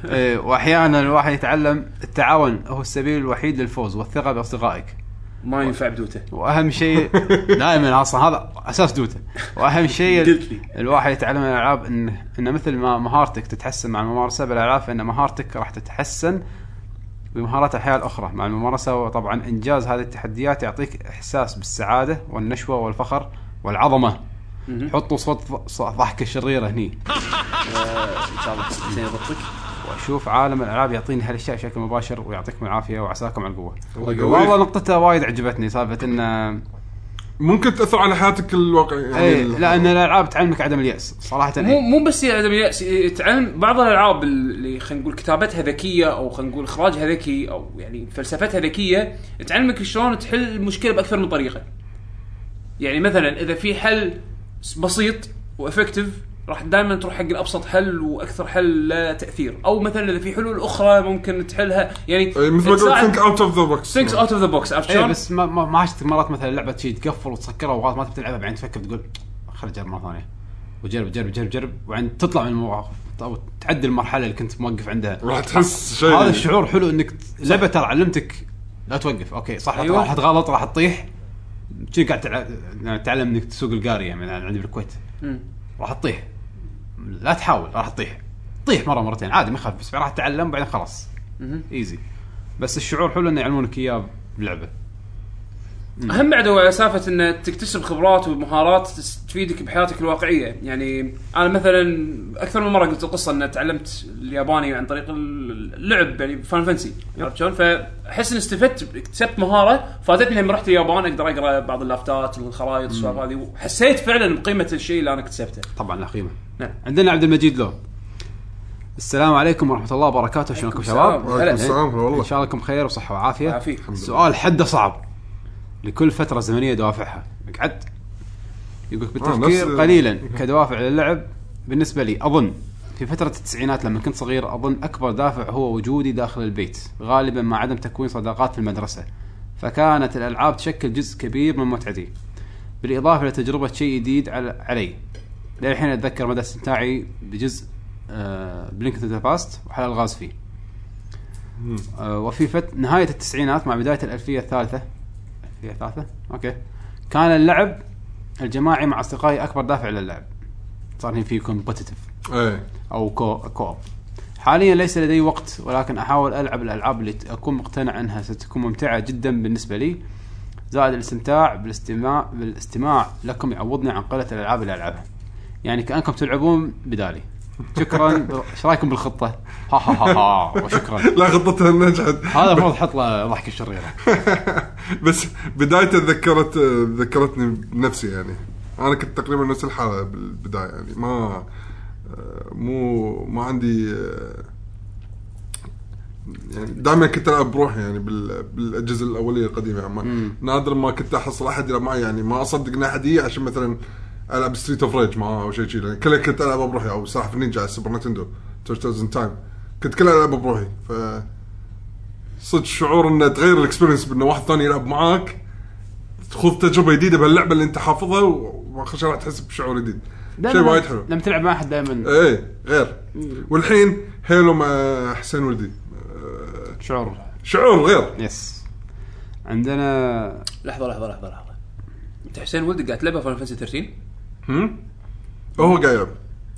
إيه، واحيانا الواحد يتعلم التعاون هو السبيل الوحيد للفوز والثقه باصدقائك. ما ينفع بدوته واهم شيء دائما اصلا هذا اساس دوتا واهم شيء قلت لي. الواحد يتعلم الالعاب انه انه مثل ما مهارتك تتحسن مع الممارسه بالالعاب فان مهارتك راح تتحسن بمهارات الحياه الاخرى مع الممارسه وطبعا انجاز هذه التحديات يعطيك احساس بالسعاده والنشوه والفخر والعظمه حطوا صوت صوت ضحكه شريره هني ان شاء الله زين يضبطك واشوف عالم الالعاب يعطيني هالاشياء بشكل مباشر ويعطيكم العافيه وعساكم على القوه الله يقويك. والله نقطته وايد عجبتني إيه، سالفه انه ممكن تاثر على حياتك الواقعيه اي ال- لان الالعاب تعلمك عدم الياس صراحه مو إيه. مو بس عدم ياس تعلم بعض الالعاب اللي خلينا نقول كتابتها ذكيه او خلينا نقول اخراجها ذكي او يعني فلسفتها ذكيه تعلمك شلون تحل المشكله باكثر من طريقه يعني مثلا اذا في حل س- بسيط وافكتيف راح دائما تروح حق الابسط حل واكثر حل لا تاثير او مثلا اذا في حلول اخرى ممكن تحلها يعني إيه، مثل ما قلت تساعد- ثينك اوت اوف ذا بوكس ثينكس اوت اوف ذا بوكس عرفت اي شلون؟ إيه، بس ما ما, ما عشت مرات مثلا لعبه شي تقفل وتسكرها وغلط ما تبي تلعبها بعدين تفكر تقول خليني اجرب مره ثانيه وجرب جرب جرب جرب وبعدين تطلع من المواقف او تعدي المرحله اللي كنت موقف عندها راح تحس شيء يعني. هذا الشعور حلو انك اللعبه ترى علمتك لا توقف اوكي صح أيوة. أيوة. راح تغلط راح تطيح شي قاعد تلع- يعني تتعلم انك تسوق القاريه يعني أنا عندي بالكويت مم. راح تطيح لا تحاول راح تطيح طيح مره مرتين عادي ما يخالف بس راح تتعلم بعدين خلاص مهم. ايزي بس الشعور حلو انه يعلمونك اياه بلعبه اهم بعد هو سالفه ان تكتسب خبرات ومهارات تس- تفيدك بحياتك الواقعيه يعني انا مثلا اكثر من مره قلت القصه ان تعلمت الياباني عن طريق اللعب يعني فان فانسي عرفت شلون فاحس ان استفدت اكتسبت مهاره فادتني لما رحت اليابان اقدر اقرا بعض اللافتات والخرائط والسوالف هذه وحسيت فعلا بقيمه الشيء اللي انا اكتسبته طبعا له قيمه نعم. عندنا عبد المجيد لو السلام عليكم ورحمه الله وبركاته شلونكم عليكم شباب السلام. وعليكم السلام ان والله إيه. شاء الله لكم خير وصحه وعافيه عافيك سؤال حده صعب لكل فتره زمنيه دوافعها قعدت يقول بالتفكير نفس- قليلا كدوافع للعب بالنسبه لي اظن في فترة التسعينات لما كنت صغير اظن اكبر دافع هو وجودي داخل البيت، غالبا مع عدم تكوين صداقات في المدرسة، فكانت الالعاب تشكل جزء كبير من متعتي. بالاضافة لتجربة شيء جديد على- علي. للحين اتذكر مدى استمتاعي بجزء آه، بلينك تو ذا باست وحل الغاز فيه. آه، وفي فت... نهاية التسعينات مع بداية الألفية الثالثة الألفية الثالثة أوكي كان اللعب الجماعي مع أصدقائي أكبر دافع للعب صار هنا في كومبتيتيف ايه أو كو كوب حاليا ليس لدي وقت ولكن أحاول ألعب الألعاب اللي أكون مقتنع أنها ستكون ممتعة جدا بالنسبة لي زائد الاستمتاع بالاستماع بالاستماع لكم يعوضني عن قلة الألعاب اللي ألعبها يعني كأنكم تلعبون بدالي شكرا ايش رايكم بالخطه؟ ها ها ها ها وشكرا لا خطتها نجحت هذا المفروض احط له ضحكه شريره بس بداية تذكرت ذكرتني بنفسي يعني انا كنت تقريبا نفس الحاله بالبدايه يعني ما مو ما عندي يعني دائما كنت العب بروحي يعني بال- بالاجهزه الاوليه القديمه يعني ما- نادر ما كنت احصل احد يلعب معي يعني ما اصدق ان احد يجي عشان مثلا العب ستريت اوف ريج معاه او شيء كذي يعني كلها كنت العبها بروحي او سلاحف النينجا على السوبر نتندو توتشز ان تايم كنت كلها العبها بروحي ف صدق شعور انه تغير الاكسبيرينس بانه واحد ثاني يلعب معاك تخوض تجربه جديده بهاللعبه اللي انت حافظها واخر شيء راح تحس بشعور جديد شيء وايد حلو لما تلعب مع احد دائما ايه غير والحين هيلو مع حسين ولدي آه، شعور شعور غير يس عندنا لحظه لحظه لحظه لحظه انت حسين ولدك قاعد تلعبها فان فانسي 13 هم؟ هو قاعد يلعب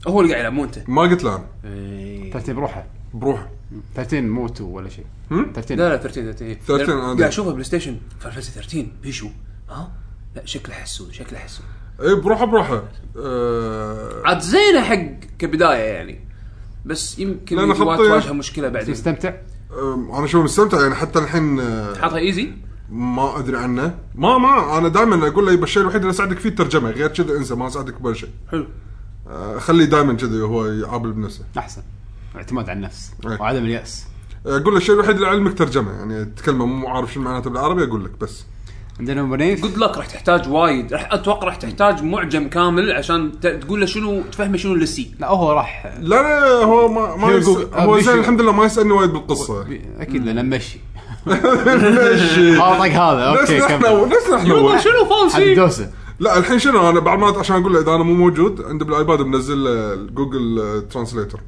هو اللي قاعد يلعب مو انت ما قلت له انا ترتيب روحه بروحه 13 مو 2 ولا شيء هم؟ 13 لا لا 13 13 13 لأن عادي. قاعد اشوفها بلاي ستيشن فان فانسي 13 بيشو ها لا شكله حسود شكله حسود ايه بروحه بروحه آه، عاد زينه حق كبدايه يعني بس يمكن لأن يجي وقت خطية. تواجه مشكله بعدين تستمتع آه، انا شو مستمتع يعني حتى الحين آه، حاطها ايزي ما ادري عنه ما ما انا دائما اقول له يبقى الشيء الوحيد اللي اساعدك فيه الترجمه غير كذا انسى ما اساعدك بولا شيء حلو آه، خليه دائما كذا هو يعابل بنفسه احسن اعتماد على النفس إيه. وعدم الياس آه، اقول له الشيء الوحيد اللي علمك ترجمه يعني تكلمه مو عارف شو معناته بالعربي اقول لك بس عندنا ام بنيف جود لك راح تحتاج وايد راح اتوقع راح تحتاج معجم كامل عشان ت- تقول له شنو تفهمه شنو اللي سي لا هو راح لا لا هو ما ما هي يس... جوجل. آه، هو زين بيشو. الحمد لله ما يسالني وايد بالقصه بي- اكيد لنا مشي ماشي طاق آه، هذا نفس اوكي أه. نحن كمل نفس نحن أول. شنو حد فانسي دوسه لا الحين شنو انا بعد ما عشان اقول له اذا انا مو موجود عنده بالايباد منزل آه، جوجل آه، ترانسليتر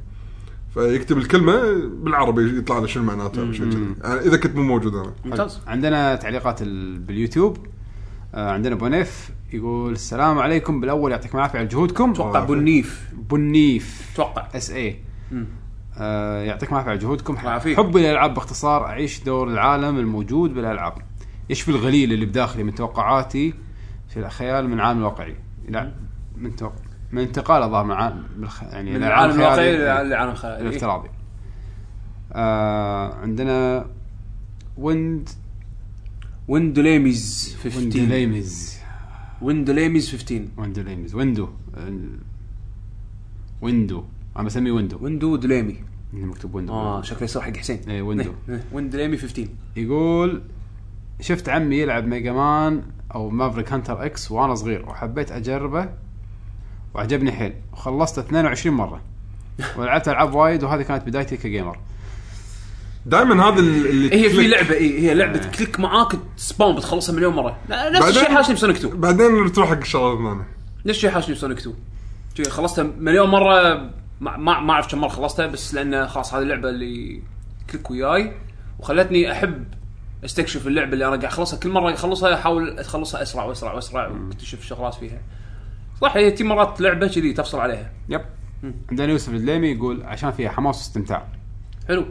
فيكتب الكلمه بالعربي يطلع له شنو معناتها او شيء كذي يعني اذا كنت مو موجود انا ممتاز عندنا تعليقات ال- باليوتيوب آه، عندنا بونيف يقول السلام عليكم بالاول يعطيكم العافيه على جهودكم أه، اتوقع بنيف بنيف اتوقع اس اي آه يعطيكم العافيه على جهودكم الله يعافيك. حبي للالعاب باختصار اعيش دور العالم الموجود بالالعاب يشفي الغليل اللي بداخلي من توقعاتي في الخيال من عالم واقعي لا من توق... من انتقال الظاهر من عالم بالخ... يعني من إلى العالم عالم خيالي الواقعي للعالم إلى الخيالي الافتراضي آه عندنا ويند ويندوليميز 15 ويندليمز ويندوليميز 15 ويندليمز ويندو آه، ويندو انا بسميه ويندو ويندو دليمي مكتوب ويندو اه شكله يصير حق حسين نعم. إيه، ويندو. إيه، إيه، ويندو ليمي 15 يقول شفت عمي يلعب ميجا مان او مافريك هانتر اكس وانا صغير وحبيت اجربه وعجبني حيل وخلصته 22 مره ولعبت العاب وايد وهذه كانت بدايتي كجيمر دائما هذا اللي إيه، هي في كليك. لعبه اي هي آه. لعبه كليك معاك سباون بتخلصها مليون مره لا، نفس الشيء بعدين- حاشني بسونيك 2 بعدين بتروح حق الشغلات الثانيه نفس الشيء حاشني بسونيك 2 شي خلصتها مليون مره ما ما ما اعرف كم مره خلصتها بس لان خلاص هذه اللعبه اللي كليك وياي وخلتني احب استكشف اللعبه اللي انا قاعد اخلصها كل مره اخلصها احاول اتخلصها اسرع واسرع واسرع واكتشف شغلات فيها صح هي تي مرات لعبه كذي تفصل عليها يب عندنا يوسف الدليمي يقول عشان فيها حماس واستمتاع حلو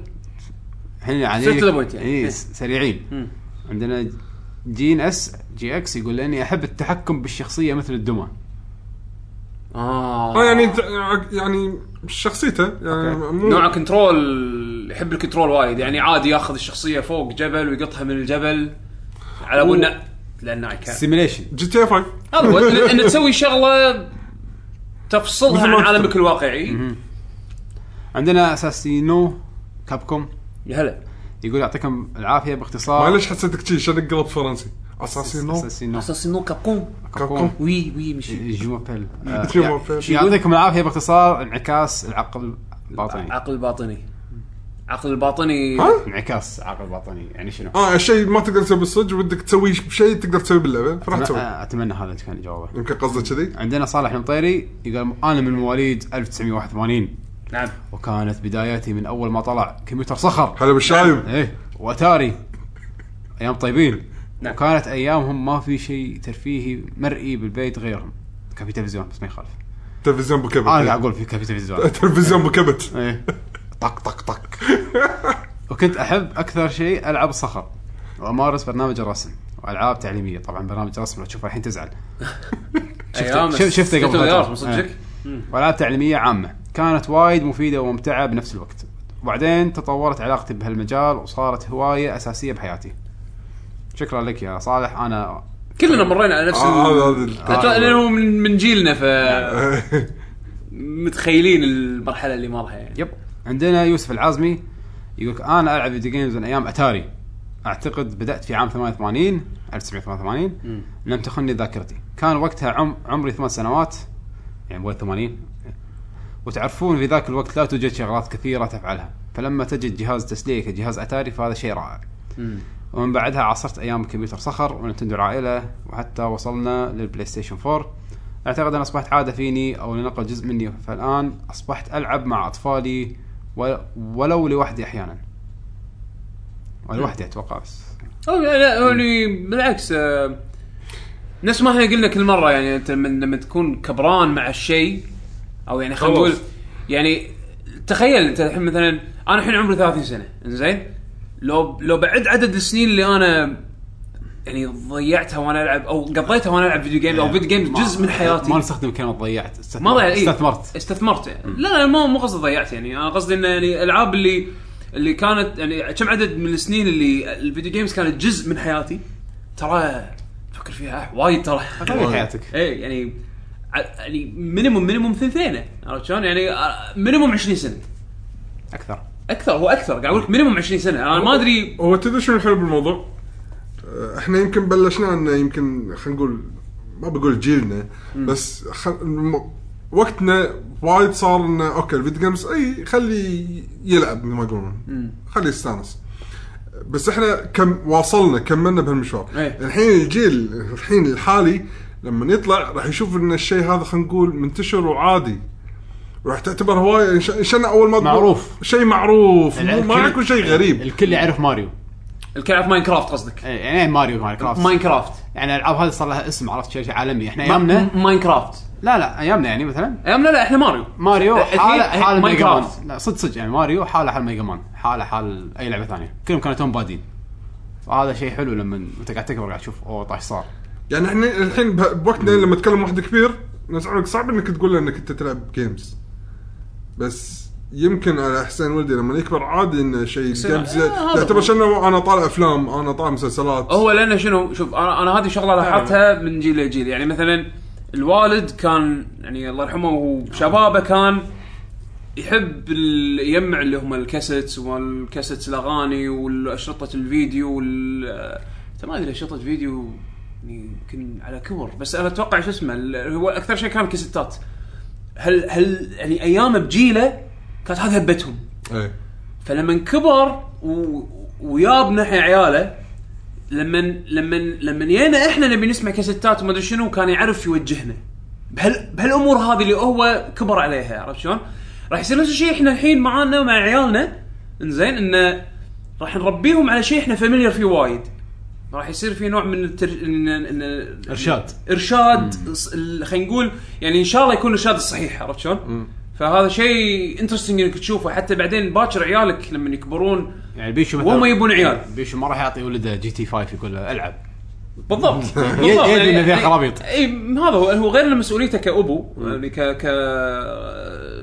احنا يعني Straight to the point يعني. إيه، إيه. س- سريعين مم. عندنا جين اس جي اكس يقول لاني احب التحكم بالشخصيه مثل الدمى اه آه. اه يعني آه. انت يعني شخصيته يعني أوكي. مو نوع كنترول يحب الكنترول وايد يعني عادي ياخذ الشخصيه فوق جبل ويقطها من الجبل على ابو النأ لانه اي كان سيميليشن جي تي إيه 5 هذا هو، ان إن تسوي شغله تفصلها مثل ما عن كتب. عالمك الواقعي عندنا اساسينو كابكوم يا هلا نعم. يقول يعطيكم العافيه باختصار معليش حسيتك شي شنو قلب فرنسي اساسينو اساسينو اساس انه كابكوم كابكوم وي وي مشي جومابيل جومابيل. آه، يعطيكم العافيه باختصار انعكاس العقل الباطني عقل باطني عقل باطني ها؟ انعكاس عقل باطني يعني شنو؟ اه الشيء ما تقدر تسويه بالصدق ودك تسوي شيء تقدر تسويه باللعبه فراح أتمنى- تسوي اتمنى هذا كان جوابه يمكن قصدك كذي عندنا صالح المطيري يقول انا من مواليد 1981 نعم وكانت بداياتي من اول ما طلع كمبيوتر صخر هلا بالشايب ايه واتاري ايام طيبين نعم. وكانت ايامهم ما في شيء ترفيهي مرئي بالبيت غيرهم كان في تلفزيون بس ما يخالف تلفزيون بكبت انا قاعد اقول في كان في تلفزيون تلفزيون بكبت ايه طق طق طق وكنت احب اكثر شيء العب صخر وامارس برنامج الرسم والعاب تعليميه طبعا برنامج الرسم لو تشوفه الحين تزعل ايام شفت- شفته قبل فترة. فتره صدقك إيه. والعاب تعليميه عامه كانت وايد مفيده وممتعه بنفس الوقت وبعدين تطورت علاقتي بهالمجال وصارت هوايه اساسيه بحياتي شكرا لك يا صالح انا كلنا مرينا على نفس آه، ال- هذا- هذا- أتوقع لانه من من جيلنا ف نعم. آه. متخيلين المرحله اللي مرها يعني يب عندنا يوسف العازمي يقول انا العب فيديو جيمز من ايام اتاري اعتقد بدات في عام 88 1988 لم تخني ذاكرتي كان وقتها عم عمري ثمان سنوات يعني بوي 80 وتعرفون في ذاك الوقت لا توجد شغلات كثيره تفعلها فلما تجد جهاز تسليه كجهاز اتاري فهذا شيء رائع مم. ومن بعدها عاصرت ايام الكمبيوتر صخر ونتندو العائله وحتى وصلنا للبلاي ستيشن 4 اعتقد ان اصبحت عاده فيني او لنقل جزء مني فالان اصبحت العب مع اطفالي و- ولو لوحدي احيانا ولوحدي اتوقع بس أو لا لا يعني بالعكس آه، نفس ما احنا قلنا كل مره يعني انت من لما تكون كبران مع الشيء او يعني خلينا خلاص. نقول يعني تخيل انت الحين مثلا انا الحين عمري 30 سنه انزين لو لو بعد عدد السنين اللي انا يعني ضيعتها وانا العب او قضيتها وانا العب فيديو جيم او فيديو جيمز إيه، ما- جزء من حياتي ما نستخدم كلمه ضيعت استثمرت ما ضيع إيه؟ استثمرت استثمرت يعني. لا لا مو مو قصدي ضيعت يعني انا قصدي انه يعني الالعاب اللي اللي كانت يعني كم عدد من السنين اللي الفيديو جيمز كانت جزء من حياتي ترى فكر فيها وايد ترى هذه حياتك ايه يعني ع- يعني مينيموم مينيموم ثنتين عرفت شلون؟ يعني آه، مينيموم 20 سنه اكثر اكثر هو اكثر قاعد اقول لك مينيموم 20 سنه انا ما ادري هو تدري شنو الحلو بالموضوع؟ آه، احنا يمكن بلشنا انه يمكن خلينا نقول ما بقول جيلنا بس خل... الم- وقتنا وايد صار انه اوكي الفيديو جيمز اي خلي يلعب مثل ما يقولون خلي يستانس بس احنا كم واصلنا كملنا بهالمشوار إيه. الحين الجيل الحين الحالي لما يطلع راح يشوف ان الشيء هذا خلينا نقول منتشر وعادي راح تعتبر هوايه إنش- عشان اول ما تقول معروف. شيء معروف مو- ما الكل- راح يكون شيء غريب الكل يعرف ماريو الكلام ماين كرافت قصدك إيه، يعني إيه ماريو ماين ماين كرافت كرافت يعني الالعاب هذه صار لها اسم عرفت شيء شيء عالمي احنا ايامنا ماين كرافت لا لا ايامنا يعني مثلا ايامنا لا احنا ماريو ماريو الحين- حاله حال الحين ميجا مان ماينكرافت. لا صدق صدق يعني ماريو حاله حال ميجا مان حاله حال اي لعبه ثانيه كلهم كانوا توم بادين فهذا شيء حلو لما انت قاعد تكبر قاعد تشوف اوه طاش صار يعني احنا الحين به- بوقتنا لما تكلم واحد كبير ناس عمرك صعب انك تقول له انك انت تلعب جيمز بس يمكن على حسين ولدي لما يكبر عادي انه شيء جيمز آه، هذا يعتبر هو. شنو انا طالع افلام انا طالع مسلسلات هو لانه شنو شوف انا انا هذه شغله لاحظتها من جيل لجيل يعني مثلا الوالد كان يعني الله يرحمه وهو شبابه كان يحب ال- يجمع اللي هم الكاسيتس والكاسيتس الاغاني والاشرطه الفيديو وال أنت ما ادري اشرطه فيديو يعني يمكن على كبر بس انا اتوقع شو اسمه ال- هو اكثر شيء كان كاسيتات هل هل يعني ايامه بجيله كانت هذه هبتهم ايه. فلما كبر و... وياب ناحيه عياله لما لما لما جينا احنا نبي نسمع كاسيتات وما ادري شنو كان يعرف يوجهنا بهال بهالامور هذه اللي هو كبر عليها عرفت شلون؟ راح يصير نفس الشيء احنا الحين معانا ومع عيالنا انزين انه راح نربيهم على شيء احنا فاميليار فيه وايد راح يصير في نوع من التر... إن... إن... إن- إرشاد. ارشاد ص- ال- خلينا نقول يعني ان شاء الله يكون الارشاد الصحيح عرفت شلون؟ فهذا شيء انترستنج انك تشوفه حتى بعدين باكر عيالك لما يكبرون يعني بيشو مثلا وهم يبون عيال. بيشو ما راح يعطي ولده جي تي 5 يقول له العب بالضبط بالضبط. يدري إن يعني- فيها خرابيط. اي م- هذا هو هو غير إن مسؤوليته كابو يعني ك ك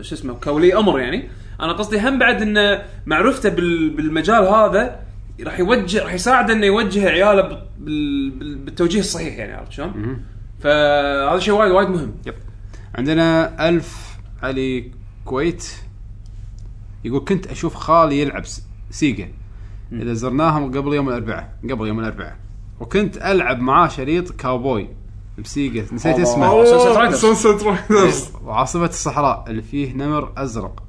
شو اسمه كولي امر يعني انا قصدي هم بعد انه معرفته بال بالمجال هذا راح يوجه راح يساعده انه يوجه عياله بال- بال- بالتوجيه الصحيح يعني عرفت شلون؟ فهذا شيء وايد وايد مهم يب عندنا ألف علي كويت يقول كنت أشوف خالي يلعب س- سيجا إذا زرناهم قبل يوم الأربعاء قبل يوم الأربعاء وكنت ألعب معاه شريط كاوبوي بسيجا نسيت الله. اسمه أوه. Sunset Riders. سانسيت إيه. رايدرز وعاصفة الصحراء اللي فيه نمر أزرق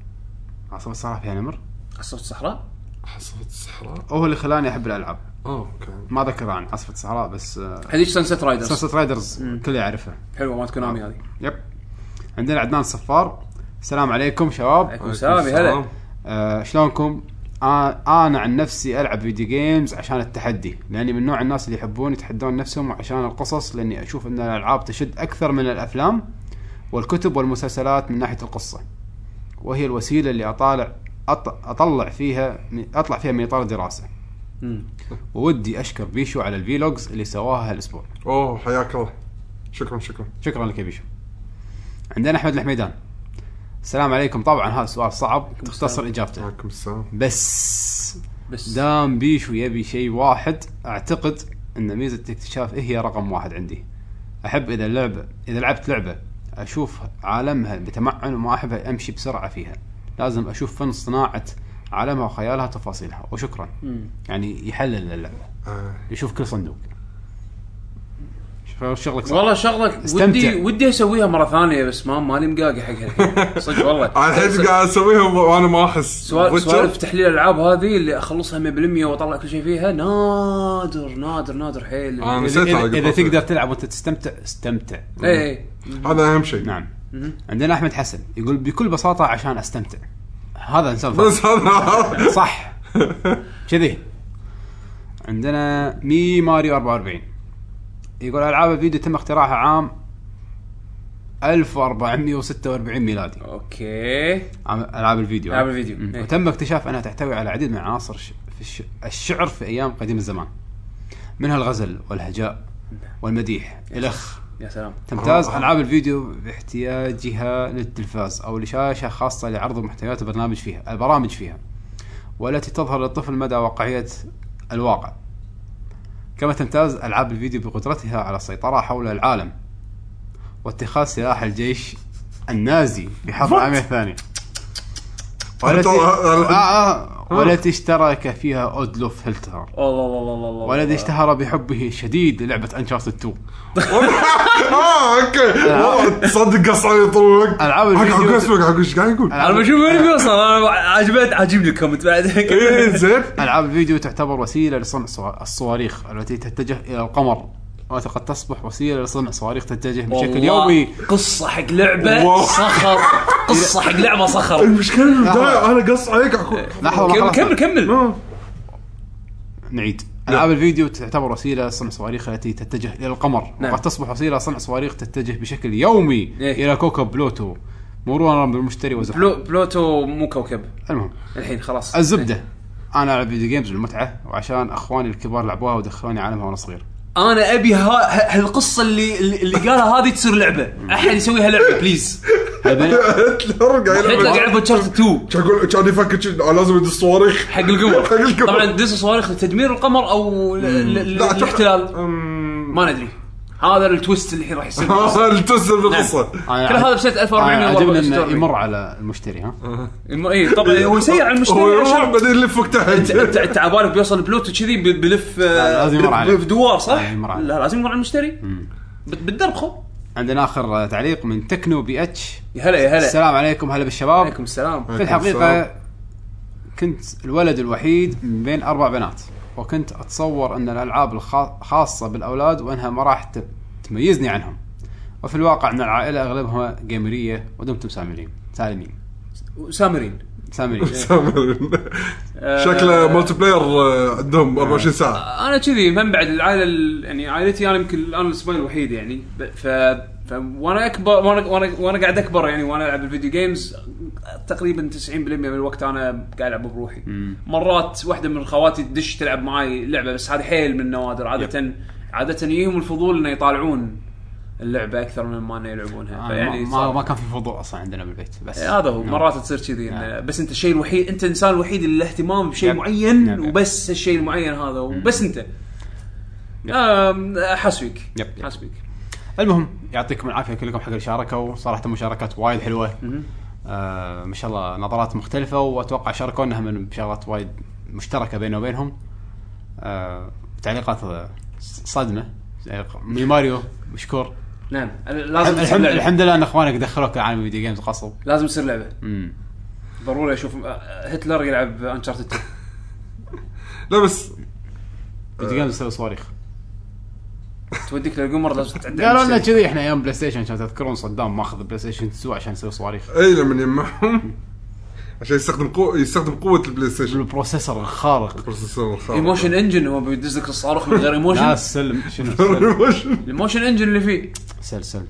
عاصفة الصحراء فيها نمر عصفة الصحراء حصلت الصحراء هو اللي خلاني أحب الألعاب اه اوكي ما ذكر عن عاصفة الصحراء بس هذيك سانست رايدرز سانست رايدرز الكل يعرفها حلوه مالت كونامي هذه يب عندنا عدنان صفار السلام عليكم شباب عليكم السلام يا هلا السلام. آه، شلونكم؟ آه، انا عن نفسي العب فيديو جيمز عشان التحدي لاني من نوع الناس اللي يحبون يتحدون نفسهم وعشان القصص لاني اشوف ان الالعاب تشد اكثر من الافلام والكتب والمسلسلات من ناحيه القصه وهي الوسيله اللي اطالع أط- اطلع فيها من- اطلع فيها من اطار الدراسه مم. وودي اشكر بيشو على الفيلوجز اللي سواها هالاسبوع اوه حياك الله شكرا شكرا شكرا لك يا بيشو عندنا احمد الحميدان السلام عليكم طبعا هذا سؤال صعب تختصر طيب. اجابته عليكم السلام بس بس دام بيشو يبي شيء واحد اعتقد ان ميزه الاكتشاف هي رقم واحد عندي احب اذا اللعبه اذا لعبت لعبه اشوف عالمها بتمعن وما احب امشي بسرعه فيها لازم اشوف فن صناعه عالمها وخيالها وتفاصيلها وشكرا مم. يعني يحلل اللعبه آه. يشوف كل صندوق شوف شغلك صح والله شغلك استمتع. ودي ودي اسويها مره ثانيه بس ما ماني مقاقي حقها الحين. صدق والله انا الحين قاعد اسويها وانا ما احس سوالف Witcher. سوالف تحليل الالعاب هذه اللي اخلصها 100% واطلع كل شيء فيها نادر نادر نادر حيل إيه. آه، اذا, نسيت إذا, على إذا قبل. تقدر تلعب وانت تستمتع استمتع اي اي هذا اهم شيء نعم عندنا احمد حسن يقول بكل بساطه عشان استمتع هذا انسان فاضي. بس هذا طيب، صح كذي عندنا مي ماريو 44 يقول العاب الفيديو تم اختراعها عام 1446 ميلادي اوكي عام- العاب الفيديو ألعاب الفيديو. مم. إيه. وتم اكتشاف انها تحتوي على العديد من عناصر الش- في الش- الشعر في ايام قديم الزمان منها الغزل والهجاء نعم. والمديح إيه. الاخ يا سلام تمتاز آه. العاب الفيديو باحتياجها للتلفاز او لشاشه خاصه لعرض محتويات البرنامج فيها البرامج فيها والتي تظهر للطفل مدى واقعيه الواقع كما تمتاز العاب الفيديو بقدرتها على السيطره حول العالم واتخاذ سلاح الجيش النازي بحرب العالميه الثانية والتي أنت- آه آه والتي اشترك فيها اودلوف هيلتهر الله الله الله الله والذي اشتهر بحبه الشديد للعبه انشارتد 2 اه اوكي والله تصدق قص علي طول الوقت ألعاب حق- الفيديو- حق اسمك حق ايش قاعد يقول ألعاب انا بشوف وين بيوصل انا عجبت عاجبني الكومنت بعد ايه زين العاب الفيديو تعتبر وسيله لصنع صوا- الصواريخ التي تتجه الى القمر وقد تصبح وسيله لصنع صواريخ تتجه بشكل والله يومي قصه حق لعبه واو. صخر قصه حق لعبه صخر المشكله إنه بداية انا قص عليك إيه، أقول- لحظه ما خلصنا. كمل كمل آه. نعيد نعم. العاب الفيديو تعتبر وسيله لصنع صواريخ التي تتجه الى القمر نعم. وقد تصبح وسيله لصنع صواريخ تتجه بشكل يومي إيه. الى كوكب بلوتو مرورا بالمشتري وزحف بلو بلوتو مو كوكب المهم الحين خلاص الزبده انا العب فيديو جيمز للمتعه وعشان اخواني الكبار لعبوها ودخلوني عالمها وانا صغير انا ابي ها- ه- هالقصه اللي اللي قالها هذه تصير لعبه احد يسويها لعبه بليز هالبنات- آه. هتلر قاعد حتى يلعب. قاعد بتشارت 2 كان يقول يعني. كان يفكر شي- آه، لازم يدس صواريخ حق القمر حق القمر. طبعا دس صواريخ لتدمير القمر او ل- ل- لا، أتوقع- الاحتلال أمم، ما ندري هذا التويست اللي الحين راح يصير كل آه، التسل نعم. بالقصه هذا بسنه انا عجبني انه 1444 يمر على المشتري ها أه. يم- اي طبعا إيه، هو سيء على هو المشتري يروح عشان بعدين يلف وقت تحت انت انت انت عبالك بيوصل بلوتو كذي ب- بلف لا، آه، لازم يمر بلف- عليه. بلف دوار صح؟ لازم يمر عليه. لا لازم يمر على المشتري بت- بالدرب خو عندنا اخر تعليق من تكنو بي اتش يا هلا يا هلا السلام عليكم هلا بالشباب عليكم السلام في الحقيقة كنت الولد الوحيد من بين أربع بنات وكنت أتصور أن الألعاب الخاصة بالأولاد وأنها ما راح ت- تميزني عنهم وفي الواقع أن العائلة أغلبها جيمرية ودمتم سالمين سالمين سامرين آه، سالمين شكله مالتي بلاير آه، عندهم 24 ساعه انا كذي من بعد العائله ال- يعني عائلتي انا يمكن انا الاسبوع الوحيد يعني ب- ف ف- وانا اكبر وانا وانا وانا قاعد اكبر يعني وانا العب الفيديو جيمز تقريبا 90% من الوقت انا قاعد العب بروحي مرات واحده من خواتي تدش تلعب معي لعبه بس هذه حيل من النوادر عاده عاده يجيهم الفضول انه يطالعون اللعبه اكثر من ما انه يلعبونها يعني فيعني ما, صار- ما كان في فضول اصلا عندنا بالبيت بس إيه، هذا هو نعم. مرات تصير كذي إنه بس انت الشيء الوحيد انت الانسان الوحيد اللي له اهتمام بشيء نعم. معين نعم، نعم. وبس الشيء المعين هذا وبس انت نعم. آم، احس فيك يب، يب. احس فيك المهم يعطيكم العافيه كلكم حق الشاركه وصراحه مشاركات وايد حلوه آه ما شاء الله نظرات مختلفه واتوقع شاركونا من بشغلات وايد مشتركه بيننا وبينهم آه تعليقات آه، صدمه من ماريو مشكور نعم لازم تصير الحمد, لعبة. الحمد لله ان اخوانك دخلوك عالم الفيديو جيمز غصب لازم تصير لعبه امم ضروري اشوف آه، هتلر يلعب انشارتد لا بس فيديو جيمز تسوي صواريخ توديك للقمر لازم تعدل قالوا لنا المستوى. كذي احنا ايام بلاي ستيشن كان تذكرون صدام ماخذ بلاي ستيشن 2 عشان يسوي صواريخ اي لما يجمعهم عشان يستخدم قوة يستخدم قوة البلاي ستيشن البروسيسور الخارق بروسيسور الخارق. ايموشن انجن هو بيدز لك الصاروخ من غير لا ايموشن سلم شنو سلم. ايموشن الايموشن انجن اللي فيه سل سل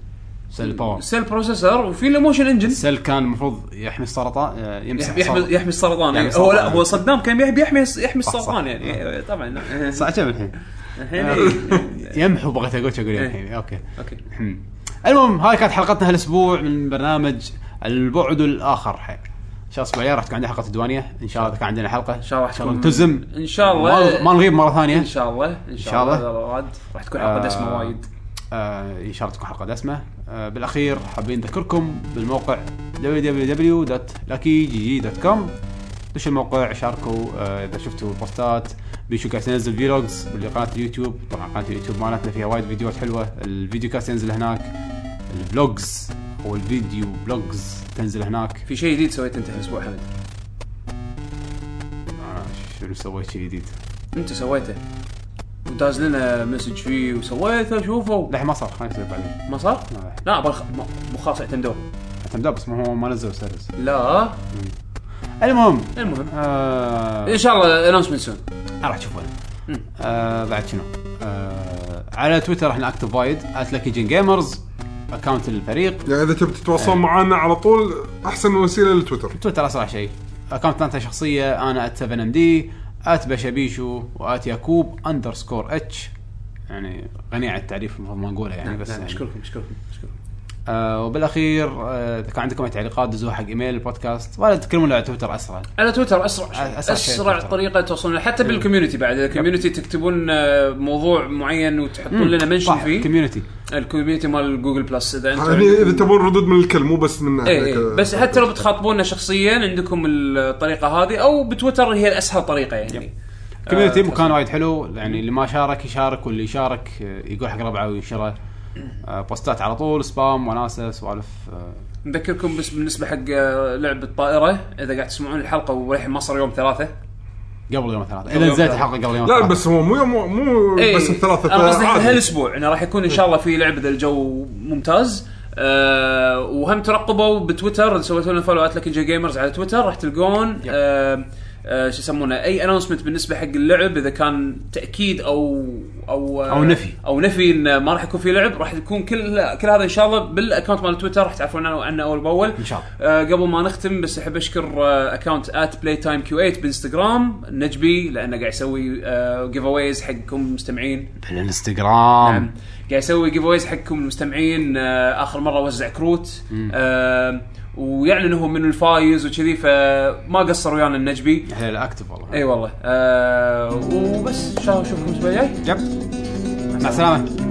سل باور سيل بروسيسور وفي الايموشن انجن سل كان المفروض يحمي السرطان آه، يمسح يحمي يحمي يحمي السرطان يحمي يعني هو لا السرطان. هو صدام كان يحمي يحمي يحمي صح، صح. السرطان يعني إيه، طبعا صح كم الحين الحين آه، إيه. يعني يمحو بغيت اقول شو اقول إيه. الحين اوكي اوكي هم. المهم هاي كانت حلقتنا هالاسبوع من برنامج البعد الاخر حي. ان شاء الله الاسبوع راح تكون عندنا حلقه الديوانيه ان شاء الله كان عندنا حلقه ان شاء الله راح ان شاء الله تكون- نلتزم إن شاء الله. ما- ما نغيب مره ثانيه ان شاء الله ان إن شاء شاء الله. الله اذا راد راح تكون حلقه دسمه وايد آه ان شاء الله تكون حلقه دسمه آه بالاخير حابين نذكركم بالموقع www.luckygg.com دش الموقع شاركوا آه اذا شفتوا البوستات بيشو كاست ينزل فيلوجز واللي قناه اليوتيوب طبعا قناه اليوتيوب مالتنا فيها وايد فيديوهات حلوه الفيديو كاست ينزل هناك الفلوجز او الفيديو بلوجز تنزل هناك في شيء جديد سويته انت هالاسبوع حمد أنا شنو سويت شيء جديد؟ انت سويته وداز لنا مسج فيه وسويته شوفوا للحين ما صار خلينا نسوي بعدين ما صار؟ لا، لا. لا بخ... ما- مو خلاص اعتمدوه حتى مدى بس ما هو ما نزل سيريس لا المهم المهم آه ان شاء الله انونسمنت يعني سون راح تشوفونه آه بعد شنو آه على تويتر احنا اكتب وايد @lucky جن جيمرز اكونت الفريق يعني اذا تبي تتواصل معانا على طول احسن وسيله للتويتر تويتر اسرع شيء اكونتات شخصيه انا @7 md @بشبيشو واتياكوب اندرسكور اتش يعني غني عن التعريف المفروض ما نقوله يعني بس يعني. اشكركم اشكركم اشكركم آه وبالاخير آه، اذا كان عندكم اي تعليقات دزوها حق ايميل البودكاست ولا تكلمون على تويتر اسرع على تويتر اسرع أسرع اسرع, شيء أسرع تويتر. طريقه توصلون حتى بالكوميونتي بعد اذا الكوميونتي تكتبون آه، موضوع معين وتحطون لنا منشن فيه كوميونتي الكوميونتي مال جوجل بلس اذا انتم يعني اذا تبون ردود من الكل مو بس من اي اي إيه، بس حتى لو بتخاطبونا شخصيا عندكم الطريقه هذه او بتويتر هي الاسهل طريقه يعني كوميونتي آه، مكان وايد حلو يعني اللي ما شارك يشارك واللي يشارك آه، يقول حق ربعه وينشره آه، بوستات على طول سبام وناسه سوالف آه، نذكركم بس بالنسبه حق آه، لعب الطائره اذا قاعد تسمعون الحلقه وللحين ما صار يوم ثلاثه قبل يوم ثلاثة يوم اذا نزلت ثلاثة. الحلقه قبل يوم لا ثلاثة. بس هو مو يوم مو إيه، بس الثلاثه انا قصدي عادي. هالاسبوع انه راح يكون ان شاء الله في لعب اذا الجو ممتاز آه وهم ترقبوا بتويتر سويتوا لنا فولوات لك جي جيمرز على تويتر راح تلقون آه آه شو يسمونه اي انونسمنت بالنسبه حق اللعب اذا كان تاكيد او او أو نفي. او نفي ان ما راح يكون في لعب راح يكون كل كل هذا ان شاء الله بالاكونت مال تويتر راح تعرفون عنه- عنه اول باول إن شاء الله. آه، قبل ما نختم بس احب اشكر آه، اكونت ات بلاي تايم كيو 8 بانستغرام نجبي لانه قاعد يسوي جيف اويز حقكم المستمعين بالانستغرام نعم قاعد يسوي جيف اويز حقكم المستمعين آه، اخر مره وزع كروت آه، ويعلن هو من الفايز وكذي فما قصر ويانا النجبي احنا الاكتف يعني أيوة. والله اي والله آه، وبس ان شاء الله نشوفكم الاسبوع الجاي يب مع السلامه